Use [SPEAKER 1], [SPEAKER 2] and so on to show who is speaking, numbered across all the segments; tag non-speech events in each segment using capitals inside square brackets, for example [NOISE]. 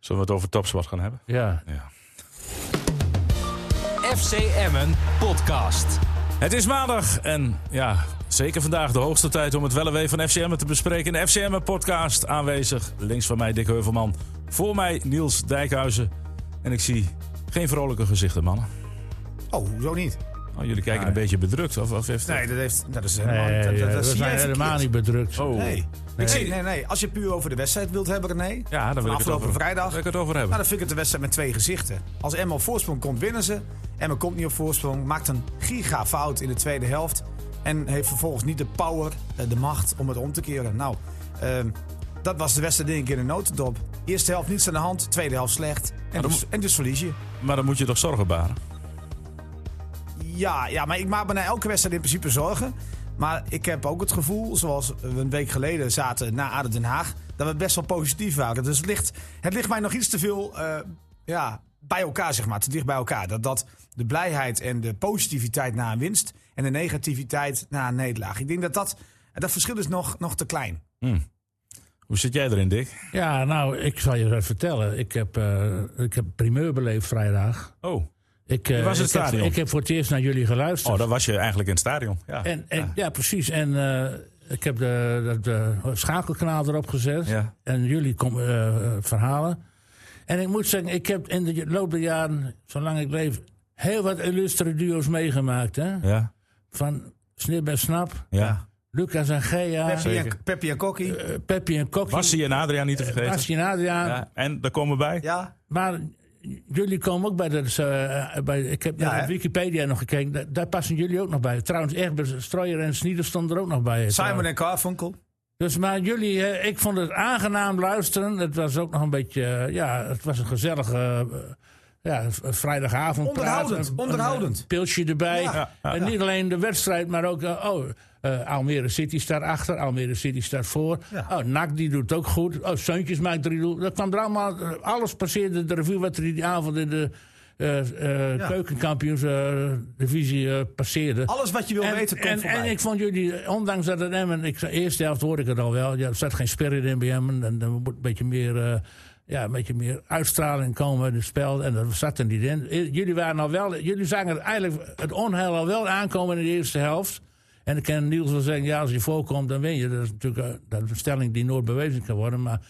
[SPEAKER 1] Zullen we het over topsport gaan hebben?
[SPEAKER 2] Ja.
[SPEAKER 1] Ja.
[SPEAKER 3] FC Emmen podcast.
[SPEAKER 1] Het is maandag en ja, zeker vandaag de hoogste tijd om het wel en wee van FCM te bespreken. In de FCM podcast aanwezig. Links van mij Dick Heuvelman. Voor mij Niels Dijkhuizen. En ik zie geen vrolijke gezichten, mannen.
[SPEAKER 4] Oh, hoezo niet?
[SPEAKER 1] Oh, jullie kijken een beetje bedrukt, of, of heeft
[SPEAKER 4] Nee, dat, heeft, dat is helemaal
[SPEAKER 2] Nee,
[SPEAKER 4] dat- dat, dat
[SPEAKER 2] we
[SPEAKER 4] zie jij
[SPEAKER 2] zijn helemaal
[SPEAKER 4] verkeerd.
[SPEAKER 2] niet bedrukt.
[SPEAKER 1] Oh.
[SPEAKER 4] Nee. Ik zie, nee, nee. Als je puur over de wedstrijd wilt hebben, René.
[SPEAKER 1] Ja, daar
[SPEAKER 4] van
[SPEAKER 1] wil ik, het
[SPEAKER 4] afgelopen
[SPEAKER 1] over,
[SPEAKER 4] vrijdag.
[SPEAKER 1] wil ik het over
[SPEAKER 4] Nou,
[SPEAKER 1] hebben.
[SPEAKER 4] dan vind ik het een wedstrijd met twee gezichten. Als Emma op voorsprong komt, winnen ze. Emma komt niet op voorsprong, maakt een gigafout in de tweede helft. En heeft vervolgens niet de power, eh, de macht om het om te keren. Nou, ehm, dat was de wedstrijd denk ik in de notendop. Eerste helft niets aan de hand, tweede helft slecht. En,
[SPEAKER 1] dan
[SPEAKER 4] dus, en dus verlies je.
[SPEAKER 1] Maar dan moet je toch zorgen baren.
[SPEAKER 4] Ja, ja, maar ik maak me na elke wedstrijd in principe zorgen. Maar ik heb ook het gevoel, zoals we een week geleden zaten na Aden Den Haag, dat we best wel positief waren. Dus het ligt, het ligt mij nog iets te veel eh, ja, bij elkaar, zeg maar. Te dicht bij elkaar. Dat, dat de blijheid en de positiviteit na een winst en de negativiteit na een nederlaag. Ik denk dat dat, dat verschil is nog, nog te klein.
[SPEAKER 1] Hoe zit jij erin, Dick?
[SPEAKER 2] Ja, nou, ik zal je wat vertellen. Ik heb, eh, ik heb primeur beleefd vrijdag.
[SPEAKER 1] Oh,
[SPEAKER 2] Ik, eh,
[SPEAKER 1] Je was in het
[SPEAKER 2] ik, heb,
[SPEAKER 1] stadion.
[SPEAKER 2] ik heb voor het eerst naar jullie geluisterd.
[SPEAKER 1] oh dan was je eigenlijk in het stadion. Ja. Ah.
[SPEAKER 2] en, en, ja. precies. En eh, ik heb de, dat- de, schakelkanaal erop gezet.
[SPEAKER 1] Ja.
[SPEAKER 2] En jullie kom, eh, eh, verhalen. En ik moet zeggen, ik heb in de loop der jaren, zolang ik leef, heel wat illustere duo's meegemaakt. Hè?
[SPEAKER 1] Ja.
[SPEAKER 2] Van Snip en Snap,
[SPEAKER 1] ja.
[SPEAKER 2] Lucas en Gea, Peppi,
[SPEAKER 4] Peppi
[SPEAKER 1] zeker.
[SPEAKER 4] en, Peppi en Kokkie.
[SPEAKER 2] en Kokkie,
[SPEAKER 1] Bassie en Adriaan niet te vergeten.
[SPEAKER 2] Bassie en Adriaan.
[SPEAKER 1] Eh, Ja. En daar komen we bij.
[SPEAKER 4] ja,
[SPEAKER 2] Maar jullie komen ook bij de. eh, bij, ik heb
[SPEAKER 4] Ja,
[SPEAKER 2] naar
[SPEAKER 4] hè?
[SPEAKER 2] Wikipedia nog gekeken. Daar, daar passen jullie ook nog bij. Trouwens, Egbert Strooijer en Snieder stonden er ook nog bij.
[SPEAKER 4] Simon
[SPEAKER 2] trouwens.
[SPEAKER 4] en Carfunkel.
[SPEAKER 2] Dus maar jullie, eh, ik vond het aangenaam luisteren. Het was ook nog een beetje. eh, ja, het was een gezellige. eh, ja, v- vrijdagavond.
[SPEAKER 4] Onderhoudend, onderhoudend.
[SPEAKER 2] Een pilsje erbij.
[SPEAKER 4] Ja, ja,
[SPEAKER 2] en niet alleen de wedstrijd, maar ook. eh, oh, eh, Almere City staat achter, Almere City staat voor. Oh, NAC die doet ook goed. Oh, Suntjes maakt drie doel. Dat kwam er allemaal. eh, Alles passeerde de revue wat er die avond in de eh eh
[SPEAKER 4] Ja.
[SPEAKER 2] keukenkampioensdivisie passeerde.
[SPEAKER 4] Alles wat je wil weten komt
[SPEAKER 2] en,
[SPEAKER 4] voorbij.
[SPEAKER 2] en ik vond jullie, ondanks dat het Emmen... Ik, zei, eerste helft hoorde ik het al wel. Ja, er zat geen spirit in bij Emmen. En er moet een beetje meer... eh, ja, een beetje meer uitstraling komen in het spel. En dat zat er niet in. I- Jullie waren al wel... Jullie zagen eigenlijk het onheil al wel aankomen in de eerste helft. En dan kan Niels wel zeggen... Ja, als je voorkomt, dan win je. Dat is natuurlijk eh, dat is een stelling die nooit bewezen kan worden. Maar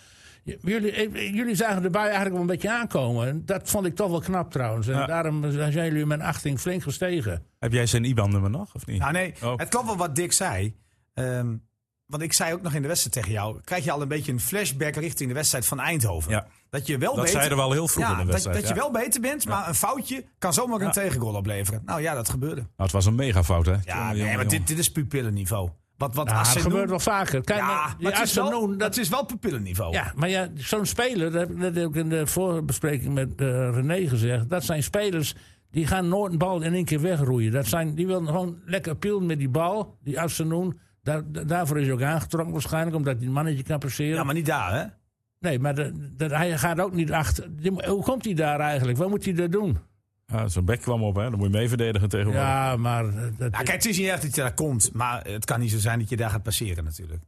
[SPEAKER 2] j- jullie, eh, jullie zagen de bui eigenlijk wel een beetje aankomen. En dat vond ik toch wel knap trouwens. En
[SPEAKER 1] Ja.
[SPEAKER 2] daarom zijn jullie in mijn achting flink gestegen.
[SPEAKER 1] Heb jij zijn IBAN-nummer nog, of niet?
[SPEAKER 4] Nou nee,
[SPEAKER 1] Oh.
[SPEAKER 4] het klopt wel wat Dick zei. Ehm, want ik zei ook nog in de wedstrijd tegen jou... krijg je al een beetje een flashback richting de wedstrijd van Eindhoven.
[SPEAKER 1] Ja.
[SPEAKER 4] Dat je wel
[SPEAKER 1] Dat
[SPEAKER 4] beter...
[SPEAKER 1] zeiden we al heel vroeg
[SPEAKER 4] Ja,
[SPEAKER 1] in de
[SPEAKER 4] dat-
[SPEAKER 1] wedstrijd,
[SPEAKER 4] Dat,
[SPEAKER 1] ja.
[SPEAKER 4] je wel beter bent, maar een foutje kan zomaar een tegengoal opleveren. Nou ja, dat gebeurde.
[SPEAKER 1] Nou, het was een megafout, hè?
[SPEAKER 4] Ja,
[SPEAKER 1] Jongen,
[SPEAKER 4] nee,
[SPEAKER 1] jongen,
[SPEAKER 4] maar dit,
[SPEAKER 1] jongen.
[SPEAKER 4] dit is pupillenniveau. Wat, wat
[SPEAKER 2] Ja, Ah, dat
[SPEAKER 4] Assenoen-
[SPEAKER 2] gebeurt wel vaker. Kijk,
[SPEAKER 4] Ja,
[SPEAKER 2] naar
[SPEAKER 4] maar
[SPEAKER 2] die
[SPEAKER 4] het is wel,
[SPEAKER 2] Assenoen, dat,
[SPEAKER 4] dat is wel pupillenniveau.
[SPEAKER 2] ja, maar ja, zo'n speler, dat heb ik net ook in de voorbespreking met eh, René gezegd. Dat zijn spelers die gaan nooit een bal in één keer wegroeien. Dat zijn, die willen gewoon lekker pielen met die bal, die Assenoen. Daar, da- daarvoor is hij ook aangetrokken waarschijnlijk, omdat hij een mannetje kan passeren.
[SPEAKER 4] Ja, maar niet daar, hè?
[SPEAKER 2] Nee, maar de- de- hij gaat ook niet achter. die- hoe komt hij daar eigenlijk? Wat moet hij daar doen?
[SPEAKER 1] Ja, Zo'n bek kwam op, hè? Dan moet je mee verdedigen tegenwoordig.
[SPEAKER 2] Ja, maar... eh, Dat,
[SPEAKER 4] Ja, kijk, het is niet echt dat je daar komt. Maar het kan niet zo zijn dat je daar gaat passeren natuurlijk.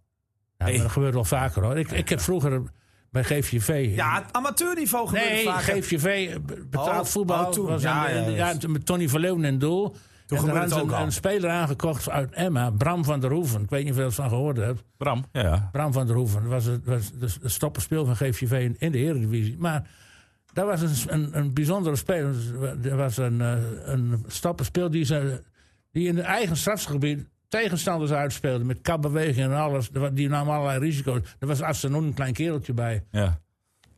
[SPEAKER 2] ja, maar dat gebeurt wel vaker, hoor. Ik, ik heb vroeger bij GVV...
[SPEAKER 4] Ja, het amateurniveau gebeurt
[SPEAKER 2] Nee,
[SPEAKER 4] vaak.
[SPEAKER 2] GVV eh, betaald
[SPEAKER 4] Oh,
[SPEAKER 2] voetbal.
[SPEAKER 4] oh, toen.
[SPEAKER 2] was
[SPEAKER 4] Ja,
[SPEAKER 2] een-
[SPEAKER 4] ja,
[SPEAKER 2] een-
[SPEAKER 4] ja.
[SPEAKER 2] ja, met Tony Verleeuwen in doel. Toen en
[SPEAKER 4] gebeurde
[SPEAKER 2] daar
[SPEAKER 4] het
[SPEAKER 2] hadden
[SPEAKER 4] ook
[SPEAKER 2] ze
[SPEAKER 4] al.
[SPEAKER 2] een, een speler aangekocht uit Emma, Bram van der Hoeven. Ik weet niet of je er van gehoord hebt.
[SPEAKER 1] Bram, ja, ja.
[SPEAKER 2] Bram van der Hoeven was, het, was de, de stopperspeel van GVV in, in de Eredivisie. Maar dat was een, een, een bijzondere speler. Er was een, eh, een stopperspeel die, ze, die in de eigen strafgebied tegenstanders uitspeelde. Met kapbewegingen en alles. Er wa- Die nam allerlei risico's. Er was Assenon een klein kereltje bij.
[SPEAKER 1] ja.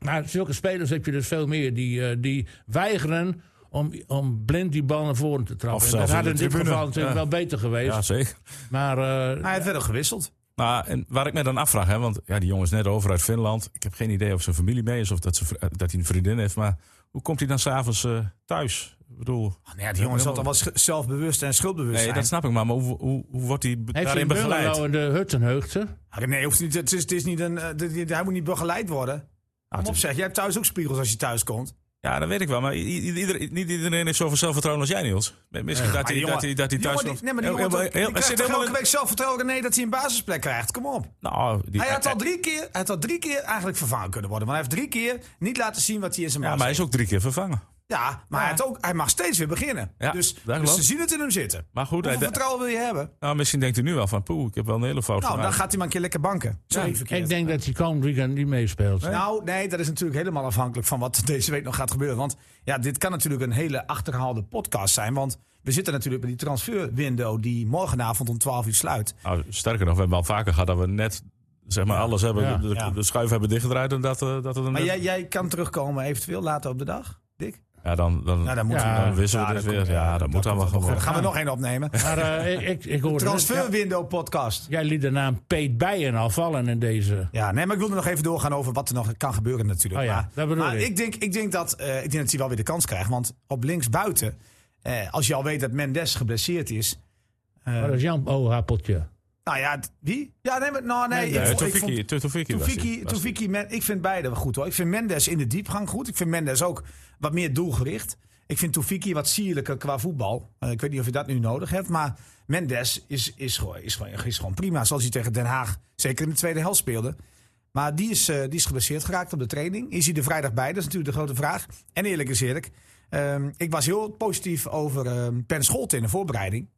[SPEAKER 2] Maar zulke spelers heb je dus veel meer die, eh, die weigeren om, om blind die bal naar voren te trappen.
[SPEAKER 1] Of
[SPEAKER 2] En
[SPEAKER 1] zelfs
[SPEAKER 2] dat
[SPEAKER 1] in
[SPEAKER 2] had
[SPEAKER 1] de
[SPEAKER 2] in dit
[SPEAKER 1] tribune.
[SPEAKER 2] geval natuurlijk
[SPEAKER 1] Ja.
[SPEAKER 2] wel beter
[SPEAKER 1] Ja,
[SPEAKER 2] geweest.
[SPEAKER 1] zeker.
[SPEAKER 2] Maar eh,
[SPEAKER 4] Hij heeft wel gewisseld.
[SPEAKER 1] Nou, en waar ik me dan afvraag, hè, want ja, die jongen is net over uit Finland. Ik heb geen idee of zijn familie mee is of dat, ze, vri- eh, dat hij een vriendin heeft. Maar hoe komt hij dan s'avonds eh thuis? Ik bedoel,
[SPEAKER 4] Nou ja, die jongen zal toch wel sch- zelfbewust en schuldbewust
[SPEAKER 1] nee,
[SPEAKER 4] zijn.
[SPEAKER 1] dat snap ik maar. Maar hoe, hoe, hoe wordt hij be-
[SPEAKER 2] heeft hij
[SPEAKER 1] daarin
[SPEAKER 2] een
[SPEAKER 1] begeleid?
[SPEAKER 2] bungalow in de Huttenheugte?
[SPEAKER 4] Ah, Nee, hoeft niet, het is, het is niet een, eh, dit- dit- hij moet niet begeleid worden. Kom op zeg, jij hebt thuis ook spiegels als je thuis komt.
[SPEAKER 1] Ja, Ah, dat weet ik wel. Maar i- i- ieder- niet iedereen heeft zoveel zelfvertrouwen als jij, Niels. Misschien dat
[SPEAKER 4] Maar
[SPEAKER 1] hij
[SPEAKER 4] die
[SPEAKER 1] dat hij- dat hij
[SPEAKER 4] die
[SPEAKER 1] thuis
[SPEAKER 4] jongen,
[SPEAKER 1] nog...
[SPEAKER 4] die- nee, maar die
[SPEAKER 1] heel-
[SPEAKER 4] jongen
[SPEAKER 1] heel-
[SPEAKER 4] toch-
[SPEAKER 1] heel-
[SPEAKER 4] die
[SPEAKER 1] hij
[SPEAKER 4] krijgt
[SPEAKER 1] zit
[SPEAKER 4] toch
[SPEAKER 1] helemaal
[SPEAKER 4] elke
[SPEAKER 1] in-
[SPEAKER 4] week zelfvertrouwen René dat hij een basisplek krijgt. Kom op.
[SPEAKER 1] Nou, die-
[SPEAKER 4] Hij had al drie keer, hij had al drie keer eigenlijk vervangen kunnen worden. Want hij heeft drie keer niet laten zien wat hij in zijn
[SPEAKER 1] Ja,
[SPEAKER 4] baas
[SPEAKER 1] maar hij is
[SPEAKER 4] heeft.
[SPEAKER 1] ook drie keer vervangen.
[SPEAKER 4] Ja, maar Hij, had ook, hij mag steeds weer beginnen.
[SPEAKER 1] Ja,
[SPEAKER 4] dus
[SPEAKER 1] daar
[SPEAKER 4] dus
[SPEAKER 1] geloof
[SPEAKER 4] ze
[SPEAKER 1] ik.
[SPEAKER 4] zien het in hem zitten.
[SPEAKER 1] Maar goed, hij
[SPEAKER 4] Hoeveel
[SPEAKER 1] de-
[SPEAKER 4] vertrouwen wil je hebben?
[SPEAKER 1] nou, misschien denkt hij nu wel van... Poeh, ik heb wel een hele fout
[SPEAKER 4] Nou, dan
[SPEAKER 1] gemaakt.
[SPEAKER 4] gaat hij maar een keer lekker banken. Sorry, verkeerd.
[SPEAKER 2] Ik denk dat hij komend weekend niet meespeelt.
[SPEAKER 4] Nou, nee, dat is natuurlijk helemaal afhankelijk van wat [LAUGHS] deze week nog gaat gebeuren. Want ja, dit kan natuurlijk een hele achterhaalde podcast zijn. Want we zitten natuurlijk bij die transferwindow die morgenavond om 12 uur sluit.
[SPEAKER 1] Nou, sterker nog, we hebben al vaker gehad dat we net... Zeg maar, alles hebben,
[SPEAKER 2] Ja,
[SPEAKER 1] de, de,
[SPEAKER 4] ja.
[SPEAKER 1] de schuif hebben dichtgedraaid en dat, eh, dat het een...
[SPEAKER 4] Maar jij, jij kan terugkomen eventueel later op de dag, Dick?
[SPEAKER 1] Ja, dan, dan,
[SPEAKER 4] Nou, dan moeten
[SPEAKER 2] Ja,
[SPEAKER 4] we
[SPEAKER 1] dan wisselen we
[SPEAKER 4] dat
[SPEAKER 1] dit
[SPEAKER 4] komt-
[SPEAKER 1] weer. Ja, dat moet allemaal
[SPEAKER 4] komt wel
[SPEAKER 1] gewoon.
[SPEAKER 4] goed. Dan gaan we nog één opnemen.
[SPEAKER 2] Maar eh, ik, ik, ik hoor...
[SPEAKER 4] Transferwindow podcast.
[SPEAKER 2] Jij liet de naam Peet Bijen al vallen in deze...
[SPEAKER 4] Ja, nee, maar ik wilde nog even doorgaan over wat er nog kan gebeuren natuurlijk.
[SPEAKER 2] Oh ja,
[SPEAKER 4] maar
[SPEAKER 2] dat bedoel
[SPEAKER 4] maar
[SPEAKER 2] ik.
[SPEAKER 4] denk, ik, denk dat, eh, ik denk dat hij wel weer de kans krijgt. Want op linksbuiten, eh, als je al weet dat Mendes geblesseerd is... eh,
[SPEAKER 2] Maar dat is Jan Oogappeltje.
[SPEAKER 4] nou ja, d- wie? Ja, nee, maar, nou, nee,
[SPEAKER 1] Nee,
[SPEAKER 4] ik, vond- ik vond-
[SPEAKER 1] Tofiki- Tofiki was
[SPEAKER 4] Tofiki,
[SPEAKER 1] die- was die.
[SPEAKER 4] Tofiki, Men- ik vind beide wel goed hoor. Ik vind Mendes in de diepgang goed. Ik vind Mendes ook wat meer doelgericht. Ik vind Tofiki wat sierlijker qua voetbal. Eh, ik weet niet of je dat nu nodig hebt. Maar Mendes is, is, gewoon, is, gewoon, is gewoon prima. Zoals hij tegen Den Haag, zeker in de tweede helft speelde. Maar die is, eh, die is geblesseerd geraakt op de training. Is hij er vrijdag bij? Dat is natuurlijk de grote vraag. En eerlijk is eerlijk. ehm, ik was heel positief over ehm Ben Scholten in de voorbereiding.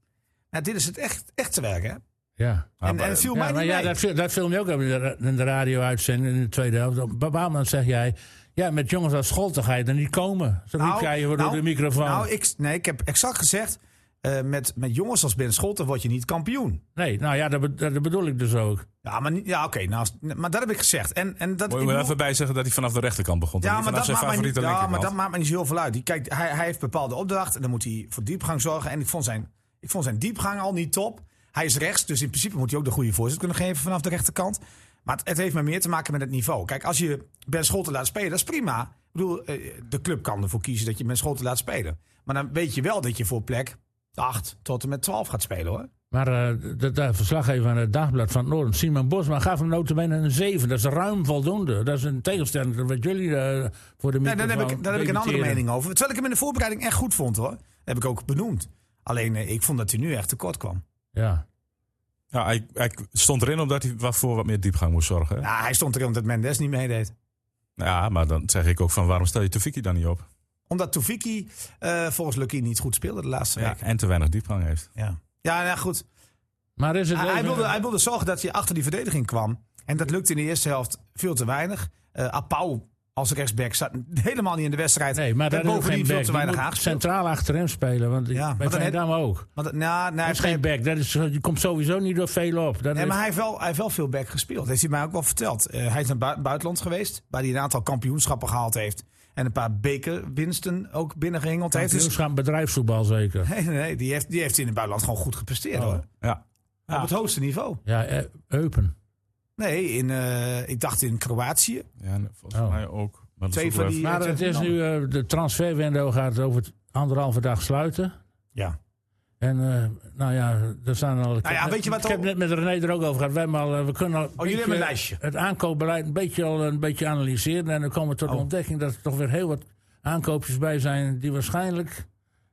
[SPEAKER 4] Nou, dit is het echt, echt te werk, hè?
[SPEAKER 2] Ja.
[SPEAKER 4] en, en het viel mij
[SPEAKER 2] Ja,
[SPEAKER 4] niet
[SPEAKER 2] maar ja,
[SPEAKER 4] mee.
[SPEAKER 2] dat, viel- dat viel me ook op in de, ra- in de radio-uitzending in de tweede helft. Op een bepaald moment zeg jij... Ja, met jongens als Scholten ga je er niet komen. Zo riep jij door
[SPEAKER 4] nou,
[SPEAKER 2] de microfoon.
[SPEAKER 4] Nou, ik, nee, ik heb exact gezegd. eh, met, met jongens als Ben Scholten word je niet kampioen.
[SPEAKER 2] nee, nou ja, dat, be- dat bedoel ik dus ook.
[SPEAKER 4] Ja, maar, niet- ja, oké, nou, als- maar dat heb ik gezegd. En, en
[SPEAKER 1] Moet
[SPEAKER 4] dat, ik
[SPEAKER 1] je er
[SPEAKER 4] bedoel-
[SPEAKER 1] even bij zeggen dat hij vanaf de rechterkant begon.
[SPEAKER 4] ja,
[SPEAKER 1] niet
[SPEAKER 4] maar
[SPEAKER 1] vanaf
[SPEAKER 4] dat,
[SPEAKER 1] zijn
[SPEAKER 4] maakt mij niet,
[SPEAKER 1] favoriete
[SPEAKER 4] ja, maar
[SPEAKER 1] linkerkant.
[SPEAKER 4] dat maakt me niet zo heel veel uit. Die, kijk, hij, hij heeft bepaalde opdracht en dan moet hij voor diepgang zorgen. En ik vond, zijn, ik vond zijn diepgang al niet top. Hij is rechts, dus in principe moet hij ook de goede voorzet kunnen geven vanaf de rechterkant. Maar het, het heeft maar meer te maken met het niveau. Kijk, als je Ben Scholten laat spelen, dat is prima. Ik bedoel, eh, de club kan ervoor kiezen dat je Ben Scholten laat spelen. Maar dan weet je wel dat je voor plek 8 tot en met 12 gaat spelen hoor.
[SPEAKER 2] Maar eh de, de verslaggever aan het Dagblad van het Noorden, Simon Bosma, gaf hem notabene een 7. Dat is ruim voldoende. Dat is een tegenstelling tot wat jullie eh, voor de
[SPEAKER 4] Nee,
[SPEAKER 2] microfoon
[SPEAKER 4] daar heb ik, daar heb ik een andere
[SPEAKER 2] debiteren.
[SPEAKER 4] mening over. Terwijl ik hem in de voorbereiding echt goed vond hoor. Dat heb ik ook benoemd. Alleen eh, ik vond dat hij nu echt tekort kwam.
[SPEAKER 2] Ja.
[SPEAKER 1] Ja, Nou, hij, hij stond erin omdat hij wat voor wat meer diepgang moest zorgen. hè? Ja.
[SPEAKER 4] Ja, hij stond erin omdat Mendes niet meedeed.
[SPEAKER 1] maar dan zeg ik ook van waarom stel je Tofiki dan niet op?
[SPEAKER 4] Omdat Tofiki eh, volgens Lucky niet goed speelde de laatste
[SPEAKER 1] Ja,
[SPEAKER 4] week.
[SPEAKER 1] en te weinig diepgang heeft.
[SPEAKER 4] Ja, ja nou goed.
[SPEAKER 2] Maar is het
[SPEAKER 4] Hij, hij
[SPEAKER 2] even-
[SPEAKER 4] wilde, hij wilde zorgen dat hij achter die verdediging kwam. En dat lukte in de eerste helft veel te weinig. Eh Apau als rechtsback zat helemaal niet in de wedstrijd.
[SPEAKER 2] Nee, maar
[SPEAKER 4] Werd
[SPEAKER 2] daar is ook geen
[SPEAKER 4] bovendien veel
[SPEAKER 2] back.
[SPEAKER 4] te
[SPEAKER 2] Die
[SPEAKER 4] weinig
[SPEAKER 2] moet
[SPEAKER 4] aangespeeld.
[SPEAKER 2] centraal achter hem spelen. Want
[SPEAKER 4] Ja, maar
[SPEAKER 2] bij
[SPEAKER 4] dan
[SPEAKER 2] Veendam ook.
[SPEAKER 4] Want, nou, nee,
[SPEAKER 2] Dat
[SPEAKER 4] hij
[SPEAKER 2] is geen back. Dat is, eh, je komt sowieso niet door veel op. Dat
[SPEAKER 4] Nee,
[SPEAKER 2] is-
[SPEAKER 4] maar hij heeft, wel, hij heeft wel veel back gespeeld. Dat heeft hij mij ook wel verteld. Eh, hij is naar bui- buitenland geweest, waar hij een aantal kampioenschappen gehaald heeft. En een paar bekerwinsten ook binnengehengeld heeft. Dus-
[SPEAKER 2] Kampioenschap bedrijfsvoetbal zeker.
[SPEAKER 4] [LAUGHS] Nee, nee, nee, die heeft, die heeft in het buitenland gewoon goed gepresteerd
[SPEAKER 2] Oh.
[SPEAKER 4] hoor.
[SPEAKER 1] Ja.
[SPEAKER 4] Op het hoogste niveau.
[SPEAKER 2] Ja, eh, Eupen.
[SPEAKER 4] Nee, in, eh, ik dacht in Kroatië.
[SPEAKER 1] ja en volgens
[SPEAKER 2] Oh.
[SPEAKER 1] mij ook. Maar dat
[SPEAKER 4] Twee
[SPEAKER 1] is ook
[SPEAKER 4] van
[SPEAKER 1] wel
[SPEAKER 4] die-
[SPEAKER 1] even-
[SPEAKER 2] Maar
[SPEAKER 4] het
[SPEAKER 2] het
[SPEAKER 4] is
[SPEAKER 2] is
[SPEAKER 4] een
[SPEAKER 2] nu, eh, de transferwindow gaat over t- anderhalve dag sluiten.
[SPEAKER 4] Ja.
[SPEAKER 2] En eh, nou ja, er staan al... ik
[SPEAKER 4] Nou ja,
[SPEAKER 2] heb
[SPEAKER 4] weet je
[SPEAKER 2] net-
[SPEAKER 4] wat
[SPEAKER 2] Ik heb
[SPEAKER 4] al- Oh,
[SPEAKER 2] net met René er ook over gehad. We, hebben al, eh, we kunnen al
[SPEAKER 4] jullie hebben een lijstje.
[SPEAKER 2] het aankoopbeleid een beetje, al, een beetje analyseren. En dan komen we tot de
[SPEAKER 4] Oh.
[SPEAKER 2] ontdekking dat er toch weer heel wat aankoopjes bij zijn... die waarschijnlijk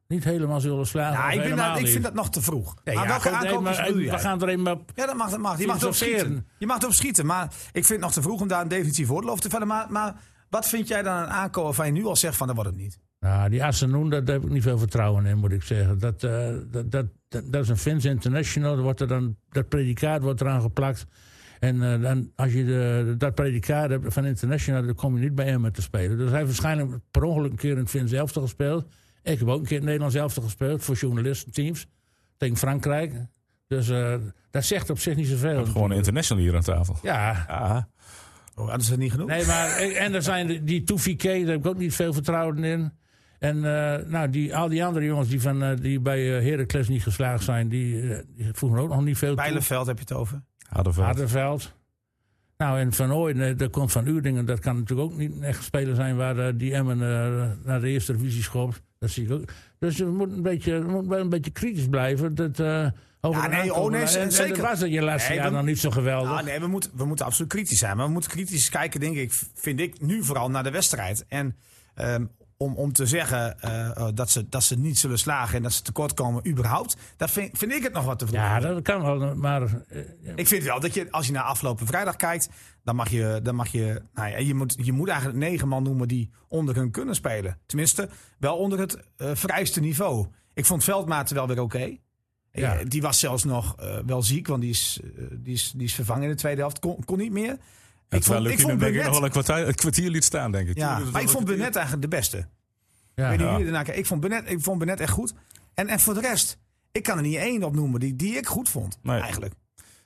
[SPEAKER 2] niet helemaal zullen slagen.
[SPEAKER 4] Ja,
[SPEAKER 2] of
[SPEAKER 4] Nou, ik, vind
[SPEAKER 2] helemaal
[SPEAKER 4] dat, ik
[SPEAKER 2] niet.
[SPEAKER 4] vind dat nog te vroeg.
[SPEAKER 2] Nee,
[SPEAKER 4] maar
[SPEAKER 2] ja,
[SPEAKER 4] welke
[SPEAKER 2] goed, nee,
[SPEAKER 4] aankopen
[SPEAKER 2] maar,
[SPEAKER 4] bedoel
[SPEAKER 2] eh,
[SPEAKER 4] jij?
[SPEAKER 2] We gaan er eenmaal
[SPEAKER 4] Ja, dat mag. Dat mag. Je mag erop
[SPEAKER 2] Filosoferen.
[SPEAKER 4] schieten. Je mag erop schieten. Maar ik vind het nog te vroeg om daar een definitief oordeel over te vellen. Maar, maar wat vind jij dan een aankoop waarvan je nu al zegt van dat wordt het niet?
[SPEAKER 2] Nou, die Asenoen, daar daar heb ik niet veel vertrouwen in, moet ik zeggen. Dat, eh, dat, dat, dat, dat is een Fins International. Er wordt er dan, dat predicaat wordt eraan geplakt. En eh, dan, als je de, dat predicaat hebt van International, dan kom je niet bij Emmen te spelen. Dus hij heeft waarschijnlijk per ongeluk een keer in het Fins elftal gespeeld. Ik heb ook een keer in het Nederlands elftal gespeeld voor journalistenteams. Tegen Frankrijk. Dus eh, dat zegt op zich niet zoveel.
[SPEAKER 1] Gewoon een international hier aan tafel.
[SPEAKER 2] Ja,
[SPEAKER 1] Ja.
[SPEAKER 4] Oh, dat is het niet genoeg.
[SPEAKER 2] Nee, maar en er zijn de- die Toefike, daar heb ik ook niet veel vertrouwen in. En eh, nou, die, al die andere jongens die, van, eh, die bij eh Heracles niet geslaagd zijn, die, eh die voegen ook nog niet veel toe.
[SPEAKER 4] Bijlenveld heb je het over.
[SPEAKER 1] Harderveld.
[SPEAKER 2] Hardenveld. Nou, en Van Ooyen, eh, dat komt van Uerdingen. Dat kan natuurlijk ook niet een echt speler zijn waar eh, die Emmen eh, naar de eerste divisie schopt. Dat zie ik ook. Dus we moeten een beetje, we moeten wel een beetje kritisch blijven. Dat, eh, over
[SPEAKER 4] Ja,
[SPEAKER 2] de
[SPEAKER 4] nee,
[SPEAKER 2] aankomen.
[SPEAKER 4] oh, nee,
[SPEAKER 2] en,
[SPEAKER 4] z-
[SPEAKER 2] en
[SPEAKER 4] zeker.
[SPEAKER 2] dat was het je laatste
[SPEAKER 4] Nee,
[SPEAKER 2] jaar
[SPEAKER 4] we-
[SPEAKER 2] nog niet zo geweldig.
[SPEAKER 4] Ah, nee, we moeten, we moeten absoluut kritisch zijn. Maar we moeten kritisch kijken, denk ik, vind ik nu vooral naar de wedstrijd. En ehm, om, om te zeggen eh, eh, dat, ze, dat ze niet zullen slagen en dat ze tekortkomen überhaupt. Dat vind, vind ik het nog wat te vroeg.
[SPEAKER 2] Ja, dat kan wel, maar eh,
[SPEAKER 4] Ik vind wel dat je, als je naar afgelopen vrijdag kijkt, dan mag je, dan mag je, nou ja, je moet, je moet eigenlijk negen man noemen die onder hun kunnen spelen. Tenminste, wel onder het eh vrijste niveau. Ik vond Veldmaat wel weer oké.
[SPEAKER 2] Ja.
[SPEAKER 4] Eh, Die was zelfs nog eh, wel ziek, want die is, eh, die, is, die is vervangen in de tweede helft. Kon, kon niet meer.
[SPEAKER 1] Ik vond, ik vond denk ik nog
[SPEAKER 4] Burnett-
[SPEAKER 1] wel een kwartier, een kwartier liet staan, denk ik. Toen
[SPEAKER 4] ja,
[SPEAKER 1] liet het
[SPEAKER 4] maar ik
[SPEAKER 1] nog
[SPEAKER 4] vond
[SPEAKER 1] een
[SPEAKER 4] Benet eigenlijk de beste.
[SPEAKER 2] ja.
[SPEAKER 4] Ik weet
[SPEAKER 1] Ja.
[SPEAKER 4] niet hoe jullie ernaar kijken. Ik vond Benet, ik vond Benet echt goed. En, en voor de rest, ik kan er niet één opnoemen die, die ik goed vond.
[SPEAKER 1] Nee.
[SPEAKER 4] Eigenlijk.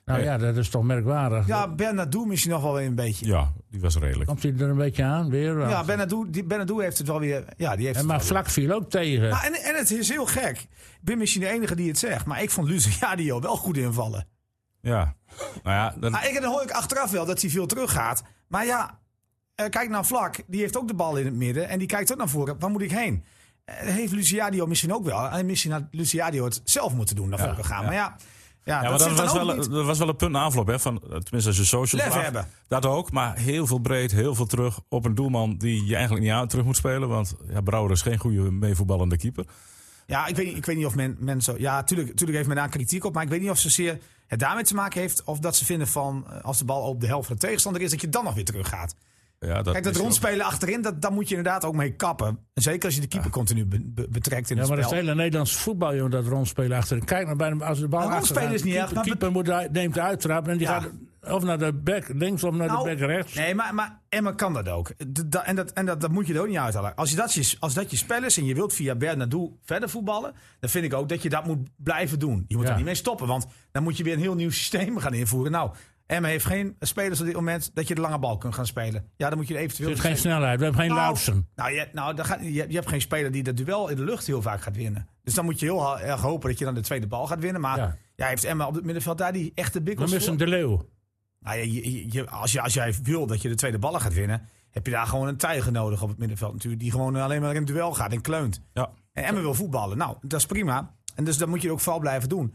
[SPEAKER 2] nou ja, dat is toch merkwaardig.
[SPEAKER 4] Ja, Bernardo misschien nog wel weer een beetje.
[SPEAKER 1] Ja, die was redelijk.
[SPEAKER 2] Komt hij er een beetje aan weer?
[SPEAKER 4] Ja, Benadou, die, Benadou heeft het wel weer. Ja, die heeft
[SPEAKER 2] en
[SPEAKER 4] het
[SPEAKER 2] maar
[SPEAKER 4] wel
[SPEAKER 2] vlak viel ook tegen.
[SPEAKER 4] weer. Maar en, en het is heel gek. Ik ben misschien de enige die het zegt. Maar ik vond Luciadio wel goed invallen.
[SPEAKER 1] Ja. Nou ja, dan,
[SPEAKER 4] Maar ik, dan hoor ik achteraf wel dat hij veel teruggaat. Maar ja, eh, kijk naar Vlak. Die heeft ook de bal in het midden. En die kijkt ook naar voren. Waar moet ik heen? Eh, heeft Luciadio misschien ook wel. En misschien had Luciadio het zelf moeten doen. Naar
[SPEAKER 1] Ja,
[SPEAKER 4] voren gaan.
[SPEAKER 1] ja.
[SPEAKER 4] Maar ja, ja,
[SPEAKER 1] ja, maar
[SPEAKER 4] dat,
[SPEAKER 1] dat
[SPEAKER 4] zit dan
[SPEAKER 1] was,
[SPEAKER 4] ook
[SPEAKER 1] wel,
[SPEAKER 4] niet.
[SPEAKER 1] dat was wel een punt na afloop. Hè, van, eh, tenminste, als je social
[SPEAKER 4] Lef
[SPEAKER 1] vraagt,
[SPEAKER 4] hebben.
[SPEAKER 1] Dat ook, maar heel veel breed, heel veel terug op een doelman die je eigenlijk niet aan terug moet spelen. Want ja, Brouwer is geen goede meevoetballende keeper.
[SPEAKER 4] Ja, ik weet, niet- ik weet niet of men, men zo... Ja, tuurlijk, tuurlijk heeft men daar kritiek op. Maar ik weet niet of zozeer het daarmee te maken heeft... of dat ze vinden van, eh, als de bal op de helft van de tegenstander is... dat je dan nog weer terug gaat.
[SPEAKER 1] Ja, dat
[SPEAKER 4] Kijk, dat
[SPEAKER 1] is ook-
[SPEAKER 4] rondspelen achterin, dat, daar moet je inderdaad ook mee kappen. En Zeker als je de keeper continu be- be- betrekt in
[SPEAKER 2] Ja,
[SPEAKER 4] het
[SPEAKER 2] maar dat is
[SPEAKER 4] spel.
[SPEAKER 2] het hele Nederlands voetbal, joh, dat rondspelen achterin. Kijk nou bij hem, als de bal
[SPEAKER 4] Nou,
[SPEAKER 2] achter
[SPEAKER 4] rondspelen is niet erg,
[SPEAKER 2] De
[SPEAKER 4] maar-
[SPEAKER 2] keeper moet, daar- neemt de uittrap en die
[SPEAKER 4] Ja.
[SPEAKER 2] gaat of naar de bek links of naar
[SPEAKER 4] Nou,
[SPEAKER 2] de bek rechts.
[SPEAKER 4] Nee, maar, maar Emma kan dat ook. D- da- en dat, en dat, dat moet je er ook niet uithalen. Als, je dat, je- als dat je spel is en je wilt via Bernardo verder voetballen... dan vind ik ook dat je dat moet blijven doen. Je moet
[SPEAKER 2] Ja.
[SPEAKER 4] er niet mee stoppen, want dan moet je weer een heel nieuw systeem gaan invoeren. Nou, Emma heeft geen spelers op dit moment dat je de lange bal kunt gaan spelen. Ja, dan moet je er
[SPEAKER 2] Er
[SPEAKER 4] eventueel...
[SPEAKER 2] is geen snelheid, we hebben geen
[SPEAKER 4] Nou,
[SPEAKER 2] Lautsen.
[SPEAKER 4] Nou, je, nou dan gaat, je, je hebt geen speler die dat duel in de lucht heel vaak gaat winnen. Dus dan moet je heel ha- erg hopen dat je dan de tweede bal gaat winnen. Maar
[SPEAKER 2] Ja.
[SPEAKER 4] ja. heeft Emma op het middenveld daar die echte
[SPEAKER 2] We
[SPEAKER 4] bikkels
[SPEAKER 2] missen
[SPEAKER 4] voor?
[SPEAKER 2] de Leeuw.
[SPEAKER 4] Nou, ja, je- je- je- als, je, als jij wil dat je de tweede ballen gaat winnen... heb je daar gewoon een tijger nodig op het middenveld natuurlijk... die gewoon alleen maar in het duel gaat en kleunt.
[SPEAKER 1] Ja.
[SPEAKER 4] En Emma wil voetballen. Nou, dat is prima. En dus dat moet je ook vooral blijven doen.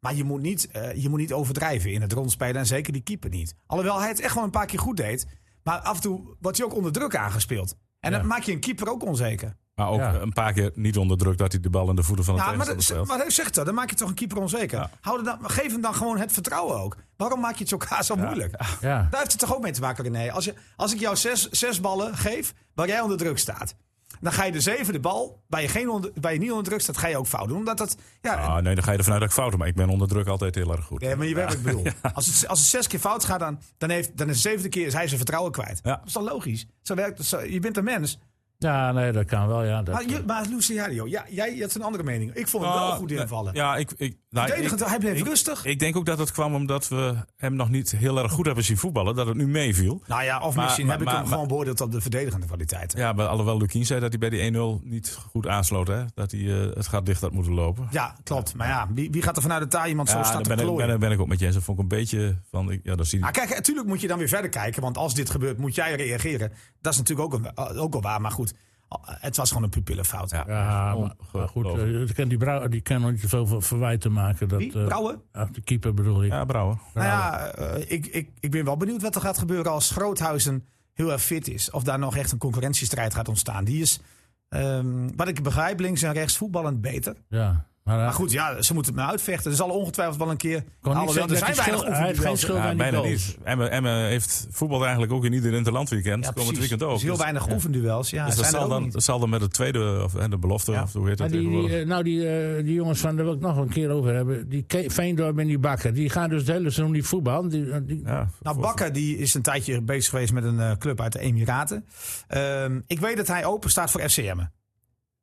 [SPEAKER 4] Maar je moet, niet, eh, je moet niet overdrijven in het rondspelen. En zeker die keeper niet. Alhoewel hij het echt wel een paar keer goed deed. Maar af en toe wordt hij ook onder druk aangespeeld. En dat maakt je een keeper ook onzeker.
[SPEAKER 1] Maar ook
[SPEAKER 2] Ja.
[SPEAKER 1] een paar keer niet onder druk dat hij de bal in de voeten van de
[SPEAKER 4] Ja, Nou, maar,
[SPEAKER 1] tegenstander
[SPEAKER 4] dat,
[SPEAKER 1] speelt.
[SPEAKER 4] maar hij zegt dat, dan maak je toch een keeper onzeker.
[SPEAKER 1] Ja.
[SPEAKER 4] Hou er dan, geef hem dan gewoon het vertrouwen ook. Waarom maak je het zo kaas zo moeilijk?
[SPEAKER 2] Ja.
[SPEAKER 4] Daar heeft het toch ook mee te maken, René. Als, je, als ik jou zes, zes ballen geef waar jij onder druk staat. Dan ga je de zevende bal, waar je, geen onder, waar je niet onder druk staat, ga je ook fout doen. Omdat dat, ja,
[SPEAKER 1] Ah, nee, dan ga je ervan uit dat ik fout heb. Maar ik ben onder druk altijd heel erg goed.
[SPEAKER 4] ja, maar je weet wat ik
[SPEAKER 1] [LAUGHS]
[SPEAKER 4] bedoel. Als, het, als het zes keer fout gaat, dan, dan, heeft, dan is de zevende keer is hij zijn vertrouwen kwijt.
[SPEAKER 1] Ja.
[SPEAKER 4] Dat is dan logisch. Zo werkt, het, zo, je bent een mens.
[SPEAKER 2] Ja, nee, dat kan wel, ja. Dat,
[SPEAKER 4] Maar, je, maar Luciano, ja, jij hebt een andere mening. Ik vond hem wel
[SPEAKER 1] Ah,
[SPEAKER 4] goed
[SPEAKER 1] nee,
[SPEAKER 4] invallen.
[SPEAKER 1] Ja, ik, ik, nou,
[SPEAKER 4] Verdedigend,
[SPEAKER 1] ik-
[SPEAKER 4] hij bleef
[SPEAKER 1] ik-
[SPEAKER 4] rustig.
[SPEAKER 1] Ik denk ook dat het kwam omdat we hem nog niet heel erg goed hebben zien voetballen. Dat het nu meeviel.
[SPEAKER 4] Nou ja, of
[SPEAKER 1] Maar-
[SPEAKER 4] misschien
[SPEAKER 1] maar-
[SPEAKER 4] heb ik
[SPEAKER 1] maar-
[SPEAKER 4] hem
[SPEAKER 1] maar-
[SPEAKER 4] gewoon beoordeeld op de verdedigende kwaliteiten. Ja,
[SPEAKER 1] Ja, maar alhoewel Lukien zei dat hij bij die 1-0 niet goed aansloot. Hè? Dat hij eh, het gaat dicht had moeten lopen.
[SPEAKER 4] klopt. Maar ja, wie, wie gaat er vanuit de taal iemand zo
[SPEAKER 1] Ja,
[SPEAKER 4] staat
[SPEAKER 1] daar
[SPEAKER 4] te
[SPEAKER 1] ben ik,
[SPEAKER 4] klooien?
[SPEAKER 1] ben, ik- ben ik ook met Jens. Dat vond ik een beetje van... Ik, ja, dat zie
[SPEAKER 4] Ah,
[SPEAKER 1] ik.
[SPEAKER 4] kijk, natuurlijk moet je dan weer verder kijken. Want als dit gebeurt, moet jij reageren. Dat is natuurlijk ook, een, eh, ook al waar. Maar goed, eh, het was gewoon een pupillenfout.
[SPEAKER 1] Ja.
[SPEAKER 2] ja, maar,
[SPEAKER 1] Ongelooflijk.
[SPEAKER 2] maar goed, eh, ik kan die, Brau- die kan nog niet zoveel ver- verwijten maken. Dat,
[SPEAKER 4] Wie?
[SPEAKER 2] eh,
[SPEAKER 4] Brouwen?
[SPEAKER 2] ah, de keeper bedoel ik.
[SPEAKER 1] Ja, Brouwer.
[SPEAKER 4] Nou ja, eh, ik, ik, ik ben wel benieuwd wat er gaat gebeuren als Groothuizen heel erg fit is. Of daar nog echt een concurrentiestrijd gaat ontstaan. Die is, ehm, wat ik begrijp, links en rechts voetballend beter.
[SPEAKER 2] Ja. Maar, eh,
[SPEAKER 4] Maar goed, ja, ze moeten het maar uitvechten. Er zal ongetwijfeld wel een keer...
[SPEAKER 2] kon niet
[SPEAKER 4] Alhoewel,
[SPEAKER 2] zeggen
[SPEAKER 4] er
[SPEAKER 2] dat hij
[SPEAKER 4] zijn
[SPEAKER 2] schuld-
[SPEAKER 4] weinig
[SPEAKER 2] hij heeft geen schuld
[SPEAKER 1] Ja,
[SPEAKER 2] aan die
[SPEAKER 1] bijna
[SPEAKER 2] goals.
[SPEAKER 1] niet. Emmen Emmen heeft voetbal eigenlijk ook in ieder interlandweekend.
[SPEAKER 4] Ja,
[SPEAKER 1] komend
[SPEAKER 4] precies.
[SPEAKER 1] weekend ook.
[SPEAKER 4] Dus heel
[SPEAKER 1] Dus-
[SPEAKER 4] weinig
[SPEAKER 1] ja.
[SPEAKER 4] oefenduels. Ja,
[SPEAKER 1] Dus dat
[SPEAKER 4] zijn er
[SPEAKER 1] zal
[SPEAKER 4] ook
[SPEAKER 1] dan,
[SPEAKER 4] niet.
[SPEAKER 1] dat zal dan met het tweede, of, en de belofte,
[SPEAKER 4] Ja.
[SPEAKER 1] of hoe heet
[SPEAKER 2] Maar
[SPEAKER 1] dat
[SPEAKER 2] die, die,
[SPEAKER 1] tegenwoordig?
[SPEAKER 2] eh, nou, die, eh, die jongens van, daar wil ik nog een keer over hebben. Die Ke- Veendorp en die Bakker, die gaan dus het hele seizoen niet voetballen. Die, eh, die,
[SPEAKER 1] Ja,
[SPEAKER 4] Nou,
[SPEAKER 1] voor-
[SPEAKER 4] Bakker die is een tijdje bezig geweest met een eh, club uit de Emiraten. Ehm, ik weet dat hij open staat voor FCM.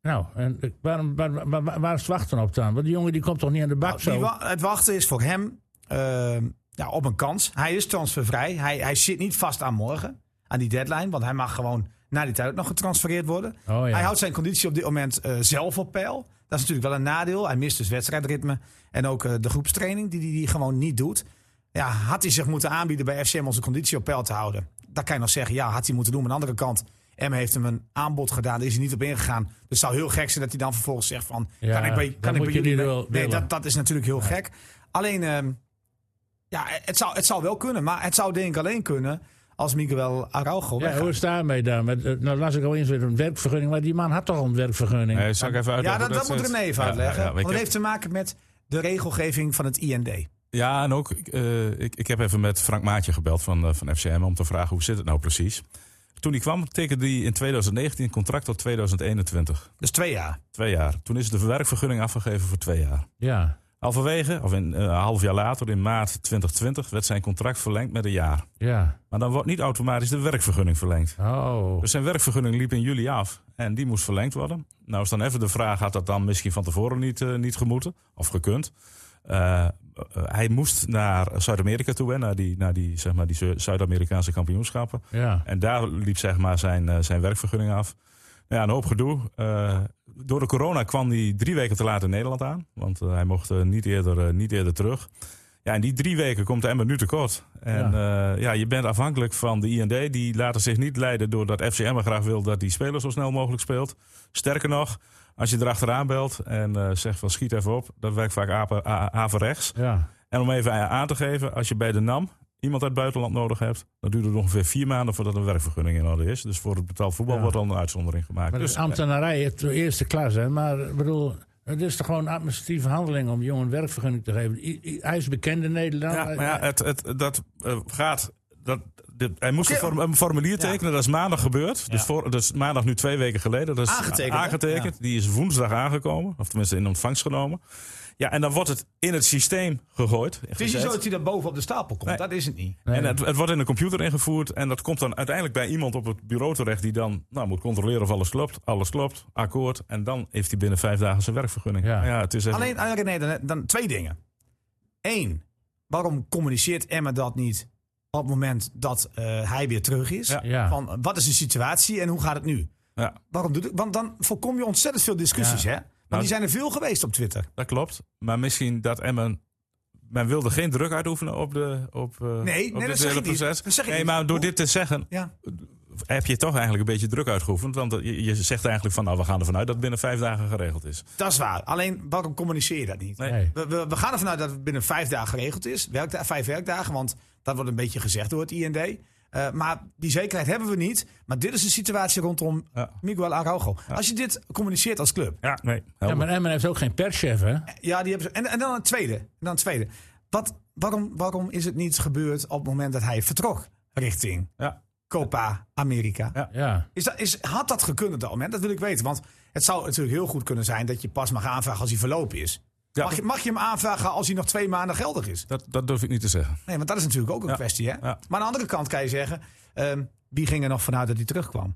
[SPEAKER 2] Nou, en eh, waarom, waar, waar, waar- waar is het wachten op dan? Want die jongen die komt toch niet aan de
[SPEAKER 1] Nou,
[SPEAKER 2] bak Nou, zo?
[SPEAKER 4] Die wa- het wachten is voor hem ehm, ja, op een kans. Hij is transfervrij. Hij, hij zit niet vast aan morgen, aan die deadline. Want hij mag gewoon na die tijd ook nog getransfereerd worden.
[SPEAKER 2] Oh, ja.
[SPEAKER 4] Hij houdt zijn conditie op dit moment eh, zelf op peil. Dat is natuurlijk wel een nadeel. Hij mist dus wedstrijdritme en ook eh, de groepstraining die hij die gewoon niet doet. Ja, had hij zich moeten aanbieden bij FCM om zijn conditie op peil te houden? Dan kan je nog zeggen, ja, had hij moeten doen. Maar aan de andere kant, M heeft hem een aanbod gedaan. Daar is hij niet op ingegaan. Dus het zou heel gek zijn dat hij dan vervolgens zegt van...
[SPEAKER 2] Ja,
[SPEAKER 4] kan ik bij,
[SPEAKER 2] dat
[SPEAKER 4] kan ik
[SPEAKER 2] moet
[SPEAKER 4] bij
[SPEAKER 2] je
[SPEAKER 4] jullie...
[SPEAKER 2] niet
[SPEAKER 4] bij-
[SPEAKER 2] wel
[SPEAKER 4] nee,
[SPEAKER 2] willen.
[SPEAKER 4] dat, dat is natuurlijk heel gek. Alleen, ehm, ja, het zou, het zou wel kunnen. Maar het zou denk ik alleen kunnen als Miguel Araujo
[SPEAKER 2] Ja,
[SPEAKER 4] weggaat.
[SPEAKER 2] hoe is het daarmee dan? Met, eh, nou las ik al eens weer een werkvergunning, maar die man had toch al een werkvergunning?
[SPEAKER 1] Nee, zal ik even
[SPEAKER 4] Ja,
[SPEAKER 1] uitleggen
[SPEAKER 4] dat,
[SPEAKER 1] hoe
[SPEAKER 4] dat moet
[SPEAKER 1] zit?
[SPEAKER 4] René even
[SPEAKER 1] Ja,
[SPEAKER 4] uitleggen.
[SPEAKER 1] ja, ja, maar ik
[SPEAKER 4] want het
[SPEAKER 1] heb-
[SPEAKER 4] heeft te maken met de regelgeving van het IND.
[SPEAKER 1] Ja, en ook, eh, ik, ik heb even met Frank Maatje gebeld van, eh, van FCM om te vragen hoe zit het nou precies. Toen hij kwam, tekende hij in 2019 een contract tot 2021.
[SPEAKER 4] Dus twee jaar.
[SPEAKER 1] Twee jaar. Toen is de werkvergunning afgegeven voor twee jaar.
[SPEAKER 2] Ja,
[SPEAKER 1] Halverwege, of in, eh, een half jaar later, in maart 2020, werd zijn contract verlengd met een jaar.
[SPEAKER 2] ja.
[SPEAKER 1] Maar dan wordt niet automatisch de werkvergunning verlengd.
[SPEAKER 2] Oh.
[SPEAKER 1] Dus zijn werkvergunning liep in juli af en die moest verlengd worden. Nou is dan even de vraag, had dat dan misschien van tevoren niet, eh, niet gemoeten of gekund? Eh, eh, hij moest naar Zuid-Amerika toe, hè, naar die, naar die, zeg maar, die Zu- Zuid-Amerikaanse kampioenschappen.
[SPEAKER 2] Ja.
[SPEAKER 1] En daar liep zeg maar, zijn, eh, zijn werkvergunning af. Nou Ja, een hoop gedoe. Eh, door de corona kwam hij drie weken te laat in Nederland aan. Want eh, hij mocht eh, niet, eerder, eh, niet eerder terug. Ja, in die drie weken komt Emmen nu tekort. En ja. ja, je bent afhankelijk van de IND. Die laten zich niet leiden doordat FC Emmen graag wil dat die speler zo snel mogelijk speelt. Sterker nog, als je erachteraan belt en eh, zegt van schiet even op. Dat werkt vaak ape- a- averechts.
[SPEAKER 2] Ja.
[SPEAKER 1] En om even aan te geven, als je bij de NAM iemand uit het buitenland nodig hebt, dan duurt het ongeveer vier maanden voordat een werkvergunning in orde is. Dus voor het betaald voetbal
[SPEAKER 2] Ja.
[SPEAKER 1] wordt dan een uitzondering gemaakt.
[SPEAKER 2] Maar
[SPEAKER 1] dus,
[SPEAKER 2] dus ambtenarij heeft de eerste klas, hè? Maar ik bedoel, het is toch gewoon administratieve handeling om jongen een werkvergunning te geven. I- I- hij is bekend in Nederland.
[SPEAKER 1] ja, eh, maar ja, het, het, dat eh, gaat. Dat, dit- hij moest een,
[SPEAKER 4] Oké.
[SPEAKER 1] form- een formulier tekenen, dat is maandag gebeurd. Dus, voor, dus maandag nu twee weken geleden. Dat is
[SPEAKER 4] Aangetekend, hè?
[SPEAKER 1] aangetekend. Die is woensdag aangekomen, of tenminste in ontvangst genomen. Ja, en dan wordt het in het systeem gegooid.
[SPEAKER 4] Het is niet zo dat hij daar boven op de stapel komt.
[SPEAKER 1] Nee.
[SPEAKER 4] Dat is het niet.
[SPEAKER 1] En het, het wordt in de computer ingevoerd en dat komt dan uiteindelijk bij iemand op het bureau terecht die dan nou, moet controleren of alles klopt. Alles klopt, akkoord. En dan heeft hij binnen vijf dagen zijn werkvergunning.
[SPEAKER 2] Ja.
[SPEAKER 1] Ja. Ja, het is even-
[SPEAKER 4] Alleen, alleen, René, dan, dan twee dingen. Eén, waarom communiceert Emma dat niet op het moment dat eh, hij weer terug is?
[SPEAKER 1] Ja.
[SPEAKER 2] Ja.
[SPEAKER 4] Van, eh, wat is de situatie en hoe gaat het nu?
[SPEAKER 1] ja,
[SPEAKER 4] Waarom doet het? Want dan voorkom je ontzettend veel discussies, hè? Want
[SPEAKER 1] Nou,
[SPEAKER 4] die zijn er veel geweest op Twitter.
[SPEAKER 1] dat klopt. Maar misschien dat Emmen. Men wilde geen druk uitoefenen op, de, op, eh,
[SPEAKER 4] nee,
[SPEAKER 1] op
[SPEAKER 4] dat
[SPEAKER 1] dit
[SPEAKER 4] zeg
[SPEAKER 1] hele
[SPEAKER 4] ik niet.
[SPEAKER 1] proces.
[SPEAKER 4] Dat zeg ik
[SPEAKER 1] nee,
[SPEAKER 4] niet.
[SPEAKER 1] maar door
[SPEAKER 4] Hoe-
[SPEAKER 1] dit te zeggen
[SPEAKER 4] Ja.
[SPEAKER 1] heb je toch eigenlijk een beetje druk uitgeoefend. Want dat- je, je zegt eigenlijk van nou we gaan ervan uit dat het binnen vijf dagen geregeld is.
[SPEAKER 4] Dat is waar. Alleen, waarom communiceer je dat niet?
[SPEAKER 1] Nee.
[SPEAKER 2] Nee.
[SPEAKER 4] We, we, we gaan ervan uit dat het binnen vijf dagen geregeld is. Werkda vijf werkdagen, want dat wordt een beetje gezegd door het IND. Eh, maar die zekerheid hebben we niet. Maar dit is de situatie rondom eh,
[SPEAKER 1] Ja.
[SPEAKER 4] Miguel Araujo. Als je dit communiceert als club.
[SPEAKER 1] Ja, nee.
[SPEAKER 2] Ja,
[SPEAKER 1] helder.
[SPEAKER 2] maar Emmen heeft ook geen perschef, hè?
[SPEAKER 4] Ja, die hebben ze. En, en dan een tweede. En dan een tweede. Wat, waarom, waarom is het niet gebeurd op het moment dat hij vertrok richting
[SPEAKER 1] Ja.
[SPEAKER 4] Copa America?
[SPEAKER 1] Ja.
[SPEAKER 2] Ja.
[SPEAKER 4] Is dat, is, had dat gekund op dat moment? Dat wil ik weten. Want het zou natuurlijk heel goed kunnen zijn dat je pas mag aanvragen als hij verlopen is.
[SPEAKER 1] Ja.
[SPEAKER 4] Mag, je, mag je hem aanvragen als hij nog twee maanden geldig is?
[SPEAKER 1] Dat, dat durf ik niet te zeggen.
[SPEAKER 4] Nee, want dat is natuurlijk ook een
[SPEAKER 1] Ja.
[SPEAKER 4] kwestie. Hè?
[SPEAKER 1] Ja.
[SPEAKER 4] Maar aan de andere kant kan je zeggen, ehm, wie ging er nog vanuit dat hij terugkwam?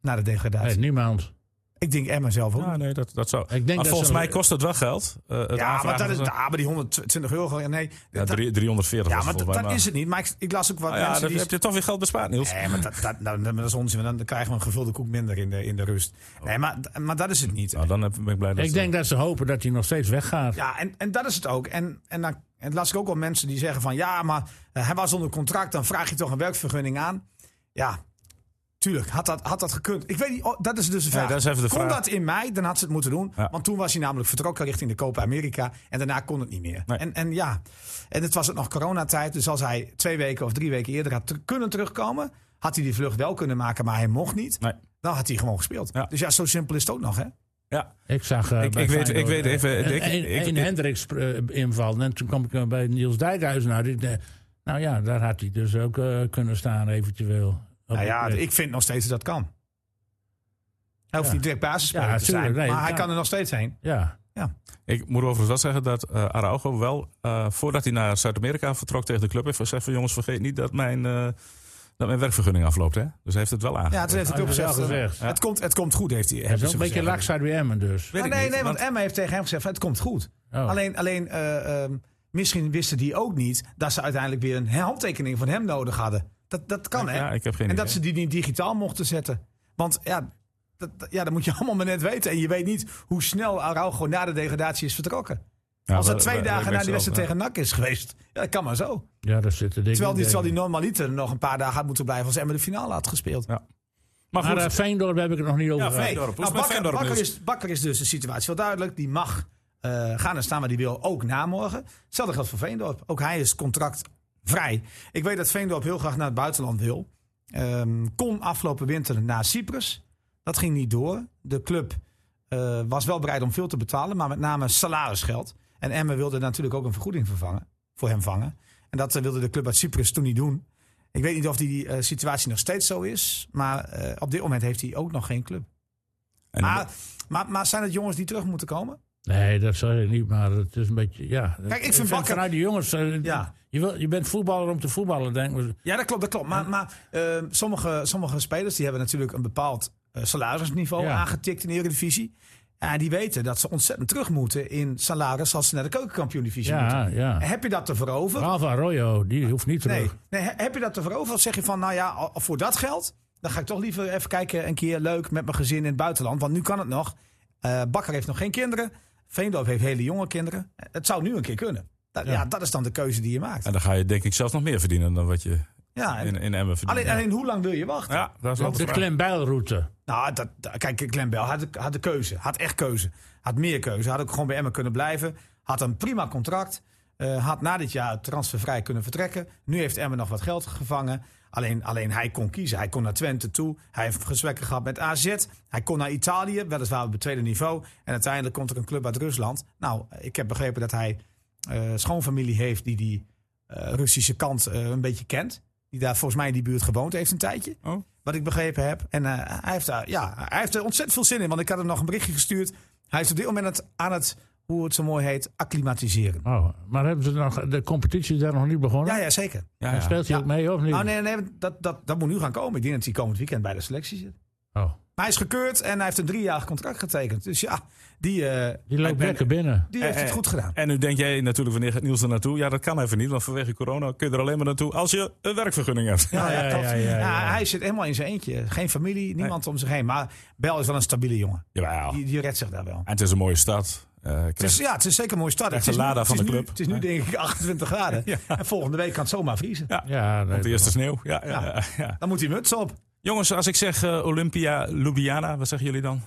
[SPEAKER 4] Na de degradatie.
[SPEAKER 2] Nee, niemand.
[SPEAKER 4] Ik denk Emma zelf ook.
[SPEAKER 1] Ja, nee, dat, dat zou.
[SPEAKER 2] denk
[SPEAKER 1] maar
[SPEAKER 2] dat
[SPEAKER 1] volgens
[SPEAKER 2] ze-
[SPEAKER 1] mij kost het wel geld. eh, het
[SPEAKER 4] Ja,
[SPEAKER 1] aanvragen
[SPEAKER 4] maar, dat is,
[SPEAKER 1] van-
[SPEAKER 4] ja, maar die 120 euro. Nee,
[SPEAKER 1] Ja,
[SPEAKER 4] dat-
[SPEAKER 1] drie- 340
[SPEAKER 4] ja
[SPEAKER 1] was
[SPEAKER 4] maar
[SPEAKER 1] het
[SPEAKER 4] dat,
[SPEAKER 1] volgens mij.
[SPEAKER 4] dat is het niet. Maar ik, ik las ook wat
[SPEAKER 1] Ah ja,
[SPEAKER 4] mensen
[SPEAKER 1] dan
[SPEAKER 4] die...
[SPEAKER 1] heb je toch weer geld bespaard, Niels.
[SPEAKER 4] Nee, maar dat, dat, nou, dat is onzin. want Dan krijgen we een gevulde koek minder in de, in de rust.
[SPEAKER 1] Oh.
[SPEAKER 4] Nee, maar, maar dat is het niet.
[SPEAKER 1] Nou, dan heb- ben ik blij dat
[SPEAKER 2] Ik
[SPEAKER 1] ze-
[SPEAKER 2] denk dat ze hopen dat hij nog steeds weggaat.
[SPEAKER 4] Ja, en, en dat is het ook. En, en dan en las ik ook wel mensen die zeggen van... ja, maar eh, hij was onder contract, dan vraag je toch een werkvergunning aan. Ja, tuurlijk, had dat, had dat gekund. Ik weet niet, oh, dat is dus de vraag.
[SPEAKER 1] dat is even de
[SPEAKER 4] kon
[SPEAKER 1] vraag.
[SPEAKER 4] dat in mei, dan had ze het moeten doen.
[SPEAKER 1] Ja.
[SPEAKER 4] Want toen was hij namelijk vertrokken richting de Copa America... en daarna kon het niet meer.
[SPEAKER 1] Nee.
[SPEAKER 4] En, en ja, en het was ook nog coronatijd. Dus als hij twee weken of drie weken eerder had ter- kunnen terugkomen... had hij die vlucht wel kunnen maken, maar hij mocht niet...
[SPEAKER 1] Nee.
[SPEAKER 4] Dan had hij gewoon gespeeld.
[SPEAKER 1] Ja.
[SPEAKER 4] Dus ja, zo simpel is het ook nog, hè?
[SPEAKER 1] Ja,
[SPEAKER 2] Ik zag. eh,
[SPEAKER 1] Ik-
[SPEAKER 2] bij
[SPEAKER 1] ik weet- ik
[SPEAKER 2] Feyenoord,
[SPEAKER 1] weet
[SPEAKER 2] eh,
[SPEAKER 1] even,
[SPEAKER 2] een-
[SPEAKER 1] ik-
[SPEAKER 2] een-
[SPEAKER 1] ik-
[SPEAKER 2] een
[SPEAKER 1] ik-
[SPEAKER 2] Hendricks eh, inval. En toen kwam ik eh, bij Niels Dijkhuizen uit. Ik dacht, Nou ja, daar had hij dus ook eh, kunnen staan, eventueel. Op
[SPEAKER 4] Nou
[SPEAKER 2] die
[SPEAKER 4] ja,
[SPEAKER 2] plek.
[SPEAKER 4] ik vind nog steeds dat dat kan. Hij hoeft
[SPEAKER 2] Ja.
[SPEAKER 4] niet direct basisspeler
[SPEAKER 2] Ja,
[SPEAKER 4] te
[SPEAKER 2] tuurlijk,
[SPEAKER 4] zijn,
[SPEAKER 2] nee,
[SPEAKER 4] maar hij
[SPEAKER 2] ja.
[SPEAKER 4] kan er nog steeds heen.
[SPEAKER 2] ja.
[SPEAKER 1] ik moet overigens wel zeggen dat eh Araujo wel, eh, voordat hij naar Zuid-Amerika vertrok tegen de club, heeft gezegd van jongens, vergeet niet dat mijn, eh, dat mijn werkvergunning afloopt. Hè? Dus hij heeft het wel aangegeven.
[SPEAKER 4] Ja, toen heeft de club
[SPEAKER 2] dat is wel
[SPEAKER 4] gezegd, eh,
[SPEAKER 2] gezegd.
[SPEAKER 4] Het, komt, het komt goed, heeft hij.
[SPEAKER 2] Hij is
[SPEAKER 4] hebben
[SPEAKER 2] ook een
[SPEAKER 4] ze
[SPEAKER 2] beetje
[SPEAKER 4] gezegd.
[SPEAKER 2] laks uit bij Emmen dus.
[SPEAKER 1] Weet
[SPEAKER 4] Ah,
[SPEAKER 1] ik
[SPEAKER 4] nee,
[SPEAKER 1] niet,
[SPEAKER 4] nee, want
[SPEAKER 1] want-
[SPEAKER 4] Emma heeft tegen hem gezegd, het komt goed.
[SPEAKER 2] Oh.
[SPEAKER 4] Alleen, alleen eh, ehm, misschien wisten die ook niet dat ze uiteindelijk weer een handtekening van hem nodig hadden. Dat, dat kan, hè?
[SPEAKER 1] ja, ik heb geen
[SPEAKER 4] en dat
[SPEAKER 1] idee.
[SPEAKER 4] ze die niet digitaal mochten zetten. Want ja dat, dat- ja, dat moet je [LAUGHS] allemaal maar net weten. En je weet niet hoe snel Araujo na de degradatie is vertrokken.
[SPEAKER 1] Ja,
[SPEAKER 4] Als dat
[SPEAKER 1] wel-
[SPEAKER 4] twee
[SPEAKER 1] wel-
[SPEAKER 4] dagen
[SPEAKER 1] wel-
[SPEAKER 4] na
[SPEAKER 1] wel-
[SPEAKER 4] die wedstrijd
[SPEAKER 1] wel-
[SPEAKER 4] tegen NAC is geweest. Ja, dat kan maar zo.
[SPEAKER 2] Ja, daar zitten dingen.
[SPEAKER 4] Terwijl die,
[SPEAKER 2] in.
[SPEAKER 4] terwijl die normaliter nog een paar dagen had moeten blijven als Emma de finale had gespeeld.
[SPEAKER 1] Maar
[SPEAKER 2] Maar
[SPEAKER 1] goed,
[SPEAKER 2] eh, Veendorp heb ik het nog niet over.
[SPEAKER 1] Ja,
[SPEAKER 2] gehad.
[SPEAKER 1] Veendorp. Hoe is het met
[SPEAKER 4] Nou, Bakker,
[SPEAKER 1] Veendorp,
[SPEAKER 4] Bakker
[SPEAKER 1] Niels?
[SPEAKER 4] is, Bakker is dus de situatie wel duidelijk. Die mag eh, gaan en staan waar die wil, ook na morgen. Hetzelfde geldt voor Veendorp. Ook hij is contract vrij. Ik weet dat Veendorp heel graag naar het buitenland wil. Ehm, kon afgelopen winter naar Cyprus. Dat ging niet door. De club eh, was wel bereid om veel te betalen, maar met name salarisgeld. En Emmen wilde natuurlijk ook een vergoeding vervangen, voor hem vangen. En dat eh, wilde de club uit Cyprus toen niet doen. Ik weet niet of die eh, situatie nog steeds zo is, maar eh, op dit moment heeft hij ook nog geen club.
[SPEAKER 1] En dan-
[SPEAKER 4] Maar, maar, maar zijn het jongens die terug moeten komen?
[SPEAKER 2] Nee, dat zeg ik niet, maar het is een beetje, ja.
[SPEAKER 4] ik vind Bakker-
[SPEAKER 2] Vanuit de jongens, eh,
[SPEAKER 4] Ja.
[SPEAKER 2] je, wil, je bent voetballer om te voetballen, denk ik.
[SPEAKER 4] Ja, dat klopt, dat klopt. Maar, maar eh, sommige, sommige spelers die hebben natuurlijk een bepaald eh, salarisniveau
[SPEAKER 2] Ja.
[SPEAKER 4] aangetikt in de Eredivisie. En die weten dat ze ontzettend terug moeten in salaris als ze naar de keukenkampioen-divisie moeten.
[SPEAKER 2] Ja, ja.
[SPEAKER 4] Heb je dat te veroveren?
[SPEAKER 2] Alva Arroyo, die hoeft niet terug.
[SPEAKER 4] Nee. nee, he- heb je dat te veroveren? Of zeg je van, nou ja, al- voor dat geld, dan ga ik toch liever even kijken een keer leuk met mijn gezin in het buitenland. Want nu kan het nog. Eh, Bakker heeft nog geen kinderen. Veendorp heeft hele jonge kinderen. Het zou nu een keer kunnen. Da- ja. dat is dan de keuze die je maakt.
[SPEAKER 1] En dan ga je denk ik zelfs nog meer verdienen dan wat je
[SPEAKER 4] Ja, en-
[SPEAKER 1] in, in Emmen verdient.
[SPEAKER 4] alleen, alleen hoe lang wil je wachten?
[SPEAKER 1] ja, dat is wel
[SPEAKER 2] De
[SPEAKER 1] de vraag.
[SPEAKER 2] Clem Bijlroute.
[SPEAKER 4] Nou, dat, dat- kijk, Glenn Bell had, de- had de keuze. Had echt keuze. Had meer keuze. Had ook gewoon bij Emmen kunnen blijven. Had een prima contract. Eh, had na dit jaar transfervrij kunnen vertrekken. Nu heeft Emmen nog wat geld gevangen. Alleen, alleen hij kon kiezen. Hij kon naar Twente toe. Hij heeft gesprekken gehad met AZ. Hij kon naar Italië, weliswaar op het tweede niveau. En uiteindelijk komt er een club uit Rusland. Nou, ik heb begrepen dat hij eh, schoonfamilie heeft die die eh, Russische kant eh, een beetje kent. Die daar volgens mij in die buurt gewoond heeft een tijdje.
[SPEAKER 1] Oh.
[SPEAKER 4] Wat ik begrepen heb. En eh, hij, heeft daar, ja, hij heeft er ontzettend veel zin in. Want ik had hem nog een berichtje gestuurd. Hij is op dit moment aan het, aan het hoe het zo mooi heet, acclimatiseren.
[SPEAKER 2] Oh, maar hebben ze nog, de competitie is daar nog niet begonnen?
[SPEAKER 4] Ja, ja, zeker.
[SPEAKER 1] Ja,
[SPEAKER 2] En
[SPEAKER 1] ja.
[SPEAKER 2] Speelt hij
[SPEAKER 4] Ja.
[SPEAKER 2] ook mee of niet?
[SPEAKER 4] Nou, nee, nee, dat, dat, dat moet nu gaan komen. Ik denk dat hij komend weekend bij de selectie zit.
[SPEAKER 2] Oh,
[SPEAKER 4] Maar hij is gekeurd en hij heeft een driejarig contract getekend. Dus ja, die, eh,
[SPEAKER 2] die loopt
[SPEAKER 1] ben-
[SPEAKER 2] lekker binnen.
[SPEAKER 4] die heeft het goed gedaan.
[SPEAKER 1] En nu denk jij natuurlijk, wanneer gaat Niels er naartoe? Ja, dat kan even niet, want vanwege corona kun je er alleen maar naartoe als je een werkvergunning hebt.
[SPEAKER 4] Ja,
[SPEAKER 2] Ja,
[SPEAKER 4] ja,
[SPEAKER 2] ja,
[SPEAKER 4] klopt.
[SPEAKER 2] ja, ja,
[SPEAKER 4] Ja,
[SPEAKER 2] ja.
[SPEAKER 4] Hij zit helemaal in zijn eentje. Geen familie, niemand om zich heen. Maar Bel is wel een stabiele jongen.
[SPEAKER 1] [LAUGHS] Jawel.
[SPEAKER 4] Die, die redt zich daar wel.
[SPEAKER 1] En het is een mooie stad. Eh, ik
[SPEAKER 4] Het
[SPEAKER 1] krijg-
[SPEAKER 4] is, ja, het is zeker een mooie start.
[SPEAKER 1] Echt
[SPEAKER 4] Het is
[SPEAKER 1] de Lada
[SPEAKER 4] nu-
[SPEAKER 1] van
[SPEAKER 4] het is
[SPEAKER 1] de
[SPEAKER 4] nu-
[SPEAKER 1] club.
[SPEAKER 4] Het is nu denk ik [LAUGHS] 28 graden. En volgende week kan het zomaar vriezen.
[SPEAKER 2] Ja, nee,
[SPEAKER 1] Op de eerste sneeuw. Ja, ja, ja. ja.
[SPEAKER 4] Dan moet die muts op.
[SPEAKER 1] Jongens, als ik zeg eh, Olympia Ljubljana, wat zeggen jullie dan?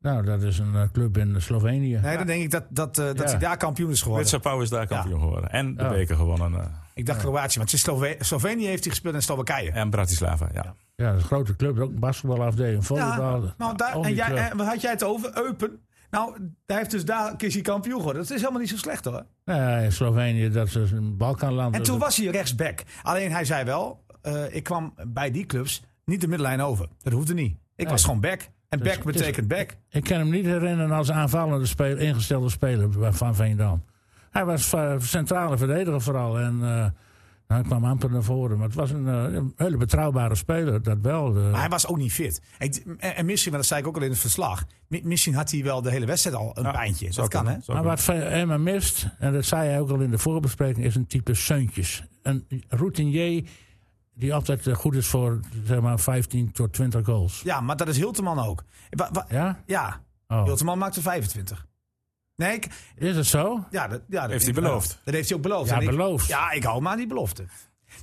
[SPEAKER 2] Nou, dat is een eh, club in Slovenië.
[SPEAKER 4] Nee, dan denk ik dat, dat, eh, dat
[SPEAKER 2] Ja.
[SPEAKER 4] hij daar kampioen is geworden.
[SPEAKER 1] Witsa Pauw is daar kampioen geworden. En de
[SPEAKER 2] Ja.
[SPEAKER 1] beker gewonnen. eh,
[SPEAKER 4] Ik dacht Kroatië, maar het is Slove- Slovenië heeft hij gespeeld en Slowakije.
[SPEAKER 1] en Bratislava, ja.
[SPEAKER 2] Ja, dat is een grote club, ook een basketbalafdeling, volleybal.
[SPEAKER 4] nou, daar,
[SPEAKER 2] al
[SPEAKER 4] en
[SPEAKER 2] die
[SPEAKER 4] jij,
[SPEAKER 2] club.
[SPEAKER 4] en wat had jij het over? Eupen. Nou, hij heeft dus daar is hij kampioen geworden. Dat is helemaal niet zo slecht hoor.
[SPEAKER 2] Nee, Slovenië, dat is een Balkanland.
[SPEAKER 4] En
[SPEAKER 2] Dus
[SPEAKER 4] toen
[SPEAKER 2] dat-
[SPEAKER 4] was hij rechtsback. Alleen hij zei wel, eh, ik kwam bij die clubs niet de middenlijn over. Dat hoefde niet. Ik was gewoon back. En
[SPEAKER 2] Dus-
[SPEAKER 4] back betekent back.
[SPEAKER 2] Ik kan hem niet herinneren als aanvallende speler, ingestelde speler van Veendam. Hij was eh, centrale verdediger vooral. En eh, nou, hij kwam amper naar voren. Maar het was een, eh, een hele betrouwbare speler, dat wel. eh.
[SPEAKER 4] Maar hij was ook niet fit. Ik- en, en misschien, maar dat zei ik ook al in het verslag. mi- Misschien had hij wel de hele wedstrijd al een
[SPEAKER 1] Ja,
[SPEAKER 4] pijntje. Dat
[SPEAKER 1] zou
[SPEAKER 4] kan hè.
[SPEAKER 1] kunnen, zou
[SPEAKER 2] maar
[SPEAKER 1] kunnen.
[SPEAKER 2] wat Ve- Emma mist, en dat zei hij ook al in de voorbespreking, is een type Seuntjes. Een routinier die altijd eh, goed is voor zeg maar 15 tot 20 goals.
[SPEAKER 4] Ja, maar dat is Hilteman ook. Wa- wa-
[SPEAKER 2] Ja?
[SPEAKER 4] ja,
[SPEAKER 2] Oh.
[SPEAKER 4] Hilteman maakte 25. Nee, ik,
[SPEAKER 2] Is het zo?
[SPEAKER 4] ja, dat, ja, dat
[SPEAKER 1] Heeft hij
[SPEAKER 4] ik-
[SPEAKER 1] beloofd.
[SPEAKER 4] Dat heeft hij ook beloofd.
[SPEAKER 2] Ja,
[SPEAKER 4] En ik-
[SPEAKER 2] beloofd.
[SPEAKER 4] Ja, ik hou maar aan die belofte.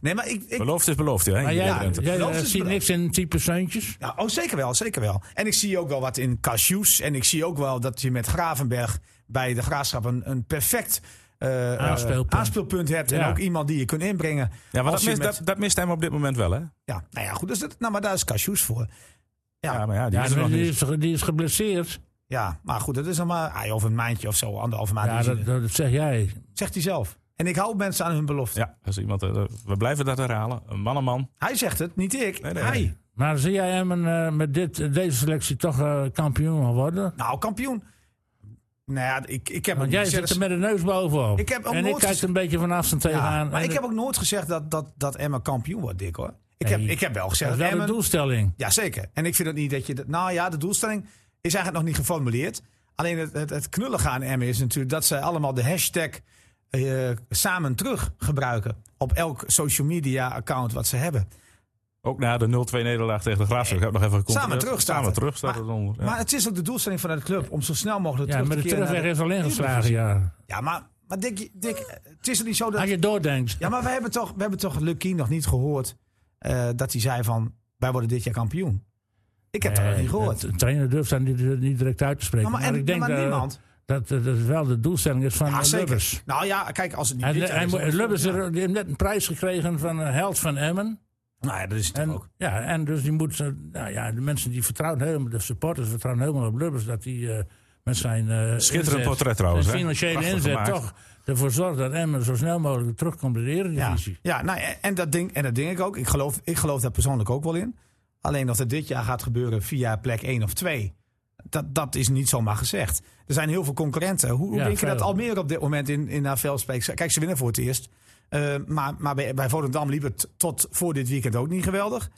[SPEAKER 4] Nee, maar ik, ik,
[SPEAKER 1] Beloofd is beloofd, hè?
[SPEAKER 2] Maar
[SPEAKER 1] in
[SPEAKER 2] jij,
[SPEAKER 1] Drenthe.
[SPEAKER 2] jij
[SPEAKER 4] Dat
[SPEAKER 2] eh,
[SPEAKER 4] is
[SPEAKER 2] ziet
[SPEAKER 4] belangrijk.
[SPEAKER 2] niks in type Seuntjes?
[SPEAKER 4] Ja, oh, zeker wel, zeker wel. En ik zie ook wel wat in cashews. En ik zie ook wel dat je met Gravenberg bij de Graafschap een, een perfect eh, eh,
[SPEAKER 2] Aanspeelpunt.
[SPEAKER 4] aanspeelpunt hebt.
[SPEAKER 2] Ja.
[SPEAKER 4] En ook iemand die je kunt inbrengen.
[SPEAKER 1] Ja, maar
[SPEAKER 4] Als
[SPEAKER 1] dat
[SPEAKER 4] je
[SPEAKER 1] mist,
[SPEAKER 4] met-
[SPEAKER 1] dat, dat mist hem op dit moment wel, hè? Ja,
[SPEAKER 4] Ja, nou ja, goed. Dus dat, nou, maar daar is cashews voor. Ja, ja, maar,
[SPEAKER 1] maar ja, die
[SPEAKER 2] Ja,
[SPEAKER 1] is er nog
[SPEAKER 2] die
[SPEAKER 1] niet.
[SPEAKER 2] is, die is geblesseerd.
[SPEAKER 4] goed, dat is nog maar ah, joh, over een maandje of zo, anderhalve maand.
[SPEAKER 2] Ja,
[SPEAKER 4] is hij
[SPEAKER 2] dat,
[SPEAKER 4] er.
[SPEAKER 2] dat zeg jij.
[SPEAKER 4] Zegt hij zelf. En ik hou mensen aan hun belofte.
[SPEAKER 1] Ja, als iemand, eh, we blijven dat herhalen. Een man, een man.
[SPEAKER 4] Hij zegt het, niet ik.
[SPEAKER 1] Nee, nee,
[SPEAKER 4] hij.
[SPEAKER 1] nee.
[SPEAKER 2] Maar zie jij hem eh, met dit, deze selectie toch eh, kampioen worden?
[SPEAKER 4] Nou, kampioen. Nou ja, ik, ik heb
[SPEAKER 2] Want
[SPEAKER 4] ook
[SPEAKER 2] jij
[SPEAKER 4] niet
[SPEAKER 2] zit
[SPEAKER 4] gezegd-
[SPEAKER 2] er met de neus bovenop.
[SPEAKER 4] Ik heb ook
[SPEAKER 2] en ik
[SPEAKER 4] nooit
[SPEAKER 2] kijk
[SPEAKER 4] gez-
[SPEAKER 2] er een beetje van afstand
[SPEAKER 4] Ja,
[SPEAKER 2] tegenaan.
[SPEAKER 4] maar
[SPEAKER 2] En
[SPEAKER 4] ik heb ook nooit gezegd dat, dat, dat Emma kampioen wordt, Dick hoor. Ik,
[SPEAKER 2] Nee.
[SPEAKER 4] heb, ik heb wel
[SPEAKER 2] dat
[SPEAKER 4] gezegd
[SPEAKER 2] is
[SPEAKER 4] dat
[SPEAKER 2] wel
[SPEAKER 4] Emma
[SPEAKER 2] de doelstelling.
[SPEAKER 4] Ja, zeker. En ik vind het niet dat je... dat- nou ja, de doelstelling is eigenlijk nog niet geformuleerd. Alleen het, het, het knullige aan Emmen is natuurlijk... dat ze allemaal de hashtag eh, samen terug gebruiken... op elk social media account wat ze hebben.
[SPEAKER 1] Ook na de 0-2 nederlaag tegen de Graafschap. Ik heb nog even gecontroleerd.
[SPEAKER 4] Samen terug staat
[SPEAKER 1] Samen
[SPEAKER 4] het.
[SPEAKER 1] terug staat
[SPEAKER 4] Maar-
[SPEAKER 1] het onder. Ja.
[SPEAKER 4] Maar het is ook de doelstelling vanuit de club... om zo snel mogelijk
[SPEAKER 2] Ja,
[SPEAKER 4] terug
[SPEAKER 2] maar
[SPEAKER 4] te
[SPEAKER 2] de
[SPEAKER 4] keren. naar
[SPEAKER 2] terugweg is al ingeslagen,
[SPEAKER 4] Eredivisie.
[SPEAKER 2] ja.
[SPEAKER 4] Ja, maar, maar Dick, Dick, het is er niet zo dat...
[SPEAKER 2] Als je doordenkt.
[SPEAKER 4] Ja, maar we hebben toch, we hebben toch Lucky nog niet gehoord... eh, dat hij zei van, wij worden dit jaar kampioen. Ik heb dat nog
[SPEAKER 2] Nee,
[SPEAKER 4] niet gehoord.
[SPEAKER 2] Eh, De trainer durft daar niet, niet direct uit te spreken.
[SPEAKER 4] Nou, maar, en,
[SPEAKER 2] ik denk
[SPEAKER 4] maar
[SPEAKER 2] dat-
[SPEAKER 4] niemand.
[SPEAKER 2] dat, dat het wel de doelstelling is van
[SPEAKER 4] Ja,
[SPEAKER 2] de
[SPEAKER 4] zeker.
[SPEAKER 2] Lubbers.
[SPEAKER 4] Nou ja, kijk, als het niet
[SPEAKER 2] En,
[SPEAKER 4] dit jaar
[SPEAKER 2] en
[SPEAKER 4] is, dan-
[SPEAKER 2] Lubbers
[SPEAKER 4] Ja.
[SPEAKER 2] er- die heeft net een prijs gekregen van eh, Held van Emmen.
[SPEAKER 4] Nou ja, dat is het
[SPEAKER 2] En,
[SPEAKER 4] ook.
[SPEAKER 2] ja, en dus die moet, eh, nou ja, de mensen die vertrouwen helemaal, de supporters vertrouwen helemaal op Lubbers dat hij eh, met zijn eh,
[SPEAKER 1] Schitterend
[SPEAKER 2] inzet,
[SPEAKER 1] portret trouwens,
[SPEAKER 2] zijn
[SPEAKER 1] hè?
[SPEAKER 2] financiële
[SPEAKER 1] Prachtig
[SPEAKER 2] inzet
[SPEAKER 1] gemaakt.
[SPEAKER 2] toch ervoor zorgt dat Emmen zo snel mogelijk terugkomt in de
[SPEAKER 4] Ja,
[SPEAKER 2] Eredivisie.
[SPEAKER 4] ja nou, en, en dat ding, en dat ding ik ook. Ik geloof, ik geloof daar persoonlijk ook wel in. Alleen dat het dit jaar gaat gebeuren via plek 1 of 2. Dat, dat is niet zomaar gezegd. Er zijn heel veel concurrenten. Hoe, hoe
[SPEAKER 2] Ja,
[SPEAKER 4] denk je dat
[SPEAKER 2] veel.
[SPEAKER 4] Almere op dit moment in, in haar veld spreekt? Kijk, ze winnen voor het eerst. Eh, maar maar bij, bij Volendam liep het tot voor dit weekend ook niet geweldig.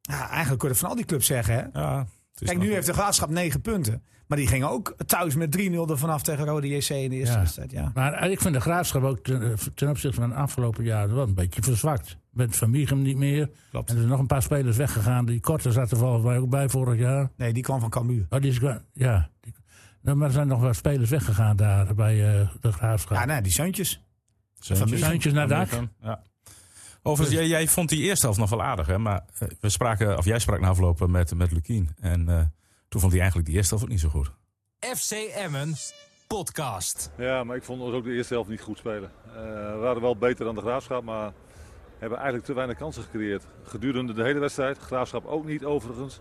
[SPEAKER 4] Ja, eigenlijk kun je dat van al die clubs zeggen. Hè?
[SPEAKER 1] Ja, het is
[SPEAKER 4] Kijk,
[SPEAKER 1] nog-
[SPEAKER 4] nu heeft de graafschap 9 punten. Maar die gingen ook thuis met 3-0 ervan af tegen Rode JC in de eerste
[SPEAKER 2] Ja.
[SPEAKER 4] wedstrijd. Ja.
[SPEAKER 2] Maar eh, ik vind de graafschap ook ten, eh, ten opzichte van de afgelopen jaren wel een beetje verzwakt. Met Van Mieghem niet meer.
[SPEAKER 4] Klopt.
[SPEAKER 2] En er zijn nog een paar spelers weggegaan. Die Korte zat er volgens mij ook bij vorig jaar.
[SPEAKER 4] Nee, die kwam van Cambuur.
[SPEAKER 2] Oh, die is, kwa- ja. Die- Nou, maar er zijn nog wat spelers weggegaan daar bij eh, de graafschap.
[SPEAKER 4] Ja, nou, die zoontjes.
[SPEAKER 1] Zeuntjes.
[SPEAKER 4] Van
[SPEAKER 2] Zeuntjes naar dak.
[SPEAKER 1] Ja. Overigens, jij, jij vond die eerste helft nog wel aardig, hè? Maar eh, we spraken, of jij sprak na afloop met, met Lukien. En eh, toen vond hij eigenlijk die eerste helft ook niet zo goed.
[SPEAKER 3] FC Emmen podcast.
[SPEAKER 5] Ja, maar ik vond ons ook de eerste helft niet goed spelen. Eh, we waren wel beter dan de Graafschap, maar hebben eigenlijk te weinig kansen gecreëerd. Gedurende de hele wedstrijd, Graafschap ook niet overigens.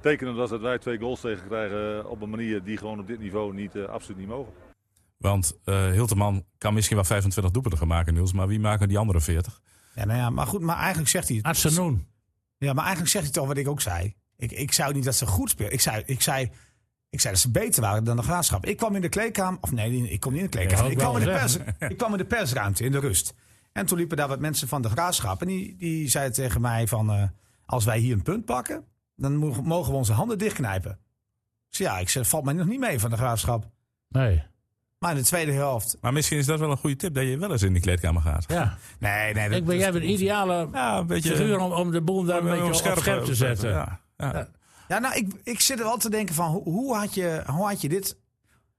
[SPEAKER 5] Tekenend was dat wij twee goals tegen krijgen op een manier die gewoon op dit niveau niet, eh, absoluut niet mogen.
[SPEAKER 1] Want eh Hilteman kan misschien wel 25 doelpunten gaan maken, Niels. Maar wie maken die andere 40?
[SPEAKER 4] Ja, nou ja, maar goed, maar eigenlijk zegt hij.
[SPEAKER 2] Atsenoen.
[SPEAKER 4] Ja, maar eigenlijk zegt hij toch wat ik ook zei. Ik, ik zei niet dat ze goed speelden. Ik zei, ik, zei, ik zei dat ze beter waren dan de graafschap. Ik kwam in de kleedkamer. Of nee, ik kwam niet in de kleedkamer.
[SPEAKER 2] Ja,
[SPEAKER 4] ik,
[SPEAKER 2] ook
[SPEAKER 4] kwam in de
[SPEAKER 2] wel
[SPEAKER 4] pers, ik kwam in de persruimte in de rust. En toen liepen daar wat mensen van de graafschap. En die, die zeiden tegen mij: van, eh, Als wij hier een punt pakken, dan mo- mogen we onze handen dichtknijpen. Dus ja, ik zei: Valt mij nog niet mee van de graafschap.
[SPEAKER 2] Nee.
[SPEAKER 4] Maar in de tweede helft.
[SPEAKER 1] Maar misschien is dat wel een goede tip, dat je wel eens in die kleedkamer gaat.
[SPEAKER 2] Ja.
[SPEAKER 4] Nee, nee. dat-
[SPEAKER 2] Ik ben, jij bent een ideale
[SPEAKER 1] Ja, een beetje...
[SPEAKER 2] figuur om, om de boel daar een beetje op scherp, te zetten.
[SPEAKER 1] eh, Ja, ja.
[SPEAKER 4] Ja, nou, ik, ik zit er wel te denken van hoe, hoe, had je, hoe had je dit.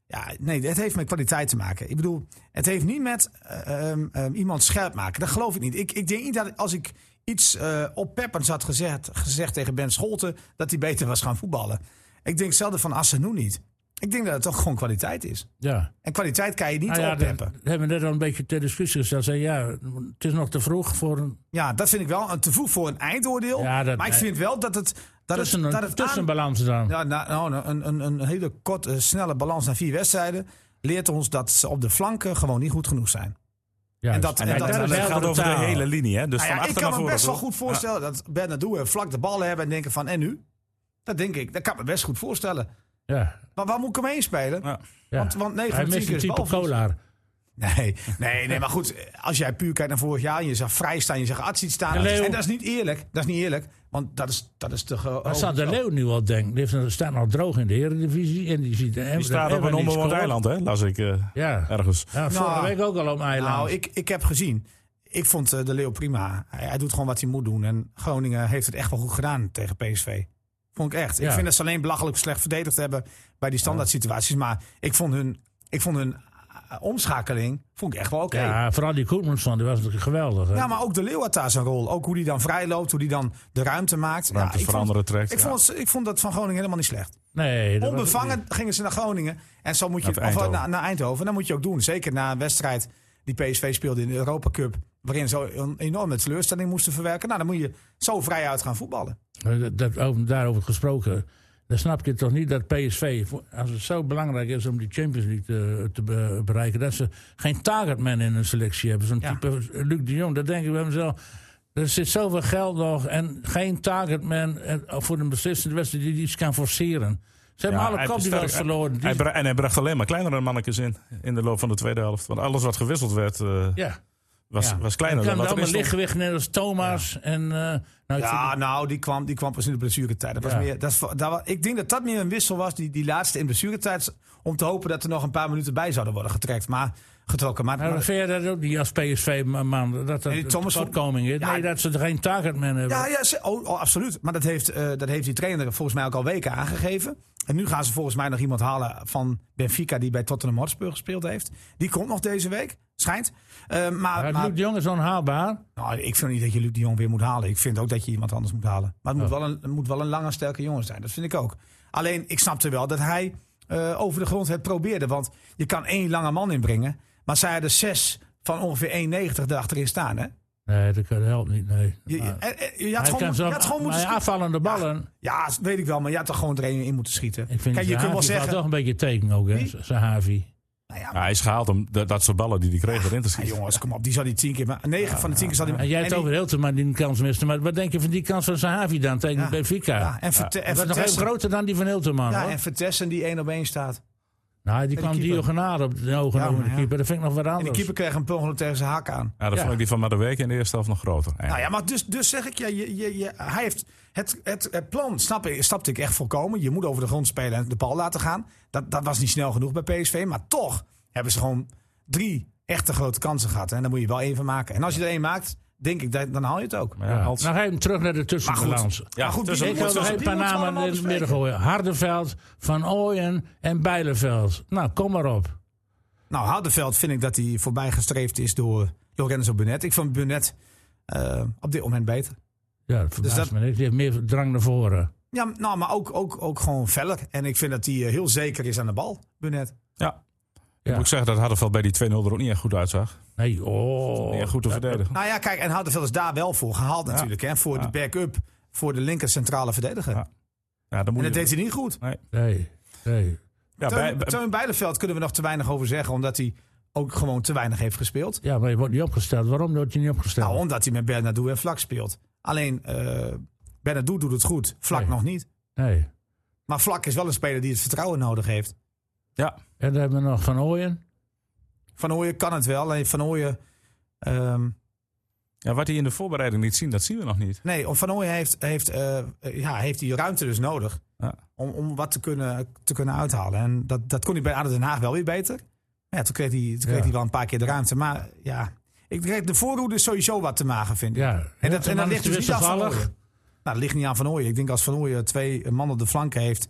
[SPEAKER 4] Ja, nee, het heeft met kwaliteit te maken. Ik bedoel, het heeft niet met eh, ehm, ehm, iemand scherp maken. Dat geloof ik niet. Ik, ik denk niet dat als ik iets eh oppeppends had gezegd, gezegd tegen Ben Scholten, dat hij beter was gaan voetballen. Ik denk hetzelfde van Assenou niet. Ik denk dat het toch gewoon kwaliteit is.
[SPEAKER 2] Ja.
[SPEAKER 4] En kwaliteit kan je niet
[SPEAKER 2] Nou ja, dat
[SPEAKER 4] oppeppen.
[SPEAKER 2] dat hebben we net al een beetje ter discussie gesteld. Zei, ja, het is nog te vroeg voor een
[SPEAKER 4] Ja, dat vind ik wel een te vroeg voor een eindoordeel.
[SPEAKER 2] Ja, dat-
[SPEAKER 4] maar ik vind wel dat het. Dat
[SPEAKER 2] tussen,
[SPEAKER 4] het, dat
[SPEAKER 2] een
[SPEAKER 4] het aan-
[SPEAKER 2] tussenbalans dan.
[SPEAKER 4] Ja, nou, nou, een, een, een hele korte, snelle balans na vier wedstrijden leert ons dat ze op de flanken gewoon niet goed genoeg zijn.
[SPEAKER 2] Juist.
[SPEAKER 4] en dat- en dat-
[SPEAKER 1] dat
[SPEAKER 2] is heldere
[SPEAKER 1] gaat over de
[SPEAKER 2] taal.
[SPEAKER 1] hele linie, hè? Dus
[SPEAKER 4] Nou
[SPEAKER 1] van
[SPEAKER 4] ja, ik
[SPEAKER 1] achter
[SPEAKER 4] kan
[SPEAKER 1] naar
[SPEAKER 4] me
[SPEAKER 1] voren,
[SPEAKER 4] best wel
[SPEAKER 1] toch?
[SPEAKER 4] goed voorstellen dat Bernardo en vlak de bal hebben en denken van en nu? Dat denk ik, dat kan ik me best goed voorstellen.
[SPEAKER 2] Ja,
[SPEAKER 4] Maar waar moet ik hem heen spelen?
[SPEAKER 1] Ja.
[SPEAKER 2] ja.
[SPEAKER 4] Want- want negen
[SPEAKER 2] Hij
[SPEAKER 4] van de
[SPEAKER 2] mist
[SPEAKER 4] tien
[SPEAKER 2] een
[SPEAKER 4] keer is
[SPEAKER 2] type
[SPEAKER 4] balverlies.
[SPEAKER 2] Kolar.
[SPEAKER 4] [LAUGHS] Nee, nee, nee, maar goed, als jij puur kijkt naar vorig jaar en je zag vrij staan, je zag Atsiet staan.
[SPEAKER 2] De Leeuw.
[SPEAKER 4] En dat is niet eerlijk, dat is niet eerlijk, want dat is, dat is te ge-
[SPEAKER 2] Wat staat de
[SPEAKER 4] hoog.
[SPEAKER 2] Leeuw nu al denkt? Die heeft een- staat nog droog in de Eredivisie. En die ziet
[SPEAKER 1] Die staat op een onbewoond eiland, hè? Las ik eh,
[SPEAKER 2] Ja.
[SPEAKER 1] ergens.
[SPEAKER 2] Ja, vorige
[SPEAKER 4] Nou,
[SPEAKER 2] week ook al op een eiland.
[SPEAKER 4] Nou, ik, ik heb gezien. Ik vond eh, de Leeuw prima. Hij, hij doet gewoon wat hij moet doen. En Groningen heeft het echt wel goed gedaan tegen PSV. Vond ik echt. Ik
[SPEAKER 2] Ja.
[SPEAKER 4] vind dat ze alleen belachelijk slecht verdedigd hebben bij die standaard situaties. Maar ik vond hun, ik vond hun eh, omschakeling vond ik echt wel oké.
[SPEAKER 2] Ja, vooral die Koetmansson, die was natuurlijk geweldig. hè.
[SPEAKER 4] Ja, maar ook de Leeuw had daar zijn rol. Ook hoe die dan vrij loopt, hoe die dan de ruimte maakt. Ja,
[SPEAKER 1] Ruimtes
[SPEAKER 4] ik,
[SPEAKER 1] voor
[SPEAKER 4] vond,
[SPEAKER 1] anderen trekt.
[SPEAKER 4] ik,
[SPEAKER 1] ja.
[SPEAKER 4] vond, ik vond dat van Groningen helemaal niet slecht.
[SPEAKER 2] nee, dat was-
[SPEAKER 4] Onbevangen gingen ze naar Groningen. En zo moet je
[SPEAKER 1] Naar
[SPEAKER 4] of, eh,
[SPEAKER 1] Eindhoven.
[SPEAKER 4] naar, naar Eindhoven. En dat moet je ook doen. Zeker na een wedstrijd die PSV speelde in de Europa Cup. Waarin ze een enorme teleurstelling moesten verwerken. Nou, dan moet je zo vrij uit gaan voetballen.
[SPEAKER 2] Maar Eh, Dat, dat, over- daarover gesproken. Dan snap je toch niet dat PSV, voor- als het zo belangrijk is om die Champions League eh, te, te be- bereiken, dat ze geen targetman in hun selectie hebben. Zo'n
[SPEAKER 4] Ja.
[SPEAKER 2] type Luc de Jong. Dat denk ik bij mezelf. Er zit zoveel geld nog en geen targetman en voor een beslissende wedstrijd die iets kan forceren. Ze hebben
[SPEAKER 1] Ja,
[SPEAKER 2] alle
[SPEAKER 1] hij
[SPEAKER 2] kopduels
[SPEAKER 1] sterk-
[SPEAKER 2] verloren. Die-
[SPEAKER 1] Hij bra- en hij bracht alleen maar kleinere mannetjes in in de loop van de tweede helft. Want alles wat gewisseld werd, eh,
[SPEAKER 2] ja,
[SPEAKER 1] was,
[SPEAKER 4] Ja.
[SPEAKER 1] was kleiner
[SPEAKER 2] kan
[SPEAKER 1] dan
[SPEAKER 2] het
[SPEAKER 1] wat erin
[SPEAKER 2] allemaal
[SPEAKER 1] stond.
[SPEAKER 2] lichtgewicht net als Thomas. En, eh, nou, ik vind-
[SPEAKER 4] Ja, nou, die kwam, die kwam pas in de blessuretijd. Dat was
[SPEAKER 2] Ja.
[SPEAKER 4] meer, dat, is voor- daar wa- ik denk dat dat meer een wissel was, die, die laatste in blessuretijd. Om te hopen dat er nog een paar minuten bij zouden worden getrekt. Maar, getrokken. Maar,
[SPEAKER 2] Nou,
[SPEAKER 4] maar-
[SPEAKER 2] dan vind je dat ook niet als PSV-man, dat dat
[SPEAKER 4] Nee, die
[SPEAKER 2] een
[SPEAKER 4] Thomas vond-
[SPEAKER 2] tekortkoming is.
[SPEAKER 4] Ja.
[SPEAKER 2] nee, dat ze er geen targetman hebben.
[SPEAKER 4] ja, ja ze- oh, oh, absoluut. Maar dat heeft, eh, dat heeft die trainer volgens mij ook al weken aangegeven. En nu gaan ze volgens mij nog iemand halen van Benfica die bij Tottenham Hotspur gespeeld heeft. Die komt nog deze week, schijnt. Eh, maar
[SPEAKER 2] Ah, Maar
[SPEAKER 4] maar
[SPEAKER 2] Luc de Jong is onhaalbaar.
[SPEAKER 4] nou, ik vind niet dat je Luc de Jong weer moet halen. Ik vind ook dat je iemand anders moet halen. Maar het moet, wel, een, het moet wel een lange, sterke jongen zijn. Dat vind ik ook. Alleen, ik snapte wel dat hij eh, over de grond het probeerden. Want je kan één lange man inbrengen. Maar zij hadden zes van ongeveer 1,90 erachterin staan. Hè?
[SPEAKER 2] Nee, dat, dat helpt niet. Nee.
[SPEAKER 4] Je,
[SPEAKER 2] Maar-
[SPEAKER 4] eh, eh, je had
[SPEAKER 2] Hij
[SPEAKER 4] gewoon,
[SPEAKER 2] kan
[SPEAKER 4] je
[SPEAKER 2] zelf-
[SPEAKER 4] had gewoon
[SPEAKER 2] maar
[SPEAKER 4] moeten schieten.
[SPEAKER 2] afvallende ballen.
[SPEAKER 4] Ja, dat weet ik wel. Maar je had er gewoon er één in moeten schieten.
[SPEAKER 2] Ik vind
[SPEAKER 4] Kijk, je kunt wel zeggen...
[SPEAKER 2] toch een beetje teken ook, hè,
[SPEAKER 4] Wie?
[SPEAKER 2] Sahavi.
[SPEAKER 4] Nou ja,
[SPEAKER 1] Ja, hij is gehaald om dat, dat soort ballen die hij kreeg erin te
[SPEAKER 4] maar
[SPEAKER 1] schieten.
[SPEAKER 4] Ah, jongens, kom op. Die zal die tien keer... Maar negen van de tien keer zal die...
[SPEAKER 2] En jij hebt
[SPEAKER 4] die-
[SPEAKER 2] over heel te maar die kans miste. Maar wat denk je van die kans van Sahavi dan tegen
[SPEAKER 4] Ja.
[SPEAKER 2] Benfica?
[SPEAKER 4] Ja, en Verte- en
[SPEAKER 2] dat was nog even
[SPEAKER 4] Vertessen-
[SPEAKER 2] groter dan die van Hilterman.
[SPEAKER 4] Ja,
[SPEAKER 2] hoor.
[SPEAKER 4] en Vertessen die één op één staat.
[SPEAKER 2] nou, die
[SPEAKER 4] en de
[SPEAKER 2] kwam
[SPEAKER 4] keeper.
[SPEAKER 2] diagonaal op de ogen
[SPEAKER 4] Ja,
[SPEAKER 2] over
[SPEAKER 4] maar
[SPEAKER 2] de
[SPEAKER 4] ja.
[SPEAKER 2] keeper. Dat vind ik nog wat
[SPEAKER 4] En de
[SPEAKER 2] anders.
[SPEAKER 4] keeper kreeg een pongel tegen zijn hak aan.
[SPEAKER 1] Ja, dan vond ik die van Madueke in de eerste helft nog groter.
[SPEAKER 4] Nou ja, maar dus, dus zeg ik, ja, je, je, je, hij heeft het, het, het plan, snap, ik- snapte ik echt volkomen. Je moet over de grond spelen en de bal laten gaan. Dat, dat was niet snel genoeg bij PSV. Maar toch hebben ze gewoon drie echte grote kansen gehad. En daar moet je wel één van maken. En als je er één maakt, denk ik, dat- dan haal je het ook.
[SPEAKER 1] Maar
[SPEAKER 2] Ja. Nou,
[SPEAKER 1] ja, als-
[SPEAKER 2] Nog even terug naar de tussenbalans.
[SPEAKER 1] ja,
[SPEAKER 4] maar goed,
[SPEAKER 1] tussen-
[SPEAKER 4] die
[SPEAKER 2] Ik wil nog
[SPEAKER 4] moeten we-
[SPEAKER 2] even een
[SPEAKER 4] die
[SPEAKER 2] paar
[SPEAKER 4] moeten we
[SPEAKER 2] namen in
[SPEAKER 4] allemaal
[SPEAKER 2] het midden gooien. Hardeveld, Van Ooyen en Bijleveld. Nou, kom maar op.
[SPEAKER 4] Nou, Houdenveld vind ik dat hij voorbij gestreefd is door Lorenzo Burnett. Ik vond Burnett eh, op dit moment beter.
[SPEAKER 2] Ja, dat verbaast
[SPEAKER 4] Dus dat-
[SPEAKER 2] me niks. Die heeft meer drang naar voren.
[SPEAKER 4] Ja, nou, maar ook, ook, ook gewoon feller. En ik vind dat hij eh, heel zeker is aan de bal, Burnett.
[SPEAKER 1] ja.
[SPEAKER 2] Ja.
[SPEAKER 1] Moet ik zeggen dat Hardenveld bij die 2-0 er ook niet echt goed uitzag.
[SPEAKER 2] Nee, oh.
[SPEAKER 1] Niet echt goed te verdedigen.
[SPEAKER 4] Nou ja, kijk, en Houtenveld is daar wel voor gehaald natuurlijk. Hè? Voor de back-up, voor de linker centrale verdediger.
[SPEAKER 1] Ja, Ja, dan moet
[SPEAKER 4] en dat
[SPEAKER 1] je-
[SPEAKER 4] deed hij niet goed.
[SPEAKER 2] Nee, nee.
[SPEAKER 1] ja, bij,
[SPEAKER 4] Teun,
[SPEAKER 1] bij-
[SPEAKER 4] Teun Bijleveld kunnen we nog te weinig over zeggen, omdat hij ook gewoon te weinig heeft gespeeld.
[SPEAKER 2] Ja, maar je wordt niet opgesteld. Waarom wordt je niet opgesteld?
[SPEAKER 4] Nou, omdat hij met Bernardo en Vlak speelt. Alleen, eh Bernardo doet het goed, Vlak
[SPEAKER 2] Nee.
[SPEAKER 4] nog niet.
[SPEAKER 2] nee.
[SPEAKER 4] Maar Vlak is wel een speler die het vertrouwen nodig heeft.
[SPEAKER 1] ja,
[SPEAKER 2] En dan hebben we nog Van Ooyen.
[SPEAKER 4] Van Ooyen kan het wel, alleen Van Ooyen... ehm,
[SPEAKER 1] ja, wat hij in de voorbereiding niet zien, dat zien we nog niet.
[SPEAKER 4] Nee, Van Ooyen heeft, heeft, eh, eh, ja, heeft die ruimte dus nodig.
[SPEAKER 1] Ja.
[SPEAKER 4] Om, om wat te kunnen, te kunnen uithalen. En dat, dat kon hij bij ADO Den Haag wel weer beter. Maar ja, toen kreeg, hij, toen kreeg
[SPEAKER 2] Ja.
[SPEAKER 4] hij wel een paar keer de ruimte. Maar ja, ik denk de voorhoede is sowieso wat te magen, vind ik.
[SPEAKER 2] Ja.
[SPEAKER 4] En dat, en dat
[SPEAKER 2] Hilterman
[SPEAKER 4] ligt
[SPEAKER 2] is
[SPEAKER 4] dus niet aan Van
[SPEAKER 2] wisselvallig.
[SPEAKER 4] Ooyen. Nou, dat ligt niet aan Van Ooyen. Ik denk als Van Ooyen twee mannen op de flanken
[SPEAKER 2] [COUGHS]
[SPEAKER 4] heeft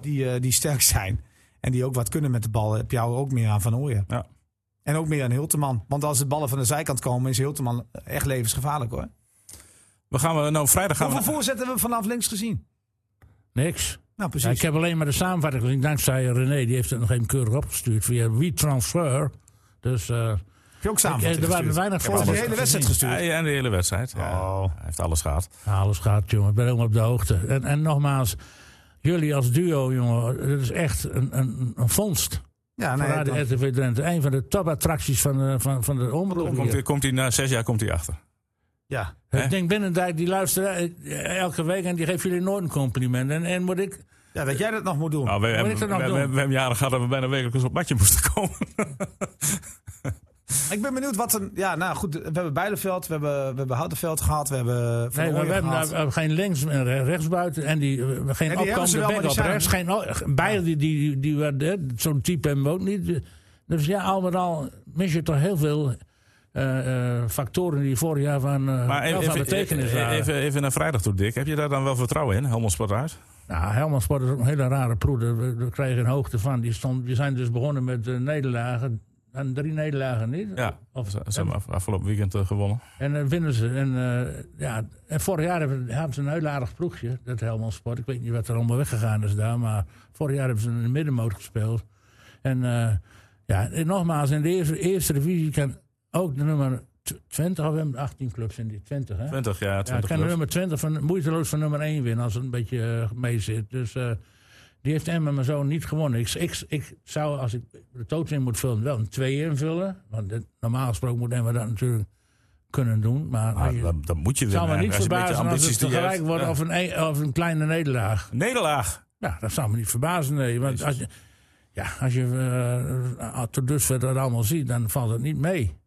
[SPEAKER 4] die, eh, die sterk zijn... en die ook wat kunnen met de bal, heb jou ook meer aan Van Ooyen.
[SPEAKER 1] Ja.
[SPEAKER 4] En ook meer aan Hilteman. Want als de ballen van de zijkant komen, is Hilteman echt levensgevaarlijk, hoor.
[SPEAKER 1] We gaan, we- nou, vrijdag gaan
[SPEAKER 4] Hoeveel
[SPEAKER 1] we...
[SPEAKER 4] voorzetten hebben we vanaf links gezien?
[SPEAKER 2] Niks.
[SPEAKER 4] Nou,
[SPEAKER 2] Ja, ik
[SPEAKER 4] precies.
[SPEAKER 2] heb alleen maar de samenvatting gezien. Dankzij René. Die heeft het nog even keurig opgestuurd via WeTransfer. Dus eh,
[SPEAKER 4] Heb je ook
[SPEAKER 2] eh, er waren
[SPEAKER 4] samengestuurd?
[SPEAKER 2] weinig
[SPEAKER 4] Heb je
[SPEAKER 2] voorbeelden.
[SPEAKER 4] de hele wedstrijd
[SPEAKER 2] gezien.
[SPEAKER 4] gestuurd?
[SPEAKER 1] Ja, en de hele wedstrijd. Ja,
[SPEAKER 4] Oh.
[SPEAKER 1] Hij heeft alles gehad.
[SPEAKER 2] nou, Alles gaat, jongen. Ik ben helemaal op de hoogte. En, en nogmaals, jullie als duo, jongen, dat is echt een, een, een vondst.
[SPEAKER 4] Ja,
[SPEAKER 2] Voor
[SPEAKER 4] Ah, nee,
[SPEAKER 2] Radio
[SPEAKER 4] dan-
[SPEAKER 2] RTV Drenthe. Een van de topattracties van de, van, van de omroep.
[SPEAKER 1] Komt,
[SPEAKER 2] hier.
[SPEAKER 1] hij- komt hij, na zes jaar komt hij achter. Nou,
[SPEAKER 4] ja.
[SPEAKER 2] Ik denk Binnendijk, die luistert eh, elke week en die geeft jullie nooit een compliment. En, en moet ik...
[SPEAKER 4] ja, dat jij dat nog moet doen.
[SPEAKER 1] Nou, we,
[SPEAKER 2] Moet
[SPEAKER 1] hebben,
[SPEAKER 2] ik
[SPEAKER 1] we,
[SPEAKER 2] dat nog
[SPEAKER 1] we, we
[SPEAKER 2] doen?
[SPEAKER 1] hebben jaren gehad dat we bijna wekelijks op matje moesten
[SPEAKER 2] [LAUGHS]
[SPEAKER 1] komen.
[SPEAKER 4] Ik ben benieuwd wat een... Ja, nou goed, we hebben Bijleveld, we hebben, we hebben Houtenveld gehad, we hebben Van
[SPEAKER 2] Nee, maar we
[SPEAKER 4] Ooyen
[SPEAKER 2] hebben
[SPEAKER 4] gehad.
[SPEAKER 2] daar, eh, geen links en re- rechtsbuiten en die, eh, geen
[SPEAKER 4] hebben ze
[SPEAKER 2] opkomende
[SPEAKER 4] wel, maar
[SPEAKER 2] back
[SPEAKER 4] die
[SPEAKER 2] op
[SPEAKER 4] zijn-
[SPEAKER 2] rechts. Geen, o- eh, beide die, die, die, werden, hè, zo'n type hebben we ook niet. Dus ja, al met al mis je toch heel veel eh, eh, factoren die vorig jaar van,
[SPEAKER 1] Maar
[SPEAKER 2] eh, wel
[SPEAKER 1] even,
[SPEAKER 2] van
[SPEAKER 1] even,
[SPEAKER 2] betekenis eh,
[SPEAKER 1] even,
[SPEAKER 2] waren.
[SPEAKER 1] even naar vrijdag toe, Dick. Heb je daar dan wel vertrouwen in, Helmond Sport uit?
[SPEAKER 2] Nou, Helmond Sport is ook een hele rare proeder. We, we kregen een hoogte van. Die, stond, die zijn dus begonnen met eh, nederlagen. En drie nederlagen niet.
[SPEAKER 1] Ja,
[SPEAKER 2] Of-
[SPEAKER 1] ze, ze hebben af- afgelopen weekend eh, gewonnen.
[SPEAKER 2] En dan winnen ze. En, eh, ja, en vorig jaar hebben, hadden ze een heel aardig ploegje, dat Helmond Sport. Ik weet niet wat er allemaal weggegaan is daar, maar vorig jaar hebben ze in de middenmoot gespeeld. En eh, ja, en nogmaals, in de eerste, eerste divisie kan ook de nummer tw- 20, of we hebben 18 clubs in die 20, hè?
[SPEAKER 1] 20, ja,
[SPEAKER 2] Ja,
[SPEAKER 1] 20
[SPEAKER 2] kan de
[SPEAKER 1] clubs.
[SPEAKER 2] nummer 20 van, moeiteloos van nummer 1 winnen als het een beetje eh, mee zit. Dus eh, die heeft Emmen maar zo niet gewonnen. Ik, ik, ik zou, als ik de totaal in moet vullen, wel een 2 invullen. Want dit- normaal gesproken moet Emmen dat natuurlijk kunnen doen. Maar,
[SPEAKER 1] Maar
[SPEAKER 2] als je-
[SPEAKER 1] dan, dan moet je
[SPEAKER 2] het
[SPEAKER 1] winnen.
[SPEAKER 2] zou me niet
[SPEAKER 1] eigenlijk, als je een beetje
[SPEAKER 2] verbazen als
[SPEAKER 1] ambities
[SPEAKER 2] het
[SPEAKER 1] die je
[SPEAKER 2] tegelijk
[SPEAKER 1] hebt.
[SPEAKER 2] wordt
[SPEAKER 1] Ja.
[SPEAKER 2] of, een, e- of een kleine nederlaag.
[SPEAKER 1] Nederlaag.
[SPEAKER 2] Ja, dat zou me niet verbazen, nee. Want als je, ja, als je eh, tot dusver dat allemaal ziet, dan valt het niet mee.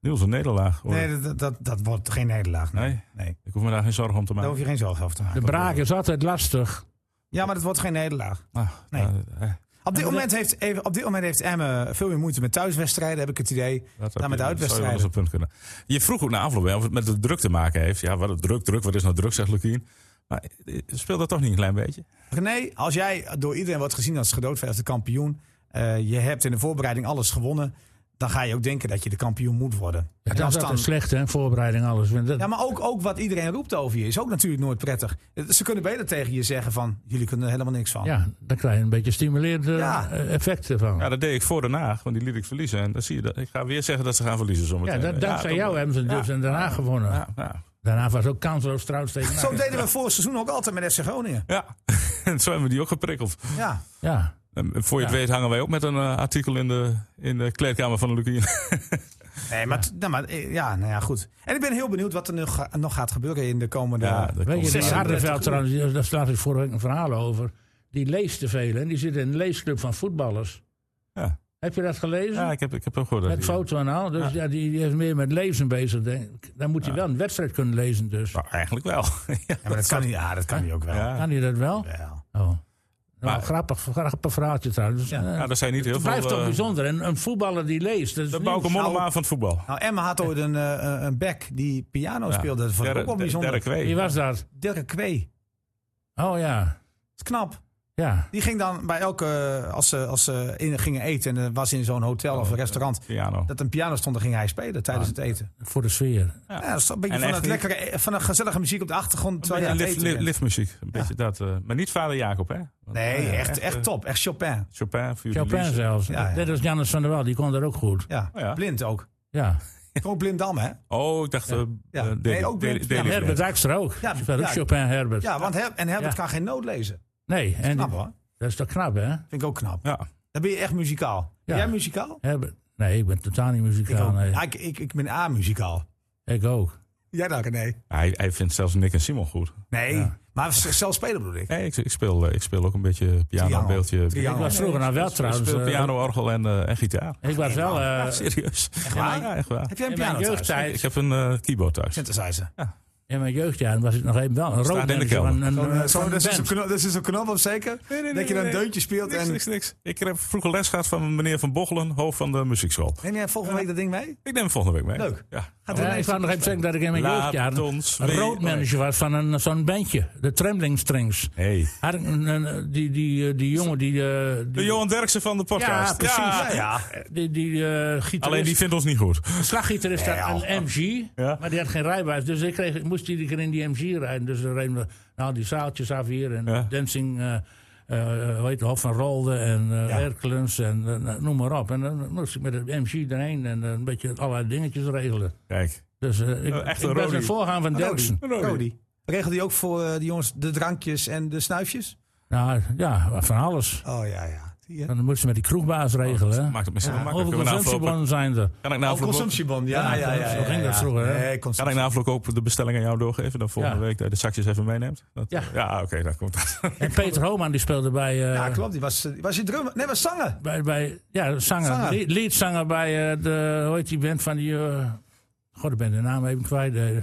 [SPEAKER 1] Niels, een nederlaag. hoor.
[SPEAKER 4] Nee, dat, dat, dat wordt geen nederlaag. Nee.
[SPEAKER 1] Nee?
[SPEAKER 4] Nee.
[SPEAKER 1] Ik hoef me daar geen zorgen om te
[SPEAKER 4] Daar
[SPEAKER 1] maken.
[SPEAKER 4] hoef je geen zorgen over te
[SPEAKER 2] De
[SPEAKER 4] maken.
[SPEAKER 2] braak is altijd lastig.
[SPEAKER 4] Ja, maar dat wordt geen nederlaag.
[SPEAKER 1] Ah,
[SPEAKER 4] Nee.
[SPEAKER 1] nou, eh,
[SPEAKER 4] Op dit, moment heeft, even, op dit moment heeft Emmen veel meer moeite met thuiswedstrijden, heb ik het idee.
[SPEAKER 1] Dat
[SPEAKER 4] Dan
[SPEAKER 1] heb je- dat zou
[SPEAKER 4] met
[SPEAKER 1] je wel
[SPEAKER 4] uitwedstrijden.
[SPEAKER 1] eens een punt kunnen. Je vroeg ook na afloop hè, of het met de druk te maken heeft. Ja, wat het druk, druk, wat is nou druk, zegt Lukien. Maar eh, speelt dat toch niet een klein beetje?
[SPEAKER 4] René, als jij door iedereen wordt gezien als gedoodverfde kampioen. eh, je hebt in de voorbereiding alles gewonnen. dan ga je ook denken dat je de kampioen moet worden. En
[SPEAKER 2] dat
[SPEAKER 4] als
[SPEAKER 2] is
[SPEAKER 4] dan-
[SPEAKER 2] altijd slecht, hè? Voorbereiding, alles. Want dat-
[SPEAKER 4] ja, maar ook, ook wat iedereen roept over je is ook natuurlijk nooit prettig. Ze kunnen beter tegen je zeggen van, jullie kunnen er helemaal niks van.
[SPEAKER 2] ja, dan krijg je een beetje stimulerende
[SPEAKER 4] Ja.
[SPEAKER 2] eh, effecten van.
[SPEAKER 1] Oh. Ja, dat deed ik voor Den Haag, want die liet ik verliezen. En dan zie je dat. Ik ga weer zeggen dat ze gaan verliezen
[SPEAKER 2] Ja,
[SPEAKER 1] zometeen.
[SPEAKER 2] dat, dankzij
[SPEAKER 1] toch
[SPEAKER 2] jou
[SPEAKER 1] wel.
[SPEAKER 2] hebben ze dus
[SPEAKER 1] Ja.
[SPEAKER 2] in Den Haag gewonnen.
[SPEAKER 1] Ja, ja.
[SPEAKER 2] Daarna was ook kansloos trouwens tegen
[SPEAKER 4] Zo
[SPEAKER 2] NAC.
[SPEAKER 4] deden we vorig seizoen ook altijd met FC Groningen.
[SPEAKER 1] ja. [LAUGHS] en zo hebben we die ook geprikkeld.
[SPEAKER 4] Ja,
[SPEAKER 2] Ja,
[SPEAKER 1] En voor je het weet hangen wij ook met een eh, artikel in de, in de kleedkamer van de Lukien.
[SPEAKER 4] nee, maar, t- nou, maar eh, ja, nou ja, goed. En ik ben heel benieuwd wat er nu ga- nog gaat gebeuren in de komende...
[SPEAKER 1] dat
[SPEAKER 2] weet
[SPEAKER 1] komt
[SPEAKER 2] je, die
[SPEAKER 4] 36 uur.
[SPEAKER 2] Hardeveld trouwens, die- daar staat dus vorige week een verhaal over. Die leest te veel en die zit in een leesclub van voetballers.
[SPEAKER 1] Ja.
[SPEAKER 2] Heb je dat gelezen?
[SPEAKER 1] Ja, ik heb, ik heb ook gehoord. dat
[SPEAKER 2] Met
[SPEAKER 1] die-
[SPEAKER 2] foto en al. Dus ja, die, die is meer met lezen bezig. denk ik. Dan moet hij wel een wedstrijd kunnen lezen dus.
[SPEAKER 1] Nou, eigenlijk wel. [LAUGHS] ja.
[SPEAKER 4] Ja, maar dat kan niet, ja, dat kan niet ook wel.
[SPEAKER 1] Ja.
[SPEAKER 2] Kan hij dat wel?
[SPEAKER 4] Wel.
[SPEAKER 2] Oh. Nou,
[SPEAKER 1] Maar-
[SPEAKER 2] grappig, grappig verhaaltje trouwens. Dus, eh,
[SPEAKER 1] Ja, dat zijn niet heel
[SPEAKER 2] het
[SPEAKER 1] veel.
[SPEAKER 2] blijft toch
[SPEAKER 1] eh,
[SPEAKER 2] bijzonder. En een voetballer die leest. Dat is
[SPEAKER 1] de
[SPEAKER 2] nieuws.
[SPEAKER 1] Bauke Mollema van het voetbal.
[SPEAKER 4] Nou, Emma had ooit een, eh, eh, een back die piano speelde. Dat vond ik
[SPEAKER 1] Der-
[SPEAKER 4] ook wel
[SPEAKER 1] der-
[SPEAKER 4] bijzonder.
[SPEAKER 1] Derek Wee.
[SPEAKER 2] Wie was dat?
[SPEAKER 4] Dirk Kwee.
[SPEAKER 2] Oh ja.
[SPEAKER 4] Dat is knap.
[SPEAKER 2] Ja.
[SPEAKER 4] Die ging dan bij elke, eh, als ze, als ze in, gingen eten en er was in zo'n hotel
[SPEAKER 1] Oh,
[SPEAKER 4] of een restaurant,
[SPEAKER 1] Piano.
[SPEAKER 4] dat een piano stond, dan ging hij spelen tijdens het eten.
[SPEAKER 2] Voor de sfeer.
[SPEAKER 4] Ja, dat is een beetje
[SPEAKER 1] Ah, En
[SPEAKER 4] van,
[SPEAKER 1] echt
[SPEAKER 4] het
[SPEAKER 1] niet-
[SPEAKER 4] lekkere, eh, van een gezellige muziek op de achtergrond.
[SPEAKER 1] Een
[SPEAKER 4] Terwijl je
[SPEAKER 1] beetje
[SPEAKER 4] aan het
[SPEAKER 1] lift-
[SPEAKER 4] eten
[SPEAKER 1] li-
[SPEAKER 4] bent.
[SPEAKER 1] liftmuziek. Een beetje dat. eh, maar niet vader Jacob, hè? Want,
[SPEAKER 4] Nee,
[SPEAKER 1] eh,
[SPEAKER 4] echt, echt
[SPEAKER 1] eh,
[SPEAKER 4] top. Echt Chopin.
[SPEAKER 1] Chopin, voor jullie
[SPEAKER 2] Chopin
[SPEAKER 1] liefst.
[SPEAKER 2] zelfs.
[SPEAKER 4] Ja, ja.
[SPEAKER 2] Net als Jannes van der Wel, die kon dat ook goed.
[SPEAKER 4] Ja.
[SPEAKER 1] Oh ja.
[SPEAKER 4] Blind ook.
[SPEAKER 2] Ja.
[SPEAKER 4] Ook blindam, hè?
[SPEAKER 1] Oh, ik dacht. eh,
[SPEAKER 4] Ja.
[SPEAKER 1] eh,
[SPEAKER 4] Nee,
[SPEAKER 1] Daily-
[SPEAKER 4] ook
[SPEAKER 1] Daily-
[SPEAKER 4] Blind-
[SPEAKER 1] Daily
[SPEAKER 4] ja,
[SPEAKER 1] Blind.
[SPEAKER 2] Herbert Dijkstra ook.
[SPEAKER 4] Ja,
[SPEAKER 2] Ja, speelt ook
[SPEAKER 4] ja.
[SPEAKER 2] Chopin Herbert.
[SPEAKER 4] Ja, want Her- en Herbert
[SPEAKER 2] Ja.
[SPEAKER 4] kan geen noot lezen.
[SPEAKER 2] Nee, en
[SPEAKER 4] Knap
[SPEAKER 2] die-
[SPEAKER 4] hoor.
[SPEAKER 2] dat is toch knap, hè?
[SPEAKER 4] Vind ik ook knap.
[SPEAKER 1] Ja.
[SPEAKER 4] Dan ben je echt muzikaal. Ben
[SPEAKER 2] Ja.
[SPEAKER 4] jij muzikaal?
[SPEAKER 2] Herbert. Nee, ik ben totaal niet
[SPEAKER 4] Ik,
[SPEAKER 2] muzikaal.
[SPEAKER 4] ook.
[SPEAKER 2] nee.
[SPEAKER 4] Ah, ik, ik, ik ben A-muzikaal.
[SPEAKER 2] Ik ook.
[SPEAKER 4] Jij dan, nee.
[SPEAKER 1] Hij, hij vindt zelfs Nick en Simon goed.
[SPEAKER 4] Nee, maar z- zelf spelen bedoel ik.
[SPEAKER 1] Nee, ik, ik, speel, eh, ik speel ook een beetje piano,
[SPEAKER 4] Triangel.
[SPEAKER 1] een beeldje.
[SPEAKER 4] Triangel.
[SPEAKER 2] Ik was vroeger nou wel
[SPEAKER 1] Ik
[SPEAKER 2] trouwens.
[SPEAKER 1] speel
[SPEAKER 2] eh,
[SPEAKER 1] piano, orgel en, eh, en gitaar.
[SPEAKER 2] Ik was wel. eh,
[SPEAKER 1] Serieus. Echt
[SPEAKER 4] waar?
[SPEAKER 1] Ja, echt waar.
[SPEAKER 4] Heb jij een
[SPEAKER 2] in mijn
[SPEAKER 4] piano thuis?
[SPEAKER 2] jeugdtijd.
[SPEAKER 1] Ik heb een eh, keyboard thuis.
[SPEAKER 4] Synthesizer.
[SPEAKER 2] In mijn jeugdjaren was ik nog even wel een
[SPEAKER 1] Staat in de
[SPEAKER 2] rookmanager
[SPEAKER 1] kelder.
[SPEAKER 2] van een,
[SPEAKER 4] Zo'n,
[SPEAKER 2] van
[SPEAKER 4] eh,
[SPEAKER 2] een
[SPEAKER 4] zo'n- Dat is
[SPEAKER 2] band.
[SPEAKER 4] een knop- dat is een knop op zeker?
[SPEAKER 1] Nee, nee, nee,
[SPEAKER 4] dat je
[SPEAKER 1] nee,
[SPEAKER 4] dan een
[SPEAKER 1] nee.
[SPEAKER 4] deuntje speelt
[SPEAKER 1] Niks,
[SPEAKER 4] en...
[SPEAKER 1] niks, niks. Ik heb vroeger les gehad van meneer Van Bochelen, hoofd van de muziekschool.
[SPEAKER 4] Neem jij volgende week dat ding mee?
[SPEAKER 1] Ik neem hem volgende week mee.
[SPEAKER 4] Leuk.
[SPEAKER 1] Ja.
[SPEAKER 4] Gaat
[SPEAKER 2] Ja,
[SPEAKER 4] er
[SPEAKER 2] ik
[SPEAKER 4] ineens-
[SPEAKER 2] wou nog even zeggen dat ik in mijn
[SPEAKER 1] Laat
[SPEAKER 2] jeugdjaren
[SPEAKER 1] ons
[SPEAKER 2] een
[SPEAKER 1] weer-
[SPEAKER 2] roadmanager was van een, zo'n bandje. De Trembling Strings.
[SPEAKER 1] Hey.
[SPEAKER 2] Had ik een- een- die, die, eh, die jongen die... eh,
[SPEAKER 1] De
[SPEAKER 2] die
[SPEAKER 1] Johan Derksen van de
[SPEAKER 2] Ja,
[SPEAKER 1] podcast.
[SPEAKER 2] precies.
[SPEAKER 1] Ja.
[SPEAKER 2] Die, die eh, gitarist,
[SPEAKER 1] Alleen die vindt ons niet goed.
[SPEAKER 2] slaggitarist had een MG,
[SPEAKER 1] Ja.
[SPEAKER 2] maar die had geen rijbewijs. Dus ik, kreeg, ik moest iedere keer in die MG rijden. Dus dan reden we nou, die zaaltjes af hier en
[SPEAKER 1] Ja.
[SPEAKER 2] dancing... eh eh hoe heet het, Hof van Rolde en eh Hercules en eh, noem maar op. En dan moest ik met het MG erheen en eh, een beetje allerlei dingetjes regelen.
[SPEAKER 1] Kijk.
[SPEAKER 2] Dus eh, ik,
[SPEAKER 1] Oh, echt een
[SPEAKER 2] ik ben
[SPEAKER 1] Rodi.
[SPEAKER 2] een voorgaan van Derksen.
[SPEAKER 1] Rodi.
[SPEAKER 4] Rodi. Regelt die ook voor eh, die jongens de drankjes en de snuifjes?
[SPEAKER 2] Nou ja, van alles.
[SPEAKER 4] Oh ja, ja. Zie je?
[SPEAKER 2] Dan moeten ze met die kroegbaas regelen. hè.
[SPEAKER 1] Maakt het misschien wel Oh, makkelijk.
[SPEAKER 2] Hoeveel
[SPEAKER 1] Kunnen we nou na afloop-
[SPEAKER 2] consumptiebonnen zijn er?
[SPEAKER 1] Kan ik na
[SPEAKER 4] Oh,
[SPEAKER 1] afloop ook-
[SPEAKER 4] consumptiebon. Ja, ja, ja. ja,
[SPEAKER 2] zo ging dat
[SPEAKER 4] ja.
[SPEAKER 2] vroeger, hè?
[SPEAKER 4] Nee,
[SPEAKER 1] Kan ik
[SPEAKER 4] consumptie.
[SPEAKER 1] na afloop ook de bestelling aan jou doorgeven? Dan volgende
[SPEAKER 2] Ja.
[SPEAKER 1] week dat je de zakjes even meeneemt? Dat-
[SPEAKER 2] Ja.
[SPEAKER 1] Ja, oké, dat komt
[SPEAKER 4] [LAUGHS]
[SPEAKER 2] En Peter Homan die speelde bij, eh,
[SPEAKER 4] Ja, klopt. Die was, die was je drummer. Nee, was zanger.
[SPEAKER 2] bij, bij ja, zanger,
[SPEAKER 4] Zanger.
[SPEAKER 2] li- leadzanger bij eh, de, hoe heet die band van die, eh god, ik ben de naam even kwijt, eh,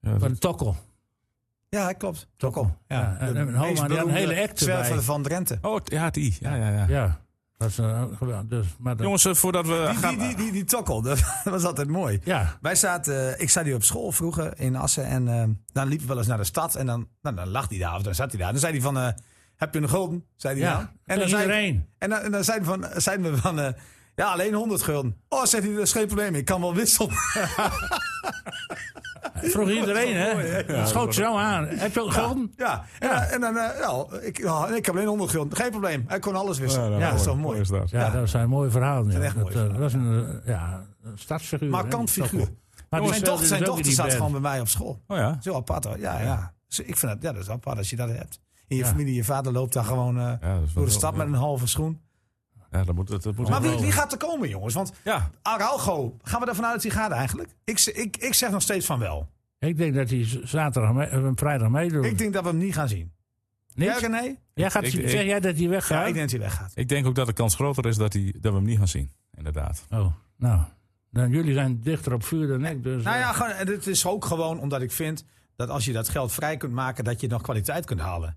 [SPEAKER 1] Ja,
[SPEAKER 2] van Tokkel.
[SPEAKER 4] Ja, klopt.
[SPEAKER 2] Tokkel. Ja, en, en Homan die had een hele act erbij.
[SPEAKER 4] Zwerver van Drenthe.
[SPEAKER 1] Oh, ja, die. Ja, ja, ja.
[SPEAKER 2] Ja, dat is eh, geweldig. Dus, maar dat,
[SPEAKER 1] Jongens, eh, voordat we
[SPEAKER 4] Die,
[SPEAKER 1] gaan...
[SPEAKER 4] die, die, die, die tokkel, [LAUGHS] dat was altijd mooi.
[SPEAKER 2] ja,
[SPEAKER 4] Wij zaten, eh, ik zat hier op school vroeger in Assen en eh, dan liepen we wel eens naar de stad en dan, nou, dan lag hij daar of dan zat hij daar. Dan zei hij van, eh, heb je een gulden? Zei hij
[SPEAKER 2] Ja,
[SPEAKER 4] nou. En
[SPEAKER 2] dat
[SPEAKER 4] dan
[SPEAKER 2] is
[SPEAKER 4] zei,
[SPEAKER 2] iedereen.
[SPEAKER 4] En dan, en dan zeiden, we van, zeiden we van, eh, ja alleen 100 gulden. Oh, zegt hij, dat is geen probleem, ik kan wel wisselen. [LAUGHS]
[SPEAKER 2] vroeg iedereen, hè? Dat schoot zo aan. Heb je ook gulden?
[SPEAKER 4] ja, en, dan- en dan, eh, nou, ik, oh, ik heb alleen 100 gulden, geen probleem. Hij kon alles wisselen.
[SPEAKER 1] Ja,
[SPEAKER 4] Ja,
[SPEAKER 1] nou,
[SPEAKER 4] dat is
[SPEAKER 1] mooi.
[SPEAKER 4] toch mooi.
[SPEAKER 1] Mooi is dat.
[SPEAKER 2] Ja, dat zijn mooie verhalen. ja.
[SPEAKER 4] echt
[SPEAKER 2] dat,
[SPEAKER 4] mooie
[SPEAKER 2] eh, was een, eh, ja, een stadsfiguur. hè,
[SPEAKER 4] Markant
[SPEAKER 2] die Tokkel.
[SPEAKER 4] figuur.
[SPEAKER 2] Maar die
[SPEAKER 4] Zijn
[SPEAKER 2] speelde
[SPEAKER 4] dochter, zijn
[SPEAKER 2] dus ook in
[SPEAKER 4] dochter
[SPEAKER 2] die
[SPEAKER 4] zat
[SPEAKER 2] band.
[SPEAKER 4] gewoon bij mij op school.
[SPEAKER 1] Oh ja.
[SPEAKER 4] Zo apart hoor. Ja, ja. Dus ik vind dat, ja, dat is apart als je dat hebt. In je familie, je vader loopt daar gewoon eh,
[SPEAKER 1] dat is wel
[SPEAKER 4] door de
[SPEAKER 1] heel-
[SPEAKER 4] stad met een halve schoen.
[SPEAKER 1] Ja, dat moet... Dat, dat moet
[SPEAKER 4] Maar wie, wie gaat er komen, jongens? Want
[SPEAKER 1] Ja.
[SPEAKER 4] Araujo, gaan we ervan uit dat hij gaat eigenlijk? Ik, z- ik, ik zeg nog steeds van wel.
[SPEAKER 2] Ik denk dat hij z- zaterdag mee, eh, vrijdag meedoet.
[SPEAKER 4] Ik denk dat we hem niet gaan zien.
[SPEAKER 2] Niet?
[SPEAKER 4] Ja, René?
[SPEAKER 2] jij gaat,
[SPEAKER 1] Ik-
[SPEAKER 2] zeg
[SPEAKER 1] ik-
[SPEAKER 2] jij dat hij
[SPEAKER 4] Ja,
[SPEAKER 2] weggaat?
[SPEAKER 4] ik denk dat hij weggaat.
[SPEAKER 1] Ik denk ook dat de kans groter is dat, die, dat we hem niet gaan zien. Inderdaad.
[SPEAKER 2] Oh, nou. Dan, jullie zijn dichter op vuur dan ik. Dus,
[SPEAKER 4] Nou
[SPEAKER 2] eh,
[SPEAKER 4] ja, gewoon, en het is ook gewoon omdat ik vind dat als je dat geld vrij kunt maken, dat je nog kwaliteit kunt halen.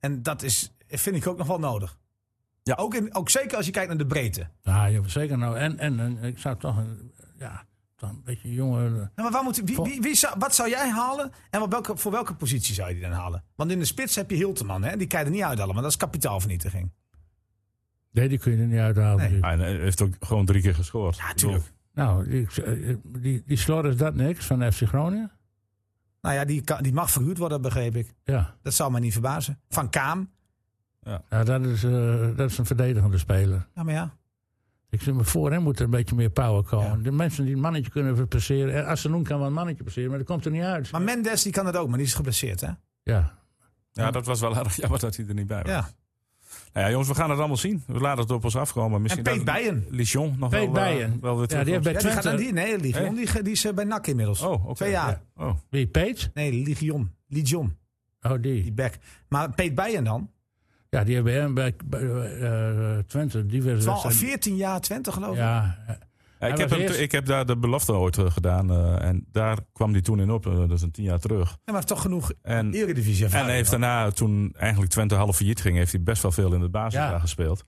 [SPEAKER 4] En dat is, vind ik ook nog wel nodig.
[SPEAKER 1] Ja.
[SPEAKER 4] Ook, in, ook zeker als je kijkt naar de breedte.
[SPEAKER 2] ah, joh, zeker nou. En, en, en ik zou toch een, ja, toch een beetje eh, jonger...
[SPEAKER 4] Nou, maar waar moet, wie, wie, wie zou, wat zou jij halen en wat welke, voor welke positie zou je die dan halen? Want in de spits heb je Hilteman, hè? die kan je er niet uithalen, want dat is kapitaalvernietiging.
[SPEAKER 2] Nee, die kun je er niet uithalen.
[SPEAKER 4] Nee.
[SPEAKER 2] natuurlijk.
[SPEAKER 1] Ah, en hij heeft ook gewoon drie keer gescoord.
[SPEAKER 4] Ja, tuurlijk.
[SPEAKER 1] Ik
[SPEAKER 2] Nou, die, die, die slor is dat niks van FC Groningen.
[SPEAKER 4] Nou ja, die, kan- die mag verhuurd worden, begreep ik.
[SPEAKER 2] Ja,
[SPEAKER 4] Dat zou mij niet verbazen. Van Kaam.
[SPEAKER 2] nou, dat, is, eh, dat is een verdedigende speler.
[SPEAKER 4] Ja, maar ja.
[SPEAKER 2] Ik zeg me voor hem moet er een beetje meer power komen. De mensen die een mannetje kunnen passeren. eh, Assenoen kan wel een mannetje passeren, maar dat komt er niet uit.
[SPEAKER 4] Maar Mendes die kan dat ook, maar die is geblesseerd, hè?
[SPEAKER 2] Ja,
[SPEAKER 1] bedoel, ja, dat was wel [LAUGHS] erg jammer dat hij er niet bij was.
[SPEAKER 4] Ja.
[SPEAKER 1] Nou ja, jongens, we gaan het allemaal zien. We laten het op ons afkomen.
[SPEAKER 4] En
[SPEAKER 1] Misschien
[SPEAKER 4] Peet
[SPEAKER 1] dat
[SPEAKER 4] Bijen.
[SPEAKER 1] Lichon nog
[SPEAKER 2] Peet
[SPEAKER 1] wel, eh,
[SPEAKER 2] Bijen.
[SPEAKER 1] wel weer
[SPEAKER 2] ja die heeft bij
[SPEAKER 1] terugkomt.
[SPEAKER 4] Ja, die gaat naar
[SPEAKER 2] Twente...
[SPEAKER 4] die, nee,
[SPEAKER 1] Hey.
[SPEAKER 4] Legion. Die, ge- die is eh, bij NAC inmiddels.
[SPEAKER 1] Oh, oké.
[SPEAKER 4] Twee jaar.
[SPEAKER 1] Oh.
[SPEAKER 2] Wie, Peet?
[SPEAKER 4] Nee, Legion. Legion,
[SPEAKER 2] Oh,
[SPEAKER 4] die
[SPEAKER 2] die.
[SPEAKER 4] back. Maar Peet Bijen dan?
[SPEAKER 2] Ja, die hebben hem bij, bij eh, Twente diverse
[SPEAKER 4] 12,
[SPEAKER 2] wedstrijden.
[SPEAKER 4] 14 jaar, 20 geloof ik.
[SPEAKER 2] Ja, eh,
[SPEAKER 1] Ja, ik,
[SPEAKER 2] Hij
[SPEAKER 1] heb
[SPEAKER 2] was
[SPEAKER 1] hem
[SPEAKER 2] eerst-
[SPEAKER 1] te- ik heb daar de belofte ooit eh, gedaan. eh, en daar kwam hij toen in op. eh, dat is een tien jaar terug.
[SPEAKER 4] Ja, maar toch genoeg
[SPEAKER 1] En,
[SPEAKER 4] eredivisie
[SPEAKER 1] en hij heeft daarna, toen eigenlijk Twente half failliet ging... heeft hij best wel veel in de basis
[SPEAKER 2] Ja.
[SPEAKER 1] daar gespeeld.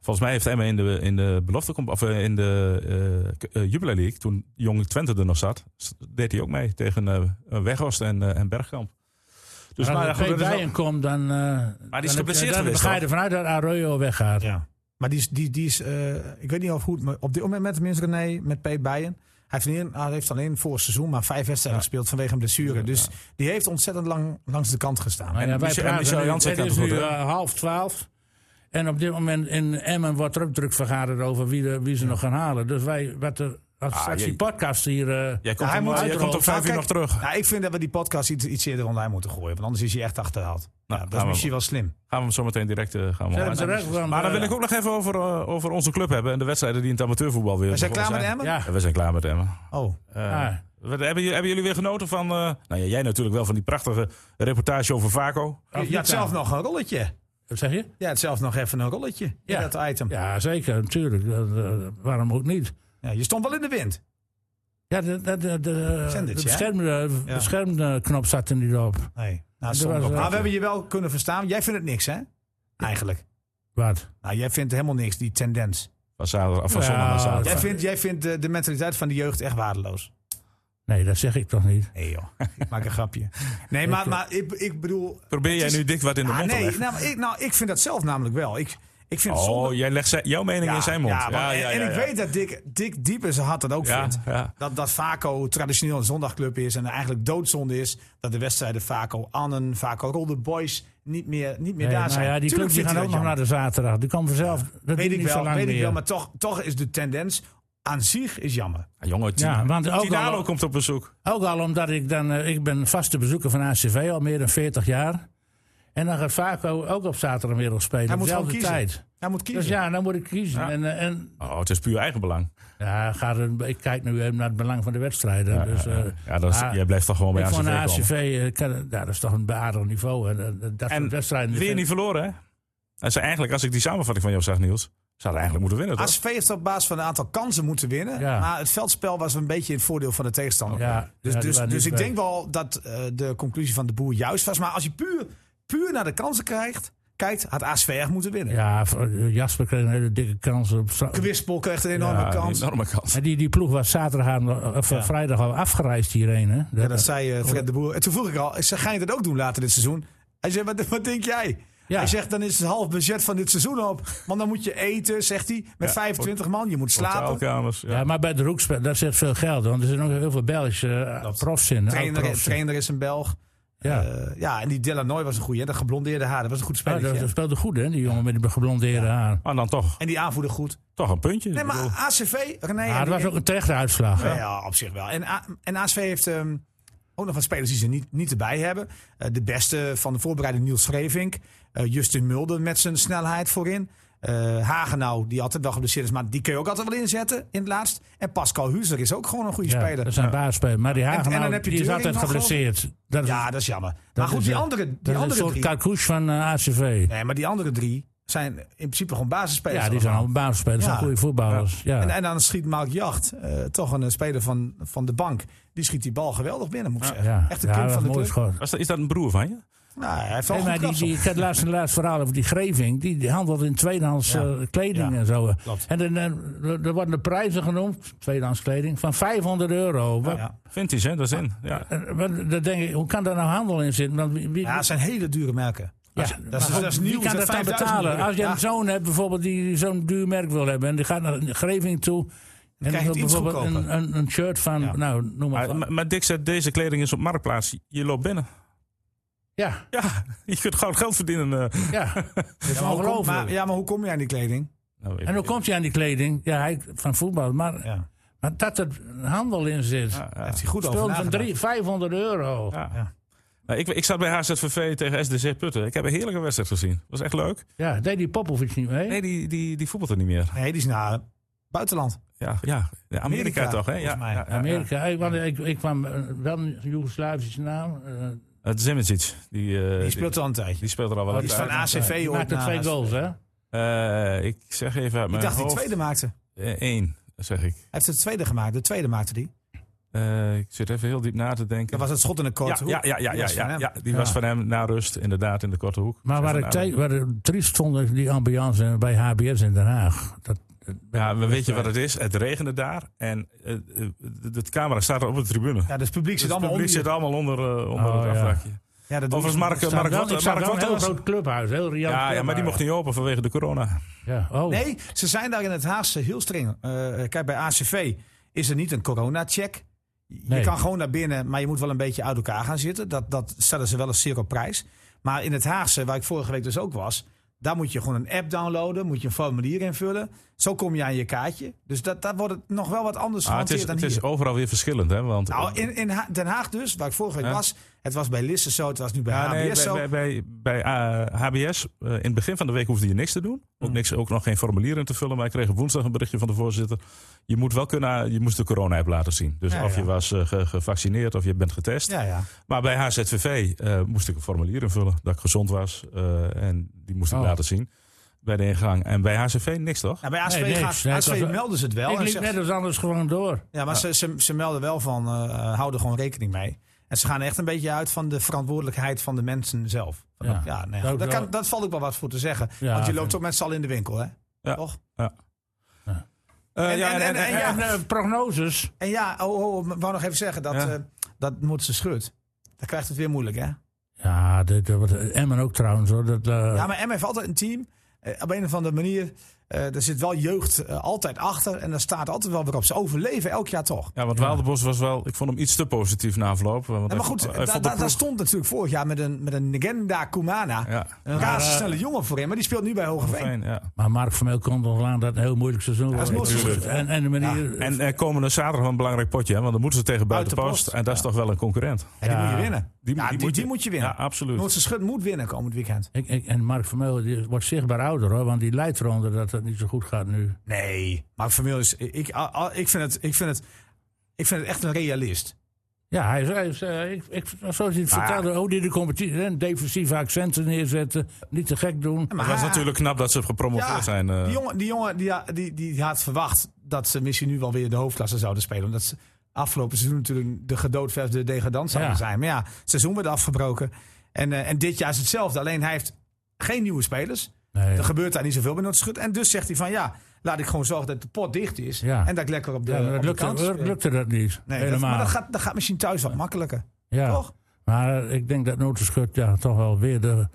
[SPEAKER 1] Volgens mij heeft Emma in de, in de belofte... comp- of eh, in de eh, k- eh Jubilee League, toen Jong Twente er nog zat... s- deed hij ook mee tegen eh Weghorst en, eh, en Bergkamp. Dus, maar,
[SPEAKER 2] maar
[SPEAKER 1] ja,
[SPEAKER 2] als
[SPEAKER 1] goed,
[SPEAKER 2] Peet
[SPEAKER 1] dat is wel-
[SPEAKER 2] Bijen komt, dan... maar
[SPEAKER 1] is geblesseerd
[SPEAKER 2] Dan
[SPEAKER 1] geweest,
[SPEAKER 2] ga je
[SPEAKER 1] toch?
[SPEAKER 2] ervan uit dat Arroyo weggaat.
[SPEAKER 4] Ja. Maar die is, die, die is eh, ik weet niet of goed, maar op dit moment met tenminste René, met Peet Bijen. Hij heeft, alleen, hij heeft alleen voor het seizoen maar vijf wedstrijden gespeeld vanwege een blessure. Dus die heeft ontzettend lang langs de kant gestaan.
[SPEAKER 2] Maar ja,
[SPEAKER 1] En
[SPEAKER 2] wij
[SPEAKER 1] Michel- en
[SPEAKER 2] praten
[SPEAKER 1] Michel
[SPEAKER 2] nu-
[SPEAKER 1] Jansen
[SPEAKER 2] het
[SPEAKER 1] kan
[SPEAKER 2] is
[SPEAKER 1] het
[SPEAKER 2] nu
[SPEAKER 1] goed, hè?
[SPEAKER 2] eh, half twaalf. En op dit moment in Emmen wordt er ook druk vergaderd over wie, de, wie ze nog gaan halen. Dus wij, wat er, als
[SPEAKER 1] Ah,
[SPEAKER 2] straks
[SPEAKER 1] jij-
[SPEAKER 2] die podcast hier... eh,
[SPEAKER 1] Jij komt,
[SPEAKER 4] hij
[SPEAKER 1] om-
[SPEAKER 4] moet
[SPEAKER 1] jij
[SPEAKER 4] uitrollen.
[SPEAKER 1] komt op vijf
[SPEAKER 4] Nou,
[SPEAKER 1] uur nog
[SPEAKER 4] kijk,
[SPEAKER 1] terug.
[SPEAKER 4] Nou, ik vind dat we die podcast iets, iets eerder online moeten gooien. Want anders is hij echt achterhaald.
[SPEAKER 1] Nou,
[SPEAKER 4] Ja,
[SPEAKER 1] gaan
[SPEAKER 4] dat is
[SPEAKER 1] we-
[SPEAKER 4] misschien wel slim.
[SPEAKER 1] Gaan we hem zo meteen direct eh, gaan we
[SPEAKER 2] Zet
[SPEAKER 1] hem
[SPEAKER 2] hem
[SPEAKER 1] aan-
[SPEAKER 2] terecht, want,
[SPEAKER 1] Maar dan
[SPEAKER 2] eh,
[SPEAKER 1] wil ik ook nog even over, eh, over onze club hebben en de wedstrijden die in het amateurvoetbal weer
[SPEAKER 4] We zijn klaar
[SPEAKER 1] begonnen
[SPEAKER 4] met Emmen?
[SPEAKER 2] Ja,
[SPEAKER 1] Ja, we zijn klaar met Emmen.
[SPEAKER 4] Oh,
[SPEAKER 1] Eh,
[SPEAKER 2] Ah.
[SPEAKER 1] wat- hebben, jullie, hebben jullie weer genoten van... eh, nou ja, jij natuurlijk wel van die prachtige reportage over Vaco.
[SPEAKER 2] of
[SPEAKER 4] je had
[SPEAKER 2] niet
[SPEAKER 4] zelf
[SPEAKER 2] aan.
[SPEAKER 4] nog een rolletje.
[SPEAKER 2] Wat zeg je?
[SPEAKER 4] Je had zelf nog even een rolletje in
[SPEAKER 2] Ja.
[SPEAKER 4] dat item. Ja.
[SPEAKER 2] Ja, zeker, natuurlijk. Dat, eh, waarom ook niet?
[SPEAKER 4] je stond wel in de wind.
[SPEAKER 2] Ja, de, de, de, de,
[SPEAKER 4] Zendertje,
[SPEAKER 2] de
[SPEAKER 4] hè?
[SPEAKER 2] beschermde,
[SPEAKER 4] Ja.
[SPEAKER 2] beschermde knop zat er niet op.
[SPEAKER 4] Nee, nou,
[SPEAKER 2] Er
[SPEAKER 4] stond
[SPEAKER 2] was,
[SPEAKER 4] wel.
[SPEAKER 2] eh,
[SPEAKER 4] maar we hebben je wel kunnen verstaan. Jij vindt het niks, hè? Eigenlijk.
[SPEAKER 2] Wat?
[SPEAKER 4] Nou, jij vindt helemaal niks, die tendens.
[SPEAKER 1] Van, zaterdag, of van
[SPEAKER 2] Ja,
[SPEAKER 1] zondag naar zaterdag.
[SPEAKER 4] Jij vindt, jij vindt eh, de, de mentaliteit van de jeugd echt waardeloos.
[SPEAKER 2] Nee, dat zeg ik toch niet.
[SPEAKER 4] Nee joh, [LAUGHS] ik maak een grapje. Nee,
[SPEAKER 1] eh,
[SPEAKER 4] maar, maar ik, ik bedoel...
[SPEAKER 1] Probeer jij
[SPEAKER 4] het is-
[SPEAKER 1] nu dik wat in de
[SPEAKER 4] Ah,
[SPEAKER 1] mond te
[SPEAKER 4] nee,
[SPEAKER 1] leggen?
[SPEAKER 4] nou, maar ik, nou, ik vind dat zelf namelijk wel. Ik, ik vind het zonde-
[SPEAKER 1] oh, jij legt zijn- jouw mening in zijn mond.
[SPEAKER 4] Ja, maar- en- en ik
[SPEAKER 1] ja.
[SPEAKER 4] weet dat Dick, Dick diep in zijn hart dat ook
[SPEAKER 1] Ja,
[SPEAKER 4] vindt.
[SPEAKER 1] ja.
[SPEAKER 4] Dat, dat Vaco traditioneel een zondagclub is en eigenlijk doodzonde is dat de wedstrijden Vaco Annen, Vaco Rolde Boys niet meer, niet meer
[SPEAKER 2] Nee,
[SPEAKER 4] daar
[SPEAKER 2] maar
[SPEAKER 4] zijn.
[SPEAKER 2] ja, die
[SPEAKER 4] Tuurlijk
[SPEAKER 2] clubs die
[SPEAKER 4] vindt
[SPEAKER 2] gaan
[SPEAKER 4] hij
[SPEAKER 2] ook
[SPEAKER 4] dat
[SPEAKER 2] nog
[SPEAKER 4] jammer.
[SPEAKER 2] naar de zaterdag. Die kan vanzelf. Dat
[SPEAKER 4] Weet
[SPEAKER 2] duurt
[SPEAKER 4] ik
[SPEAKER 2] niet
[SPEAKER 4] wel,
[SPEAKER 2] zo lang
[SPEAKER 4] weet
[SPEAKER 2] meer.
[SPEAKER 4] ik wel, maar toch, toch is de tendens aan zich is jammer.
[SPEAKER 2] Dus
[SPEAKER 1] Ah, jongen, Tina,
[SPEAKER 2] Ja, want ook
[SPEAKER 1] Tinalo
[SPEAKER 2] al-
[SPEAKER 1] komt op bezoek.
[SPEAKER 2] Ook al omdat ik dan, eh, ik ben vaste bezoeker van ACV al meer dan 40 jaar. En dan gaat Vaco ook op zaterdagmiddag spelen.
[SPEAKER 4] Hij
[SPEAKER 2] op
[SPEAKER 4] moet gewoon
[SPEAKER 2] dezelfde
[SPEAKER 4] kiezen.
[SPEAKER 2] tijd.
[SPEAKER 4] Hij moet kiezen.
[SPEAKER 2] Dus ja, dan moet ik kiezen. En, eh, en
[SPEAKER 1] Oh, het is puur eigenbelang.
[SPEAKER 2] ja, gaat het- ik kijk nu even naar het belang van de wedstrijden.
[SPEAKER 1] Ja,
[SPEAKER 2] dus,
[SPEAKER 1] ja, ja.
[SPEAKER 2] eh,
[SPEAKER 1] ja, dat is-
[SPEAKER 2] maar
[SPEAKER 1] jij blijft toch gewoon bij
[SPEAKER 2] ik
[SPEAKER 1] ACV
[SPEAKER 2] vond de
[SPEAKER 1] komen.
[SPEAKER 2] ACV, eh, kan- ja, dat is toch een beaardig niveau. En, eh, dat soort
[SPEAKER 1] En
[SPEAKER 2] wedstrijden.
[SPEAKER 1] Weer niet verloren, hè? En ze eigenlijk, als ik die samenvatting van jou zag, Niels... Ze hadden eigenlijk moeten winnen, toch?
[SPEAKER 4] ASV heeft op basis van een aantal kansen moeten winnen.
[SPEAKER 2] Ja.
[SPEAKER 4] Maar het veldspel was een beetje in het voordeel van de tegenstander.
[SPEAKER 2] Ja,
[SPEAKER 4] dus
[SPEAKER 2] ja, die
[SPEAKER 4] dus,
[SPEAKER 2] waren
[SPEAKER 4] dus
[SPEAKER 2] niet
[SPEAKER 4] ik
[SPEAKER 2] bij.
[SPEAKER 4] denk wel dat eh, de conclusie van de boer juist was. Maar als je puur, puur naar de kansen krijgt, kijkt, had ASV echt moeten winnen.
[SPEAKER 2] Ja, eh, Jasper kreeg een hele dikke kans op. stra-
[SPEAKER 4] Kwispel kreeg een enorme
[SPEAKER 1] Ja,
[SPEAKER 4] kans.
[SPEAKER 1] Een enorme kans.
[SPEAKER 2] Maar die, die ploeg was zaterdag aan, of eh, vrijdag al afgereisd hierheen. Hè?
[SPEAKER 4] Ja, dat zei eh, Fred de Boer. En toen vroeg ik al, ik zei, ga je dat ook doen later dit seizoen? Hij zei, wat, wat denk jij?
[SPEAKER 2] Ja.
[SPEAKER 4] Hij zegt, dan is het half budget van dit seizoen op. Want dan moet je eten, zegt hij, met 25 man. Je moet slapen.
[SPEAKER 1] Hotelkamers, ja.
[SPEAKER 2] Ja, maar bij de Roekspel, daar zit veel geld. Want er zijn ook heel veel Belgische eh, profs in.
[SPEAKER 4] Trainer,
[SPEAKER 2] oud-profs.
[SPEAKER 4] trainer is een Belg.
[SPEAKER 2] Ja. Ah,
[SPEAKER 4] Eh, ja, en die Delanoy was een goeie. hè? Dat geblondeerde haar, dat was een goed
[SPEAKER 2] Ja,
[SPEAKER 4] spelletje.
[SPEAKER 2] dat, dat speelde goed, hè, die jongen met die geblondeerde haar.
[SPEAKER 1] Maar dan toch,
[SPEAKER 4] En die aanvoerder goed.
[SPEAKER 1] toch een puntje.
[SPEAKER 4] Nee,
[SPEAKER 1] Ik
[SPEAKER 4] maar
[SPEAKER 1] bedoel-
[SPEAKER 4] ACV, René... en
[SPEAKER 2] Maar het
[SPEAKER 4] die-
[SPEAKER 2] was ook een terechte uitslag. hè.
[SPEAKER 4] Ja, ja, op zich wel. En, A- en ACV heeft ehm, ook nog wat spelers die ze niet, niet erbij hebben. Eh, de beste van de voorbereiding, Niels Schrevink. Eh, Justin Mulder met zijn snelheid voorin. Eh Hagenau, die altijd wel geblesseerd is, maar die kun je ook altijd wel inzetten in het laatst. En Pascal Huzer is ook gewoon een goede
[SPEAKER 2] Ja,
[SPEAKER 4] speler.
[SPEAKER 2] Dat zijn baasspelers. Maar die
[SPEAKER 4] en dan
[SPEAKER 2] Hagen
[SPEAKER 4] heb je
[SPEAKER 2] die is
[SPEAKER 4] Deuring
[SPEAKER 2] altijd
[SPEAKER 4] nog, geloof ik.
[SPEAKER 2] geblesseerd. Dat is,
[SPEAKER 4] Ja, dat is jammer. maar
[SPEAKER 2] dat
[SPEAKER 4] goed,
[SPEAKER 2] is,
[SPEAKER 4] die
[SPEAKER 2] eh,
[SPEAKER 4] andere,
[SPEAKER 2] dat
[SPEAKER 4] die
[SPEAKER 2] is een
[SPEAKER 4] andere
[SPEAKER 2] soort
[SPEAKER 4] drie...
[SPEAKER 2] karkoes van eh, ACV.
[SPEAKER 4] Nee, maar die andere drie zijn in principe gewoon basisspelers.
[SPEAKER 2] Ja, die zijn
[SPEAKER 4] allemaal.
[SPEAKER 2] allemaal baasspelers. Dat zijn
[SPEAKER 4] Ja.
[SPEAKER 2] goede voetballers. Ja.
[SPEAKER 4] En, en dan schiet Mark Jacht, eh, toch een eh, speler van, van de bank. Die schiet die bal geweldig binnen, moet ik zeggen.
[SPEAKER 2] ja.
[SPEAKER 4] Echt een
[SPEAKER 2] ja,
[SPEAKER 4] kind
[SPEAKER 2] dat
[SPEAKER 4] van de
[SPEAKER 2] mooi
[SPEAKER 4] club.
[SPEAKER 2] schot.
[SPEAKER 1] Was dat- is dat een broer van je?
[SPEAKER 4] Nou, hij heeft wel
[SPEAKER 2] Nee, maar
[SPEAKER 4] een goed
[SPEAKER 2] die,
[SPEAKER 4] kapsel.
[SPEAKER 2] die, ik had laatst een laatste verhaal over die Greving. Die, die handelt in tweedehands
[SPEAKER 4] Ja.
[SPEAKER 2] eh, kleding
[SPEAKER 4] Ja,
[SPEAKER 2] en zo.
[SPEAKER 4] klopt.
[SPEAKER 2] En dan, eh, er worden de prijzen genoemd, tweedehands kleding, van 500 euro. Wat-
[SPEAKER 4] Ja.
[SPEAKER 1] Vinties, hè? Dat is in. Ja.
[SPEAKER 2] eh, wat- dan denk ik, hoe kan daar nou handel in zitten? Want wie, wie-
[SPEAKER 4] Ja, het zijn hele dure merken.
[SPEAKER 2] Ja,
[SPEAKER 4] dat is-
[SPEAKER 2] maar
[SPEAKER 4] dat is
[SPEAKER 2] wie
[SPEAKER 4] nieuw,
[SPEAKER 2] kan
[SPEAKER 4] dat
[SPEAKER 2] dat dan
[SPEAKER 4] 5000
[SPEAKER 2] betalen?
[SPEAKER 4] euro.
[SPEAKER 2] Als je
[SPEAKER 4] Ja.
[SPEAKER 2] een zoon hebt bijvoorbeeld die zo'n duur merk wil hebben en die gaat naar een greving toe. En
[SPEAKER 4] krijg
[SPEAKER 2] die
[SPEAKER 4] je
[SPEAKER 2] wil
[SPEAKER 4] het iets
[SPEAKER 2] bijvoorbeeld
[SPEAKER 4] goedkoper.
[SPEAKER 2] een, een, een shirt van,
[SPEAKER 4] Ja.
[SPEAKER 2] nou noem maar.
[SPEAKER 1] Maar,
[SPEAKER 2] wat.
[SPEAKER 1] maar- maar Dick zegt, deze kleding is op marktplaats. Je loopt binnen. [LAUGHS]
[SPEAKER 2] ja,
[SPEAKER 1] Ja, je kunt gewoon geld verdienen. eh.
[SPEAKER 4] [LAUGHS]
[SPEAKER 2] ja.
[SPEAKER 4] Ja, maar, hoe kom,
[SPEAKER 2] ongelooflijk.
[SPEAKER 4] maar, ja, maar hoe kom je aan die kleding?
[SPEAKER 1] Nou, ik-
[SPEAKER 2] En hoe komt hij aan die kleding? Ja, hij van voetbal. Maar,
[SPEAKER 4] Ja.
[SPEAKER 2] maar dat er handel in zit.
[SPEAKER 1] Ja, ja.
[SPEAKER 4] Daar heeft hij goed over
[SPEAKER 2] Spul van
[SPEAKER 4] nagedacht.
[SPEAKER 2] drie, 500 euro. Ja.
[SPEAKER 1] Ja. Nou, ik, ik zat bij HZVV tegen SDC Putten. Ik heb een heerlijke wedstrijd gezien. Was echt leuk.
[SPEAKER 2] deed die Popovic niet mee?
[SPEAKER 1] Nee, die, die, die voetbalt er niet meer.
[SPEAKER 4] Nee, die is naar het buitenland.
[SPEAKER 1] Ja, ja. ja, Amerika,
[SPEAKER 4] Amerika,
[SPEAKER 1] toch? Hè? Ja,
[SPEAKER 4] volgens mij.
[SPEAKER 1] ja, ja, ja.
[SPEAKER 2] Amerika. Ik, want ik, ik kwam eh, wel een Joegoslavische naam.
[SPEAKER 1] Oh,
[SPEAKER 2] eh,
[SPEAKER 1] Het Zimicic. Die, eh,
[SPEAKER 4] Die speelt al een tijdje.
[SPEAKER 1] die speelt er al wel
[SPEAKER 2] Oh,
[SPEAKER 1] wat
[SPEAKER 2] die
[SPEAKER 4] Van
[SPEAKER 1] uit.
[SPEAKER 4] ACV
[SPEAKER 2] die
[SPEAKER 4] hoort
[SPEAKER 2] maakte
[SPEAKER 4] na
[SPEAKER 2] twee
[SPEAKER 4] ACV.
[SPEAKER 2] goals, hè?
[SPEAKER 1] Eh, ik zeg even uit
[SPEAKER 4] Ik
[SPEAKER 1] mijn
[SPEAKER 4] dacht die
[SPEAKER 1] hoofd.
[SPEAKER 4] tweede maakte. Hij
[SPEAKER 1] Eh, één, zeg ik.
[SPEAKER 4] heeft de tweede gemaakt. De tweede maakte die.
[SPEAKER 1] Eh, ik zit even heel diep na te denken.
[SPEAKER 4] Dat was het schot in de
[SPEAKER 1] ja,
[SPEAKER 4] korte hoek.
[SPEAKER 1] ja, ja, ja,
[SPEAKER 4] Die
[SPEAKER 1] ja,
[SPEAKER 4] was van
[SPEAKER 1] ja,
[SPEAKER 4] hem.
[SPEAKER 1] ja, die was van hem na rust, inderdaad, in de korte hoek.
[SPEAKER 2] Maar waar, ik
[SPEAKER 1] Van hem.
[SPEAKER 2] tegen- waar ik triest stond, is die ambiance bij HBS in Den Haag. Dat,
[SPEAKER 1] Ja, maar weet je wat het is? Het regende daar en eh, eh, de, de camera staat op de tribune.
[SPEAKER 4] Ja, dus het publiek
[SPEAKER 1] Dus
[SPEAKER 4] zit
[SPEAKER 1] het
[SPEAKER 4] allemaal
[SPEAKER 1] publiek
[SPEAKER 4] onder.
[SPEAKER 1] zit allemaal onder, eh, onder
[SPEAKER 2] Oh,
[SPEAKER 1] het
[SPEAKER 2] ja.
[SPEAKER 1] afdakje.
[SPEAKER 4] je. Ja, dat doe
[SPEAKER 1] Overigens,
[SPEAKER 4] je.
[SPEAKER 1] Mark,
[SPEAKER 2] Staat
[SPEAKER 1] Mark,
[SPEAKER 2] wel-
[SPEAKER 1] Wat-
[SPEAKER 2] ik zag
[SPEAKER 1] Mark
[SPEAKER 2] wel een heel
[SPEAKER 1] Wattels-
[SPEAKER 2] groot clubhuis, heel riant.
[SPEAKER 1] Ja, ja, maar die
[SPEAKER 4] eh,
[SPEAKER 2] clubhuis.
[SPEAKER 1] mocht niet open vanwege de corona.
[SPEAKER 2] Ja, oh.
[SPEAKER 4] Nee, ze zijn daar in het Haagse heel streng. Eh, kijk, bij ACV is er niet een corona-check. Je
[SPEAKER 2] Nee.
[SPEAKER 4] kan gewoon naar binnen, maar je moet wel een beetje uit elkaar gaan zitten. Dat, dat stellen ze wel eens zeer op prijs. Maar in het Haagse, waar ik vorige week dus ook was... daar moet je gewoon een app downloaden, moet je een formulier invullen. Zo kom je aan je kaartje. Dus dat, daar wordt het nog wel wat anders
[SPEAKER 1] Ah, het
[SPEAKER 4] gehanteerd
[SPEAKER 1] is,
[SPEAKER 4] dan
[SPEAKER 1] het
[SPEAKER 4] hier.
[SPEAKER 1] is overal weer verschillend, hè? Want,
[SPEAKER 4] Nou, in, in Ha- Den Haag dus, waar ik vorige week
[SPEAKER 1] Ja.
[SPEAKER 4] was... het was bij Lisse zo, het was nu bij
[SPEAKER 1] Ja, nee, bij,
[SPEAKER 4] HBS zo.
[SPEAKER 1] bij, bij, bij, eh, HBS, eh, in het begin van de week hoefde je niks te doen. Ook, niks, ook nog geen formulier in te vullen. Maar ik kreeg op woensdag een berichtje van de voorzitter. Je, moet wel kunnen, eh, je moest de corona-app laten zien. Dus
[SPEAKER 4] Ja,
[SPEAKER 1] of je
[SPEAKER 4] ja.
[SPEAKER 1] was eh, ge- gevaccineerd of je bent getest.
[SPEAKER 4] Ja, ja.
[SPEAKER 1] Maar bij HZVV eh, moest ik een formulier invullen dat ik gezond was. eh, en die moest ik
[SPEAKER 2] Oh.
[SPEAKER 1] laten zien bij de ingang. En bij HZV niks toch?
[SPEAKER 4] Nou, bij ACV,
[SPEAKER 2] Nee, nee,
[SPEAKER 4] gaat,
[SPEAKER 2] nee, het
[SPEAKER 4] ACV
[SPEAKER 2] was-
[SPEAKER 4] melden ze het wel.
[SPEAKER 2] ik
[SPEAKER 4] en
[SPEAKER 2] liep
[SPEAKER 4] zeggen-
[SPEAKER 2] net als anders gewoon door.
[SPEAKER 4] Ja, maar Ze, ze, ze melden wel van, eh, eh, hou er gewoon rekening mee. En ze gaan echt een beetje uit van de verantwoordelijkheid van de mensen zelf. Van,
[SPEAKER 2] Ja.
[SPEAKER 4] ja, nou ja,
[SPEAKER 2] Dat ook
[SPEAKER 4] dat,
[SPEAKER 2] wel.
[SPEAKER 4] kan, dat valt ook wel wat voor te zeggen.
[SPEAKER 2] Ja,
[SPEAKER 4] want je
[SPEAKER 2] vind-
[SPEAKER 4] loopt toch met z'n allen in de winkel, hè?
[SPEAKER 1] Ja.
[SPEAKER 4] Toch?
[SPEAKER 1] Eh,
[SPEAKER 4] en-
[SPEAKER 1] ja,
[SPEAKER 4] en- en- en-
[SPEAKER 2] Ja,
[SPEAKER 4] Ja.
[SPEAKER 2] eh, prognoses.
[SPEAKER 4] En ja, oh, oh, ik wou nog even zeggen, dat,
[SPEAKER 1] Ja.
[SPEAKER 4] eh, dat moet ze scheurt. Dan krijgt het weer moeilijk, hè?
[SPEAKER 2] Ja, dit, eh, wat- Emmen ook trouwens hoor. Dat, eh,
[SPEAKER 4] Ja, maar M heeft altijd een team. Eh, op een of andere manier, eh er zit wel jeugd eh, altijd achter. En daar staat altijd wel weer op. Ze overleven elk jaar toch.
[SPEAKER 1] Ja, want Waalderbos was wel... Ik vond hem iets te positief na afloop. Want
[SPEAKER 4] Ja, maar goed,
[SPEAKER 1] hij- hij
[SPEAKER 4] daar
[SPEAKER 1] vond
[SPEAKER 4] daar
[SPEAKER 1] de
[SPEAKER 4] daar
[SPEAKER 1] ploeg-
[SPEAKER 4] stond natuurlijk vorig jaar met een, met een legenda Kumana.
[SPEAKER 1] Ja,
[SPEAKER 4] Een razendsnelle jongen voor hem, maar die speelt nu bij Hogeveen.
[SPEAKER 1] fijn, ja.
[SPEAKER 2] Maar Mark van Meel kon toch aan dat het een heel moeilijk seizoen
[SPEAKER 4] dat is
[SPEAKER 2] wordt.
[SPEAKER 4] moeilijk.
[SPEAKER 2] En, en de manier...
[SPEAKER 1] En eh, komende zaterdag wel een belangrijk potje, hè? want dan moeten ze tegen Buitenpost.
[SPEAKER 4] Buitenpost,
[SPEAKER 1] en dat is toch wel een concurrent.
[SPEAKER 4] En die
[SPEAKER 2] Ja.
[SPEAKER 4] moet je winnen.
[SPEAKER 1] Die-
[SPEAKER 4] ja,
[SPEAKER 1] die
[SPEAKER 4] die,
[SPEAKER 1] moet je-
[SPEAKER 4] die moet je winnen.
[SPEAKER 1] Ja, absoluut.
[SPEAKER 4] Noordse Schut moet winnen komend weekend.
[SPEAKER 2] Ik, ik- en Mark Vermeulen die wordt zichtbaar ouder hoor, want die leidt eronder dat het niet zo goed gaat nu.
[SPEAKER 4] Nee, maar Vermeulen is... Ik, a- a- ik, vind het, ik, vind het, ik vind het echt een realist.
[SPEAKER 2] Ja, hij is, hij is, eh, ik, ik, zoals hij het
[SPEAKER 4] Nou ja.
[SPEAKER 2] vertelde, hoe die de competitie, hè, defensieve accenten neerzetten, niet te gek doen.
[SPEAKER 4] Maar
[SPEAKER 1] Het was
[SPEAKER 4] hij-
[SPEAKER 1] natuurlijk knap dat ze gepromoveerd
[SPEAKER 4] Ah. Ja,
[SPEAKER 1] zijn. eh.
[SPEAKER 4] Die jongen, die, jongen die, ha- die, die had verwacht dat ze misschien nu wel weer de hoofdklasse zouden spelen. Omdat ze afgelopen seizoen natuurlijk de gedoodverfde degradant zouden
[SPEAKER 2] Ja.
[SPEAKER 4] zijn. Maar ja, het seizoen werd afgebroken. En, eh, en dit jaar is hetzelfde. Alleen hij heeft geen nieuwe spelers.
[SPEAKER 2] Nee.
[SPEAKER 4] Er gebeurt daar niet zoveel bij Noordse Schut. En dus zegt hij van ja, laat ik gewoon zorgen dat de pot dicht is.
[SPEAKER 2] Ja.
[SPEAKER 4] En dat ik lekker op de,
[SPEAKER 2] Ja, maar
[SPEAKER 4] eh,
[SPEAKER 2] dat
[SPEAKER 4] op de
[SPEAKER 2] lukte,
[SPEAKER 4] kant
[SPEAKER 2] dat
[SPEAKER 4] speel.
[SPEAKER 2] lukte dat niet.
[SPEAKER 4] Nee, dat,
[SPEAKER 2] helemaal.
[SPEAKER 4] maar dat gaat, dat gaat misschien thuis wat makkelijker.
[SPEAKER 2] ja.
[SPEAKER 4] Toch?
[SPEAKER 2] Maar eh, ik denk dat Notenschut ja, toch wel weer de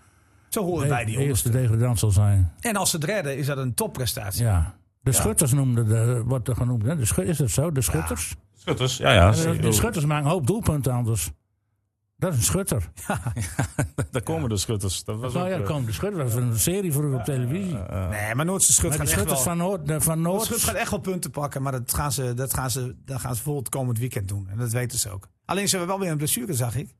[SPEAKER 4] Zo horen wij die jongens.
[SPEAKER 2] eerste degradant zal zijn.
[SPEAKER 4] En als ze het redden, is dat een topprestatie.
[SPEAKER 2] Ja. De schutters noemden de, wordt er genoemd. Hè? De schu- is dat zo? De schutters?
[SPEAKER 1] Schutters, ja, ja.
[SPEAKER 2] Eh, de,
[SPEAKER 1] Ik bedoel,
[SPEAKER 2] schutters maken een hoop doelpunten anders. Dat is een schutter.
[SPEAKER 1] Daar komen de schutters. Dat was
[SPEAKER 4] Oh,
[SPEAKER 2] Nou
[SPEAKER 1] ook,
[SPEAKER 2] ja,
[SPEAKER 1] eh,
[SPEAKER 2] kom, de schutter was een serie vroeger op televisie. Maar
[SPEAKER 4] Nee, maar Noordse Schut
[SPEAKER 2] de
[SPEAKER 4] Eh, gaat echt wel... Oh,
[SPEAKER 2] schutters van Noord, eh, van
[SPEAKER 4] Noordschut
[SPEAKER 2] Noord
[SPEAKER 4] gaat echt wel punten pakken, maar dat gaan ze, dat gaan ze, dat gaan ze vol het komend weekend doen. En dat weten ze ook. Alleen ze hebben wel weer een blessure, zag ik.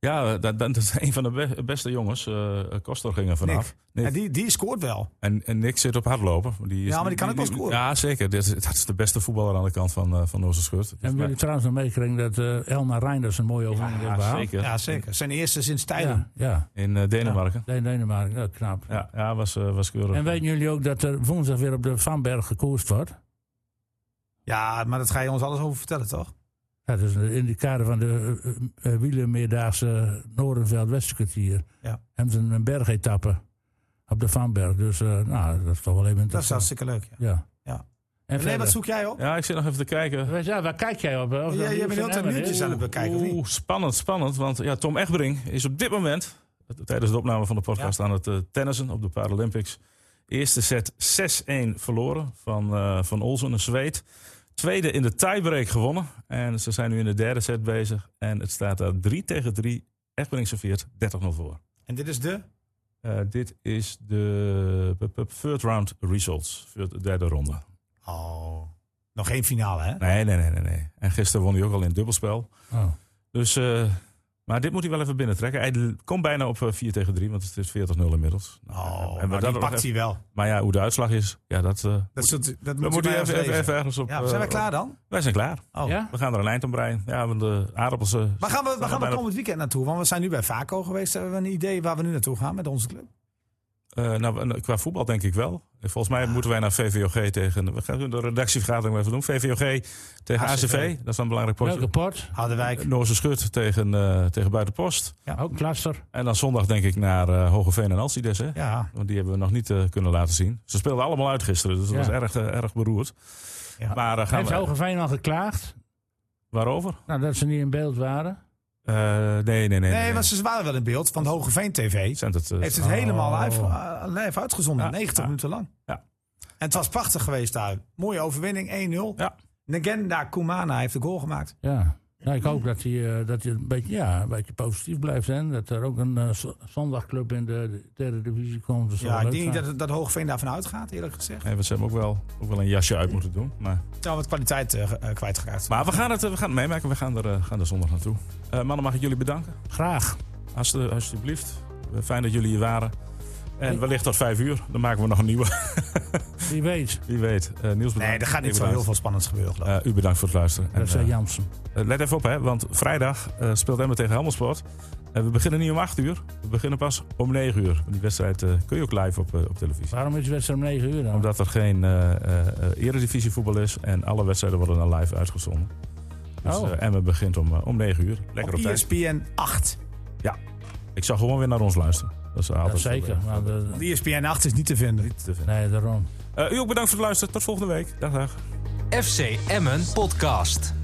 [SPEAKER 1] ja dat, dat is een van de be- beste jongens. eh Kostor ging er vanaf.
[SPEAKER 4] Nick.
[SPEAKER 1] Nick.
[SPEAKER 4] En die, die scoort wel.
[SPEAKER 1] En, en Nick zit op hardlopen. Die is
[SPEAKER 4] Ja, maar die kan ook wel scoren.
[SPEAKER 1] Ja, zeker. Dit is- Dat is de beste voetballer aan de kant van, eh van onze schut.
[SPEAKER 2] En jullie trouwens nog meegekregen dat eh, Elna Reinders een mooie overwinning heeft
[SPEAKER 1] ja,
[SPEAKER 2] behaald?
[SPEAKER 1] zeker.
[SPEAKER 4] Ja, zeker. Zijn eerste sinds tijden.
[SPEAKER 2] Ja, ja.
[SPEAKER 1] In eh, Denemarken.
[SPEAKER 2] Nee, Denemarken, ja, knap.
[SPEAKER 1] Ja, ja, was, eh, was keurig.
[SPEAKER 2] En weten jullie ook dat er woensdag weer op de Vanberg gekoerst wordt?
[SPEAKER 4] Ja, maar dat ga je ons alles over vertellen, toch?
[SPEAKER 2] Dat is in de kader van de eh, eh, wielermeerdaagse Noordenveld-Westenkwartier.
[SPEAKER 4] Ja.
[SPEAKER 2] Hebben ze een bergetappe op de Vanberg. Dus eh, nou, dat is toch wel even
[SPEAKER 4] Dat is
[SPEAKER 2] interessant.
[SPEAKER 4] hartstikke leuk. Ja.
[SPEAKER 2] ja.
[SPEAKER 4] Ja.
[SPEAKER 2] En
[SPEAKER 4] Nee,
[SPEAKER 2] verder,
[SPEAKER 4] wat zoek jij op?
[SPEAKER 1] Ja, ik zit nog even te kijken.
[SPEAKER 2] Wij zijn- waar kijk jij op? hè? Of
[SPEAKER 4] Ja,
[SPEAKER 2] dat
[SPEAKER 4] jij
[SPEAKER 2] nieuws
[SPEAKER 4] bent
[SPEAKER 2] van
[SPEAKER 4] heel tijd
[SPEAKER 2] Emmen is?
[SPEAKER 4] nieuwtjes aan het bekijken. of niet?
[SPEAKER 1] Oeh, spannend, spannend. Want ja, Tom Egbering is op dit moment tijdens de opname van de podcast aan het eh, tennissen op de Paralympics. Eerste set 6-1 verloren van, eh, van Olsen, een Zweed. Tweede in de tiebreak gewonnen. En ze zijn nu in de derde set bezig. En het staat daar 3 tegen 3. Echtbrink serveert 30-0 voor.
[SPEAKER 4] En dit is de?
[SPEAKER 1] Eh, dit is de pup, pup, third round results. voor De derde ronde.
[SPEAKER 4] Oh, nog geen finale, hè?
[SPEAKER 1] Nee, nee, nee, nee, nee. En gisteren won hij ook al in het dubbelspel.
[SPEAKER 2] Oh.
[SPEAKER 1] Dus, eh, maar dit moet hij wel even binnentrekken. Hij komt bijna op eh, 4 tegen 3, want het is 40-0 inmiddels. Nou,
[SPEAKER 4] Oh,
[SPEAKER 1] hebben we
[SPEAKER 4] maar
[SPEAKER 1] dat
[SPEAKER 4] die
[SPEAKER 1] nog
[SPEAKER 4] pakt
[SPEAKER 1] even-
[SPEAKER 4] hij wel.
[SPEAKER 1] maar ja, hoe de uitslag is, ja, dat, eh,
[SPEAKER 4] Dat,
[SPEAKER 1] moet,
[SPEAKER 4] is, het- dat
[SPEAKER 1] dat moet
[SPEAKER 4] bij
[SPEAKER 1] hij
[SPEAKER 4] ons
[SPEAKER 1] even, even,
[SPEAKER 4] lezen.
[SPEAKER 1] even ergens op...
[SPEAKER 4] Ja, zijn wij
[SPEAKER 1] eh,
[SPEAKER 4] klaar
[SPEAKER 1] op-
[SPEAKER 4] dan?
[SPEAKER 1] Wij zijn klaar.
[SPEAKER 4] Oh.
[SPEAKER 2] Ja?
[SPEAKER 1] We gaan er een eind aan breien. Ja, want de aardappels... eh,
[SPEAKER 4] Waar gaan we, waar gaan we
[SPEAKER 1] bijna-
[SPEAKER 4] komend weekend naartoe? Want we zijn nu bij Vaco geweest. Hebben we een idee waar we nu naartoe gaan met onze club?
[SPEAKER 1] eh, nou, qua voetbal denk ik wel. Volgens mij moeten wij naar VVOG tegen... We gaan de redactievergadering maar even doen. VVOG tegen ACV.
[SPEAKER 4] ACV.
[SPEAKER 1] Dat is dan een belangrijk potje.
[SPEAKER 2] Leuke pot.
[SPEAKER 4] Harderwijk.
[SPEAKER 1] Noorse Schut tegen, eh tegen Buitenpost.
[SPEAKER 2] Ook klasser.
[SPEAKER 1] En dan zondag denk ik naar eh Hogeveen en Alcides. Hè?
[SPEAKER 4] Ja,
[SPEAKER 1] Want die hebben we nog niet eh, kunnen laten zien. Ze speelden allemaal uit gisteren, dus dat
[SPEAKER 2] Ja.
[SPEAKER 1] was erg, eh, erg beroerd.
[SPEAKER 4] Ja.
[SPEAKER 1] Maar eh, gaan
[SPEAKER 2] Heeft
[SPEAKER 1] we...
[SPEAKER 2] Hogeveen al geklaagd?
[SPEAKER 1] Waarover?
[SPEAKER 2] Nou, dat ze niet in beeld waren.
[SPEAKER 1] Eh, nee, nee, nee. nee,
[SPEAKER 4] nee,
[SPEAKER 1] nee.
[SPEAKER 4] want ze waren wel in beeld. Van Hogeveen TV
[SPEAKER 1] Zijn het, eh,
[SPEAKER 4] heeft het helemaal live, eh, live uitgezonden.
[SPEAKER 1] Ja,
[SPEAKER 4] 90
[SPEAKER 1] ja.
[SPEAKER 4] minuten lang.
[SPEAKER 1] Ja.
[SPEAKER 4] En het was prachtig geweest daar. Mooie overwinning, 1-0.
[SPEAKER 1] Ja.
[SPEAKER 4] Negenda Kumana heeft de goal gemaakt.
[SPEAKER 2] Ja. Nou, ik hoop dat hij, eh, dat hij een, beetje, ja, een beetje positief blijft. Hè? Dat er ook een eh, z- zondagclub in de derde divisie komt. Dat zal
[SPEAKER 4] Ja, ik
[SPEAKER 2] leuk
[SPEAKER 4] denk
[SPEAKER 2] zijn.
[SPEAKER 4] dat, dat Hoogveen daarvan uitgaat, eerlijk gezegd.
[SPEAKER 1] Nee, want ze hebben ook wel, ook wel een jasje uit moeten doen. Maar,
[SPEAKER 4] Nou, wat kwaliteit eh, ge- eh, kwijtgeraakt.
[SPEAKER 1] maar we, gaan het, eh, we gaan het meemaken. We gaan er, eh, gaan er zondag naartoe. Eh, mannen, mag ik jullie bedanken?
[SPEAKER 2] Graag.
[SPEAKER 1] Als- eh, alsjeblieft. Eh, Fijn dat jullie hier waren. En wellicht tot vijf uur. Dan maken we nog een nieuwe. [LAUGHS]
[SPEAKER 2] Wie weet.
[SPEAKER 1] Wie weet. Eh Niels, bedankt.
[SPEAKER 4] nee, er gaat
[SPEAKER 1] Ik
[SPEAKER 4] niet zo
[SPEAKER 1] bedankt.
[SPEAKER 4] heel veel spannends gebeuren, geloof ik.
[SPEAKER 1] Eh, u bedankt voor het luisteren. En,
[SPEAKER 2] Dat zei
[SPEAKER 1] eh,
[SPEAKER 2] Jansen.
[SPEAKER 1] Eh, Let even op, hè, want vrijdag eh, speelt Emmen tegen Helmersport. Eh, we beginnen niet om 8 uur, we beginnen pas om 9 uur. Want Die wedstrijd eh, kun je ook live op, eh, op televisie.
[SPEAKER 2] Waarom is de wedstrijd om 9 uur dan?
[SPEAKER 1] Omdat er geen eh eh eh, eredivisie voetbal is en alle wedstrijden worden dan live uitgezonden. Dus
[SPEAKER 2] Oh.
[SPEAKER 1] eh, Emmen begint om, eh, om 9 uur. Lekker op,
[SPEAKER 4] Op E
[SPEAKER 1] tijd.
[SPEAKER 4] ESPN 8.
[SPEAKER 1] Ik zal gewoon weer naar ons luisteren. Dat is altijd
[SPEAKER 2] dat zeker. Maar de-
[SPEAKER 4] ESPN 8 is niet te vinden.
[SPEAKER 1] te vinden.
[SPEAKER 2] nee, daarom.
[SPEAKER 1] Eh, u ook bedankt voor het luisteren. Tot volgende week. Dag, dag.
[SPEAKER 3] FC Emmen Podcast.